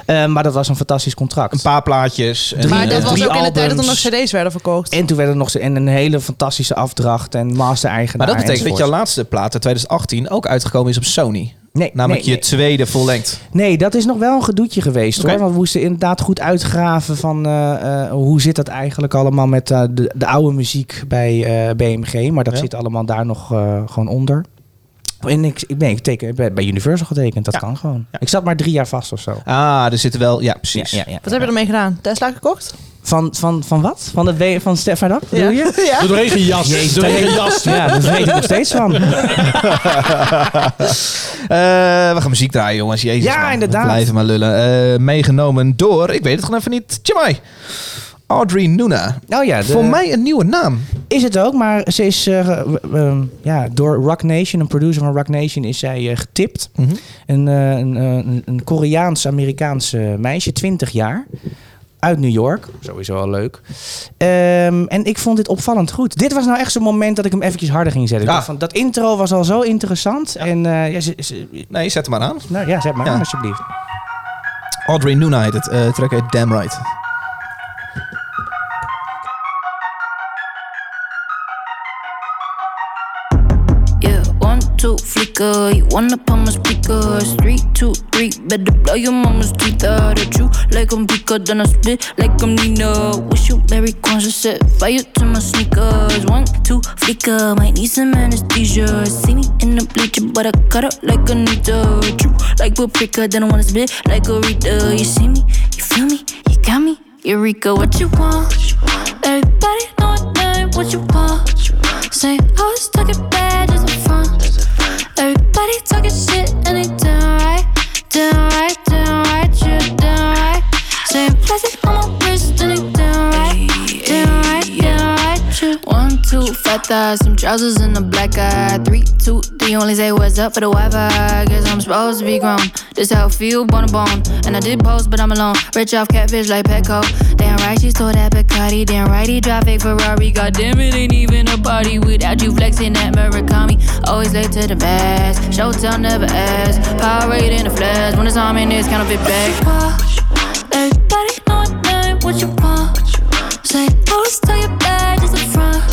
C: Eh, maar dat was een fantastisch contract.
E: een paar plaatjes. En,
B: Maar dat
E: eh,
B: was
C: drie
B: ook in de tijd dat er nog
C: albums.
B: cd's werden verkocht.
C: En toen werd er nog zo- en een hele fantastische afdracht en master-eigenaar.
E: Maar dat betekent dat
C: enzovoort.
E: jouw laatste plaat uit 2018 ook uitgekomen is op Sony.
C: Nee,
E: Namelijk
C: nee,
E: je tweede full length.
C: Nee, dat is nog wel een gedoetje geweest.
E: Oké.
C: Hoor. Want we moesten inderdaad goed uitgraven van eh, eh, hoe zit dat eigenlijk allemaal met eh, de, de oude muziek bij eh, BMG. Maar dat
E: Ja.
C: zit allemaal daar nog eh, gewoon onder. En ik, ik, nee, ik teken, bij, bij Universal getekend, dat
E: Ja.
C: kan gewoon.
E: Ja.
C: Ik zat maar drie jaar vast of zo.
E: Ah, er zitten wel. Ja, precies.
B: Wat heb je ermee gedaan? Tesla gekocht?
C: Van, van, van wat? Van, de, W- van Stefan Up, bedoel je?
B: ja.
A: Door een jas. Door een jas.
C: Ja, daar weet ik nog steeds van.
E: Eh, we gaan muziek draaien, jongens. Jezus,
C: Ja,
E: man. We
C: inderdaad.
E: blijven maar lullen. Eh, meegenomen door, ik weet het gewoon even niet, Jamai. Audrey Nuna.
C: Oh ja, de-
E: Voor mij een nieuwe naam.
C: Is het ook, maar ze is eh, ge- eh, ja, door Rock Nation, een producer van Rock Nation, is zij eh, getipt.
E: Mhm.
C: Een, eh, een, eh, een, een Koreaans-Amerikaanse meisje, 20 jaar. Uit New York. Sowieso al leuk. Ehm, en ik vond dit opvallend goed. Dit was nou echt zo'n moment dat ik hem eventjes harder ging zetten. Ik
E: Ja.
C: dacht van, dat intro was al zo interessant. En eh, ja, ze, ze-
E: Nee, zet hem maar aan.
C: nou ja, zet maar
E: Ja.
C: aan alsjeblieft.
E: Audrey Nuna heet het. Eh track heet Damn Right.
D: Yeah, one, two, flicker. You wanna pump my speakers. Three, two, three. Better blow your mama's teeth out. Or chew like I'm Pika, then I spit like I'm Nina. Wish you Merry Christmas, set fire to my sneakers. One, two, flicker. Might need some anesthesia. See me in the bleacher, but I cut up like Anita. Chew like paprika, then I wanna spit like a Rita. You see me? You feel me? You got me? Eureka, what you want? Everybody know what name, what you want? Say I was talking bad as a front. Everybody talking shit and they down right, down right, down right, you down right. Say plastic on my wrist and they down right, down right, down right, you. One, two, fat thighs, some trousers and a black eye. Three, two, three, only say what's up for the Wi-Fi. Guess I'm supposed to be grown. This how I feel, bone to bone. And I did post, but I'm alone. Rich off catfish like Petco. Damn right, she stole that Bacardi. Damn right, he drive a Ferrari. God damn it, ain't even a party without you flexing that Murakami. Always late to the bass. Showtime never ass. Powerade in the flash. When it's on in this kind of it back. Everybody know what name, what you want. Say, always tell your bad just a front.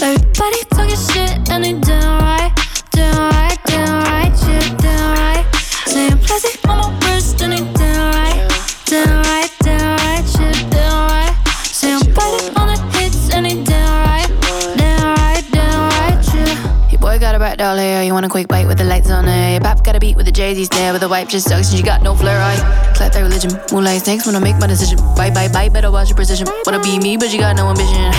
D: Everybody talking shit and they down right. Down right, down right, yeah, down right. Say, I'm plastic on my wrist and they down right. Down right, down right, yeah, down right. Say, I'm plastic on the hits and they down right. Down right, down right, yeah. Your boy got a back doll hair. You want a quick bite with the lights on her. Your pop got a beat with the Jay-Z's there. But the wipe just sucks and she got no flair. I clap that religion. Moonlight snakes when I make my decision. Bye bye bye, better watch your precision. Wanna be me, but you got no ambition.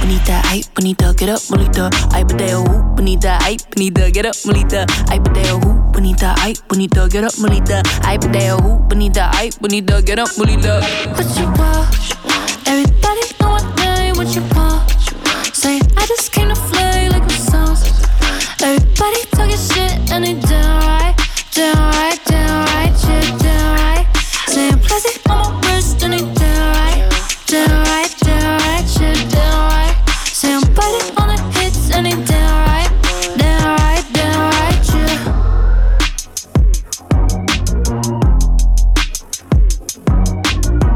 D: Bonita, hype, bonita, get up, bonita. I badeo, hoop, bonita, hype, bonita, get up, bonita. I badeo, hoop, bonita, hype, bonita, get up, bonita. I badeo, hoop, bonita, hype, bonita, get up, bonita. What you want? Everybody know what name, what you want? Say, I just came to play like a song. Everybody talking shit and it down right, down right, down right, shit down right. Say I'm plastic on my wrist and it down right, down right, down right, shit down right. Say I'm biting on the hits and it down right, down right, down right,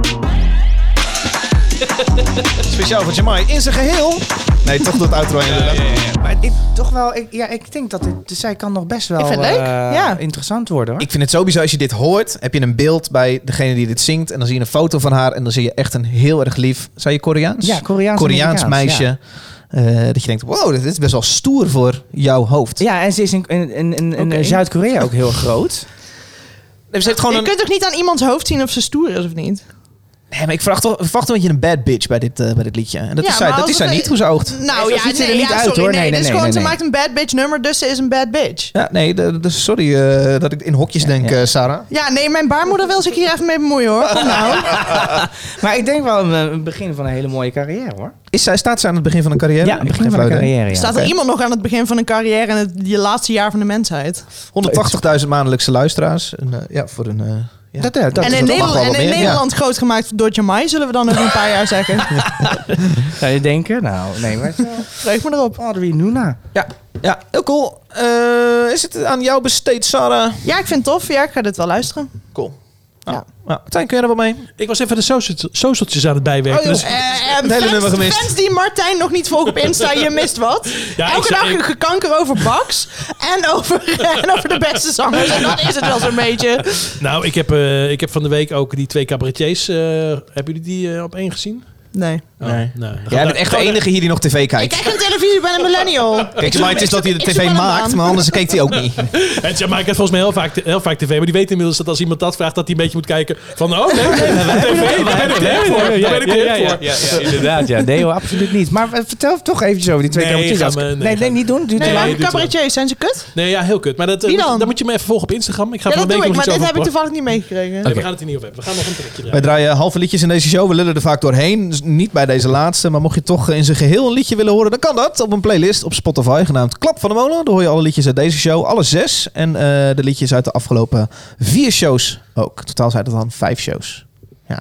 D: yeah.
E: speciaal voor Jamai in zijn geheel. Nee, toch dat outro inderdaad.
C: Maar ik, toch wel, ik, ja, ik denk dat dit, dus zij kan nog best wel
B: Ik vind het leuk,
C: eh,
B: ja.
C: interessant worden hoor.
E: Ik vind het sowieso, als je dit hoort, heb je een beeld bij degene die dit zingt. En dan zie je een foto van haar en dan zie je echt een heel erg lief... Zei je Koreaans?
C: Ja, Koreaans-Amerikaans,
E: Koreaans meisje.
C: ja.
E: Eh, dat je denkt, wow, dit is best wel stoer voor jouw hoofd.
C: ja, en ze is in, in, in, in in
B: Oké.
C: Zuid-Korea ook heel groot.
E: Nee, ze heeft gewoon
B: Je
E: een...
B: kunt toch niet aan iemands hoofd zien of ze stoer is of niet?
E: Nee, maar ik verwacht toch, verwacht een beetje een bad bitch bij dit, eh, bij dit liedje. En dat
B: Ja,
E: is zij,
B: maar
E: dat
B: als
E: is zij
B: het-
E: niet, hoe ze oogt.
B: Nou
C: zo
B: ja,
C: ziet ze er
B: nee,
C: niet
B: ja,
C: uit,
B: sorry,
C: hoor.
B: Nee,
C: Nee,
B: dit is
C: nee,
B: gewoon,
C: nee,
B: ze
C: nee.
B: maakt een bad bitch nummer, dus ze is een bad bitch.
E: Ja, nee, de- de- sorry eh, dat ik in hokjes denk, eh, Sarah.
B: Ja, nee, mijn baarmoeder wil zich hier even mee bemoeien hoor.
E: Ah,
B: Kom nou.
C: Maar ik denk wel een, eh, een begin van een hele mooie carrière hoor.
E: Is zij, staat ze aan het begin van een carrière?
C: Ja, een
E: Ik
C: begin
E: geef
C: van een
E: luid, hè.
C: carrière. Ja.
B: Staat er iemand nog aan het begin van een carrière en het je laatste jaar van de mensheid?
E: 180.000 maandelijkse luisteraars. En, eh, ja, voor een... eh, ja.
C: Dat, dat, dat
B: en
E: is
B: in,
E: wel- mag
B: Nederland,
E: wel
B: en
E: wat
B: in
E: meer, ja.
B: Nederland grootgemaakt door Jamai, zullen we dan nog een paar jaar zeggen.
C: zou je denken. Nou, nee, maar
B: Vreug me erop.
C: Audrey Nuna.
E: ja, heel cool. Eh, is het aan jou besteed, Sarah?
B: Ja, ik vind het tof. Ja, ik ga dit wel luisteren.
E: Cool.
B: Ja.
E: Nou, nou, Tijn, kun jij er wat mee?
A: Ik was even de social- socialtjes aan het
B: Oh,
A: bijwerken. dus,
E: hele nummer gemist.
B: Eh, Fans die Martijn nog niet volgen op Insta, je mist wat.
A: Ja,
B: Elke
A: ik-
B: dag
A: ik-
B: een gekanker over Bax en over, en over de beste zangers. En dat is het wel zo'n beetje.
A: nou, ik heb, eh, ik heb van de week ook die twee cabaretiers. eh, hebben jullie die eh, op één gezien?
B: Nee.
A: Oh,
E: Nee.
A: nee. Dan
E: Jij
A: gaan
E: bent
A: we-
E: echt de enige hier die nog tv
B: Ik
E: kijkt.
B: kijk geen televisie, ik ben een millennial.
E: Kijk, maar het is dat hij de
B: ik zoek
E: tv
B: wel een
E: maakt,
B: baan.
E: maar anders kijkt hij ook niet.
A: Het, ja, maar ik heb volgens mij heel vaak, heel vaak tv. Maar die weet inmiddels dat als iemand dat vraagt, dat hij een beetje moet kijken van... Oh, nee, nee, nee, tv, daar ben ik er voor. Daar ben ik er voor.
C: inderdaad. Ja. Nee hoor, absoluut niet. Maar eh, vertel toch eventjes over die twee
A: Nee,
C: cabaretiers.
A: gaan
C: Als-
A: we- nee,
C: nee, nee,
A: gaan we-
C: niet doen. Duurt
B: Nee,
C: te lang.
B: maar
A: doet het wel.
B: cabaretiers, zijn ze kut?
A: Nee, ja, heel kut. Maar dat, eh,
B: Wie
A: moet-
B: dan?
A: dan moet je me even volgen op Instagram. Ik ga
B: Ja,
A: van
B: dat
A: de week
B: doe
A: nog
B: ik, maar
A: iets
B: dit
A: over
B: heb ik
A: plannen.
B: toevallig niet meegekregen.
A: We gaan het hier niet over hebben. We gaan nog een trekje
E: Wij
A: draaien.
E: draaien halve liedjes in deze show. We lullen er vaak doorheen. Dus niet bij deze laatste. Maar mocht je toch eh, in zijn geheel een liedje willen horen, dan kan dat. Op een playlist op Spotify genaamd Klap van de Molen. Daar hoor je alle liedjes uit deze show. Alle zes. En eh, de liedjes uit de afgelopen vier shows ook. Totaal zijn het dan vijf shows. Ja.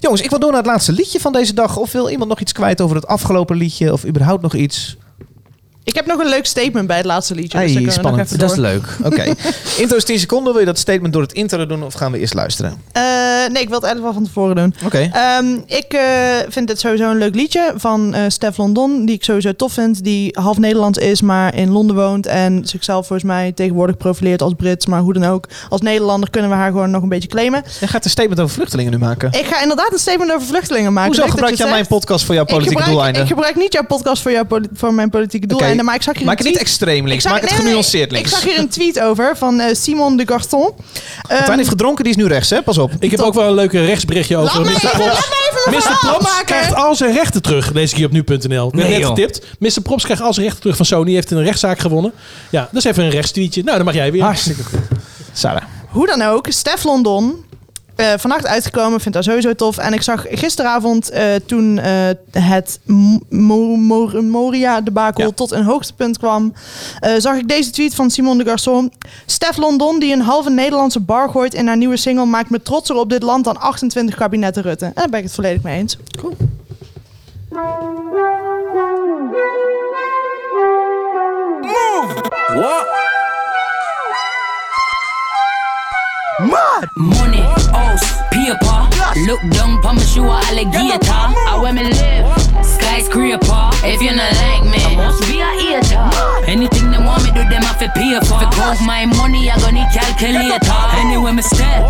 E: Jongens, ik wil door naar het laatste liedje van deze dag. Of wil iemand nog iets kwijt over het afgelopen liedje? Of überhaupt nog iets?
B: Ik heb nog een leuk statement bij het laatste liedje.
E: Hey,
B: dus daar kunnen we nog
E: spannend.
B: even
C: Dat
B: door.
C: is leuk.
E: Oké. Intro is 10 seconden. Wil je dat statement door het intro doen of gaan we eerst luisteren? Oké.
B: Eh, nee, ik wil het eigenlijk wel van tevoren doen. Ehm, ik eh, vind dit sowieso een leuk liedje van eh Stef London, die ik sowieso tof vind. Die half Nederlands is, maar in Londen woont. En zichzelf volgens mij tegenwoordig profileert als Brits. Maar hoe dan ook, als Nederlander kunnen we haar gewoon nog een beetje claimen.
E: Jij gaat een statement over vluchtelingen nu maken.
B: Ik ga inderdaad een statement over vluchtelingen maken.
E: Hoezo
B: Leuk dat
E: gebruik
B: je
E: jij
B: het
E: mijn
B: zegt.
E: podcast voor jouw politieke
B: ik gebruik,
E: doeleinden?
B: Ik gebruik niet jouw podcast voor, jouw poli- voor mijn politieke doeleinden. Maar ik zag hier
E: Maak het
B: een
E: niet
B: tweet-
E: extreem links,
B: ik zag-
E: maak het
B: nee, nee, nee.
E: genuanceerd links.
B: Ik zag hier een tweet over van eh, Simon de Garton. Ehm,
E: Martijn heeft gedronken, die is nu rechts, hè? Pas op.
A: Ik heb ook wel een leuke rechtsberichtje over.
B: laat me
A: Mr.
B: even, laat
A: Props.
B: me even mijn
A: Mr.
B: verhaal
A: Props
B: maken.
A: krijgt al zijn rechten terug. Lees ik hier op nu.nl. Net,
C: Nee,
A: net
C: joh.
A: getipt. Mr. Props krijgt al zijn rechten terug van Sony. Heeft een rechtszaak gewonnen. Ja, dat is even een rechtstweetje. Nou, dan mag jij weer.
C: Hartstikke goed.
E: Sarah.
B: Hoe dan ook, Stef London. eh, vannacht uitgekomen, vind dat sowieso tof. En ik zag gisteravond eh, toen eh, het Mo- Mo- Mo- Moria-debakel
A: Ja.
B: tot een hoogtepunt kwam, eh, zag ik deze tweet van Simon de Garçon. Stef London, die een halve Nederlandse bar gooit in haar nieuwe single, maakt me trotser op dit land dan 28 kabinetten Rutte. En daar ben ik het volledig mee eens.
I: Money, house, paper. Look down, promise you a alligator. I wear me live, skyscraper. If you not like me, I must be a eater. Anything they want me do, them have to pay for. If it cost my money, I gonna need calculator. Anyway, me step,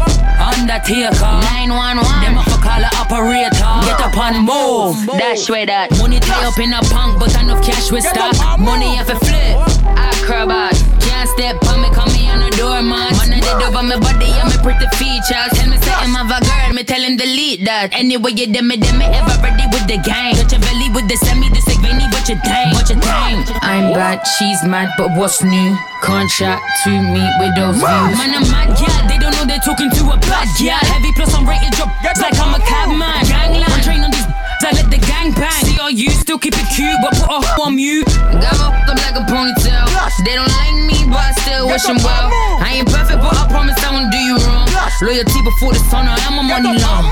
I: undertaker. 911, them have to call a operator. Get up and move. Dash way that. Money tie up in a punk, but enough cash with stock. Money have to flip, acrobat. Can't step on me, call me on the doormat. Man, I did over my body, I'm a pretty features. Tell me something of a girl, me tell him delete that. Anyway, you dem me, dem me ever ready with the gang. Touch your belly with the semi, this like Vinny, what you think, what you think. I'm bad, she's mad, but what's new? Contract to meet with those views. Man, I'm mad, yeah, they don't know they're talking to a bad yeah. Heavy plus I'm rated drop, like I'm a cabman. Gangland, I'm trained on these, I let the gang bang. See, are you still keep it cute, but put a hoe on mute. Got my up like a ponytail. They don't like me, but I still wish them well. I ain't perfect, but I promise I won't do you wrong. Loyalty before the sun, I am a money long.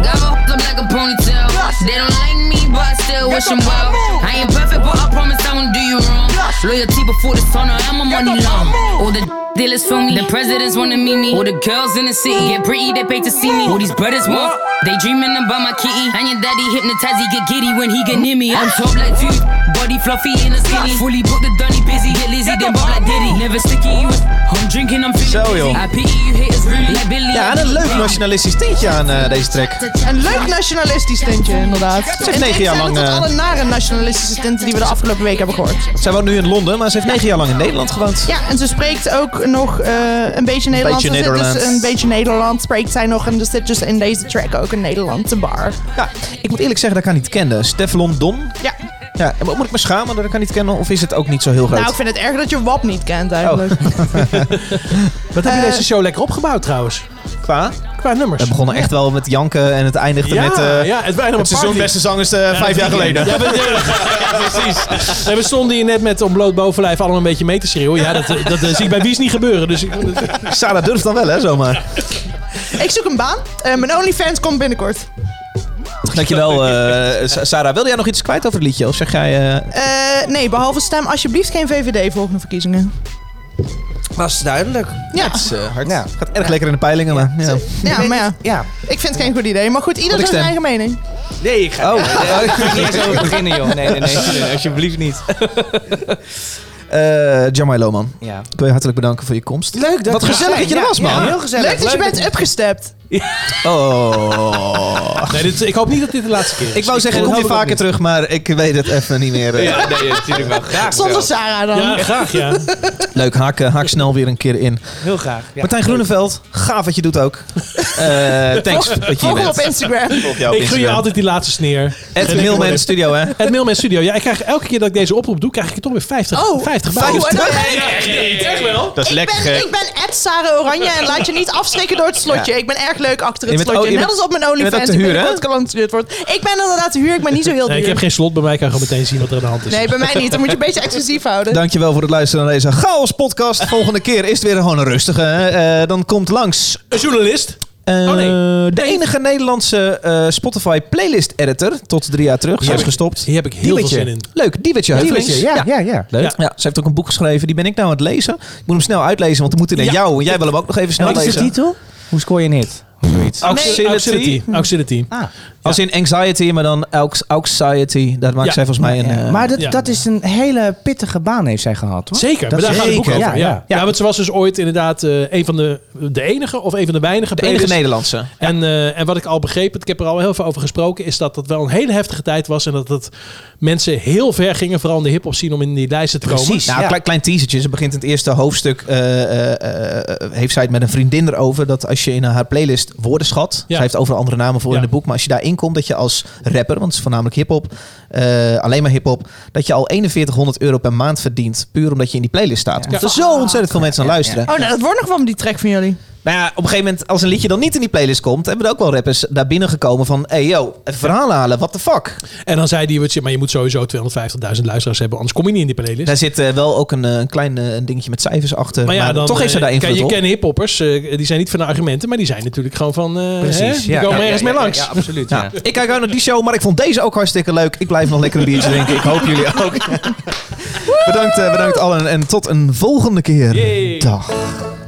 I: Got my up like a ponytail. They don't like me, but I still wish them well. I ain't perfect, but I promise I won't do you wrong.
J: Loyalty before the sun, I am a money long. All the dealers for me, the presidents wanna meet me. All the girls in the city get pretty, they pay to see me. All these brothers want, they dreaming about my kitty. And your daddy hypnotized, he get giddy when he get near me. On top like two, body fluffy in the skinny. Fully booked the dunny busy, get lazy, then bob like Diddy. Never sticky, you I'm drinking, I'm feeling
E: Zo,
J: busy.
E: joh.
J: I pity you haters really like Billy.
E: Ja, en een leuk nationalistisch tintje aan eh, deze track.
B: Een leuk nationalistisch tintje, inderdaad.
E: heeft
B: En
E: negen jaar
B: ik zeg
E: lang,
B: dat
E: eh,
B: Tot alle nare nationalistische tinten die we de afgelopen week hebben gehoord.
E: Zij woont nu in Londen, maar ze heeft negen jaar lang in Nederland gewoond.
B: Ja, en ze spreekt ook nog eh, een beetje Nederlands.
E: Beetje
B: Er zit
E: Nederlands.
B: Dus een beetje Nederlands spreekt zij nog. En er zit dus in deze track ook een Nederlandse bar.
E: Ja, ik moet eerlijk zeggen dat ik haar niet kende. Steflon Don.
B: Ja.
E: Ja, en moet ik me schamen dat ik haar niet ken? Of is het ook niet zo heel groot?
B: Nou, ik vind het erg dat je WAP niet kent eigenlijk.
E: Oh.
A: Wat heb je
B: Eh,
A: deze show lekker opgebouwd trouwens?
E: Qua?
A: Qua nummers.
E: We begonnen echt wel met janken en het eindigde
A: Ja,
E: met... eh,
A: ja, het waren
E: het seizoen beste zangers eh, vijf jaar geleden.
A: Ja, we- ja, precies. En we stonden hier net met ontbloot bovenlijf allemaal een beetje mee te schreeuwen. Ja, dat, dat eh, zie ik bij Wies niet gebeuren. Dus ik vond het-
E: Sarah durft dan wel, hè, zomaar.
B: ik zoek een baan. Eh, mijn OnlyFans komt binnenkort.
E: Dankjewel, eh, Sa- Sarah. Wilde jij nog iets kwijt over het liedje? Of zeg jij... eh,
B: Eh, nee, behalve stem alsjeblieft geen VVD volgende verkiezingen.
C: Was duidelijk.
B: Ja,
E: het is, eh, hard.
C: Ja.
E: Gaat erg lekker in de peilingen, maar... Ja.
B: ja maar ja.
C: Ja.
B: Ik vind het geen goed idee. Maar goed, ieder
E: ik
B: heeft zijn
E: stem.
B: eigen mening.
C: Nee, eh, ik ga
E: Oh.
C: niet eens over beginnen, joh. Nee, nee, nee. alsjeblieft niet.
E: Eh, Jamai Loman,
C: Ja.
E: ik wil je hartelijk bedanken voor je komst.
C: Leuk dat
E: Wat gezellig dat je er was, man.
C: heel gezellig.
B: Leuk dat je bent upgestept.
E: Oh.
A: nee, dit, ik hoop niet dat dit de laatste keer is.
E: Ik wou zeggen, kom
A: hoop
E: je
A: het ook
E: vaker
A: niet.
E: terug, maar ik weet het even niet meer. eh.
C: Ja, nee, natuurlijk wel. Graag
B: Zonder
C: zelfs.
B: Sarah dan.
A: Ja, graag ja.
E: Leuk, haak, eh, haak snel weer een keer in.
C: Heel graag. Ja.
E: Martijn Groeneveld, gaaf wat je doet ook.
A: Oh,
E: Eh, thanks dat je hier
B: Volg me
E: bent.
B: op Instagram.
A: Ik gun je altijd die laatste sneer.
E: Het Mailman Studio, hè?
A: Het Mailman Studio. Ja, ik krijg elke keer dat ik deze oproep doe, krijg ik er toch weer 50,
B: Oh,
A: 50 bij.
B: Oh, en dan ben ik-
A: echt wel?
E: Dat
B: ik, ben, ik ben at Sarah Oranje en laat je niet afschrikken door het slotje. Ik ben erg leuk achter het
E: Je bent ook-
B: slotje.
E: je
B: Net
E: bent-
B: als op mijn
E: bent ook
B: OnlyFans.
E: te
B: Ik
E: huur,
B: ben
E: hè?
B: dat klant gestuurd wordt. Ik ben inderdaad te huur. Ik ben niet zo heel duur.
A: Nee, ik heb geen slot bij mij. Ik kan gewoon meteen zien wat er aan de hand is.
B: Nee, bij mij niet. Dan moet je een beetje exclusief houden.
E: Dankjewel voor het luisteren naar deze chaos podcast. Volgende keer is het weer gewoon een rustige. hè. Eh, dan komt langs
A: Een journalist. Oh,
E: eh,
A: nee.
E: de enige Nederlandse eh, Spotify playlist editor. Tot drie jaar terug. Ze is
A: heb ik-
E: gestopt.
A: hier heb ik heel
E: Diewetje.
A: veel zin in.
E: Leuk, Diewetje Heuvelings.
A: Diewetje,
C: Ja, ja, ja.
E: Leuk. Ja. ze heeft ook een boek geschreven. Die ben ik nou aan het lezen. Ik moet hem snel uitlezen, want we moeten naar
A: Ja.
E: jou. En jij wil hem ook nog even snel
C: Wat is
E: lezen.
C: de titel? Hoe scoor je niet?
A: Auxility. Auxility. Auxility.
E: Hm. Ah. Als in anxiety, maar dan aux- anxiety. Daar maakt
A: Ja.
E: zij volgens mij een... eh,
C: maar dat,
A: ja.
C: dat is een hele pittige baan heeft zij gehad, hoor.
A: Zeker, maar
E: Dat
A: daar gaat het boek over.
E: zeker,
A: Ja,
C: ja,
A: ja.
C: ja.
A: Ja, want ze was dus ooit inderdaad eh, een van de, de enige of een van de weinige.
E: de enige
A: playlists.
E: Nederlandse.
A: En, eh, en wat ik al begreep, ik heb er al heel veel over gesproken, is dat dat wel een hele heftige tijd was. En dat, dat mensen heel ver gingen, vooral in de hip-hop scene, om in die lijsten te komen.
E: Nou,
C: ja.
E: klein, klein teasertje. Ze begint in het eerste hoofdstuk. eh, eh, eh, heeft zij het met een vriendin erover. Dat als je in haar playlist woorden schat.
A: Ja.
E: Zij heeft overal andere namen voor
A: Ja.
E: in het boek. Maar als je daarin komt, dat je als rapper. Want het is voornamelijk hip-hop. eh, alleen maar hip-hop. Dat je al 4100 euro per maand verdient. Puur omdat je in die playlist staat. Omdat er zo ontzettend veel mensen aan luisteren.
B: Oh, nou, dat wordt nog wel met die track van jullie.
E: Nou ja, op een gegeven moment, als een liedje dan niet in die playlist komt, hebben er ook wel rappers daar binnen gekomen van, hey yo, even verhalen halen, what the fuck?
A: En dan zei die, wat je- maar je moet sowieso 250.000 luisteraars hebben, anders kom je niet in die playlist.
E: Daar zit eh, wel ook een, eh, een klein eh, een dingetje met cijfers achter, maar,
A: Maar ja, dan,
E: toch heeft ze daar
A: eh,
E: invloed
A: Je
E: op.
A: kennen hiphoppers, eh, die zijn niet van de argumenten, maar die zijn natuurlijk gewoon van, eh hè, die
C: ja.
A: komen
C: Ja,
A: ergens
C: ja,
A: mee
C: ja,
A: langs.
C: Ja, absoluut.
E: Ja.
C: ja.
E: Ik kijk ook naar die show, maar ik vond deze ook hartstikke leuk. Ik blijf nog lekker een biertje drinken. Ik hoop jullie ook. bedankt, eh, bedankt allen en tot een volgende keer. Dag.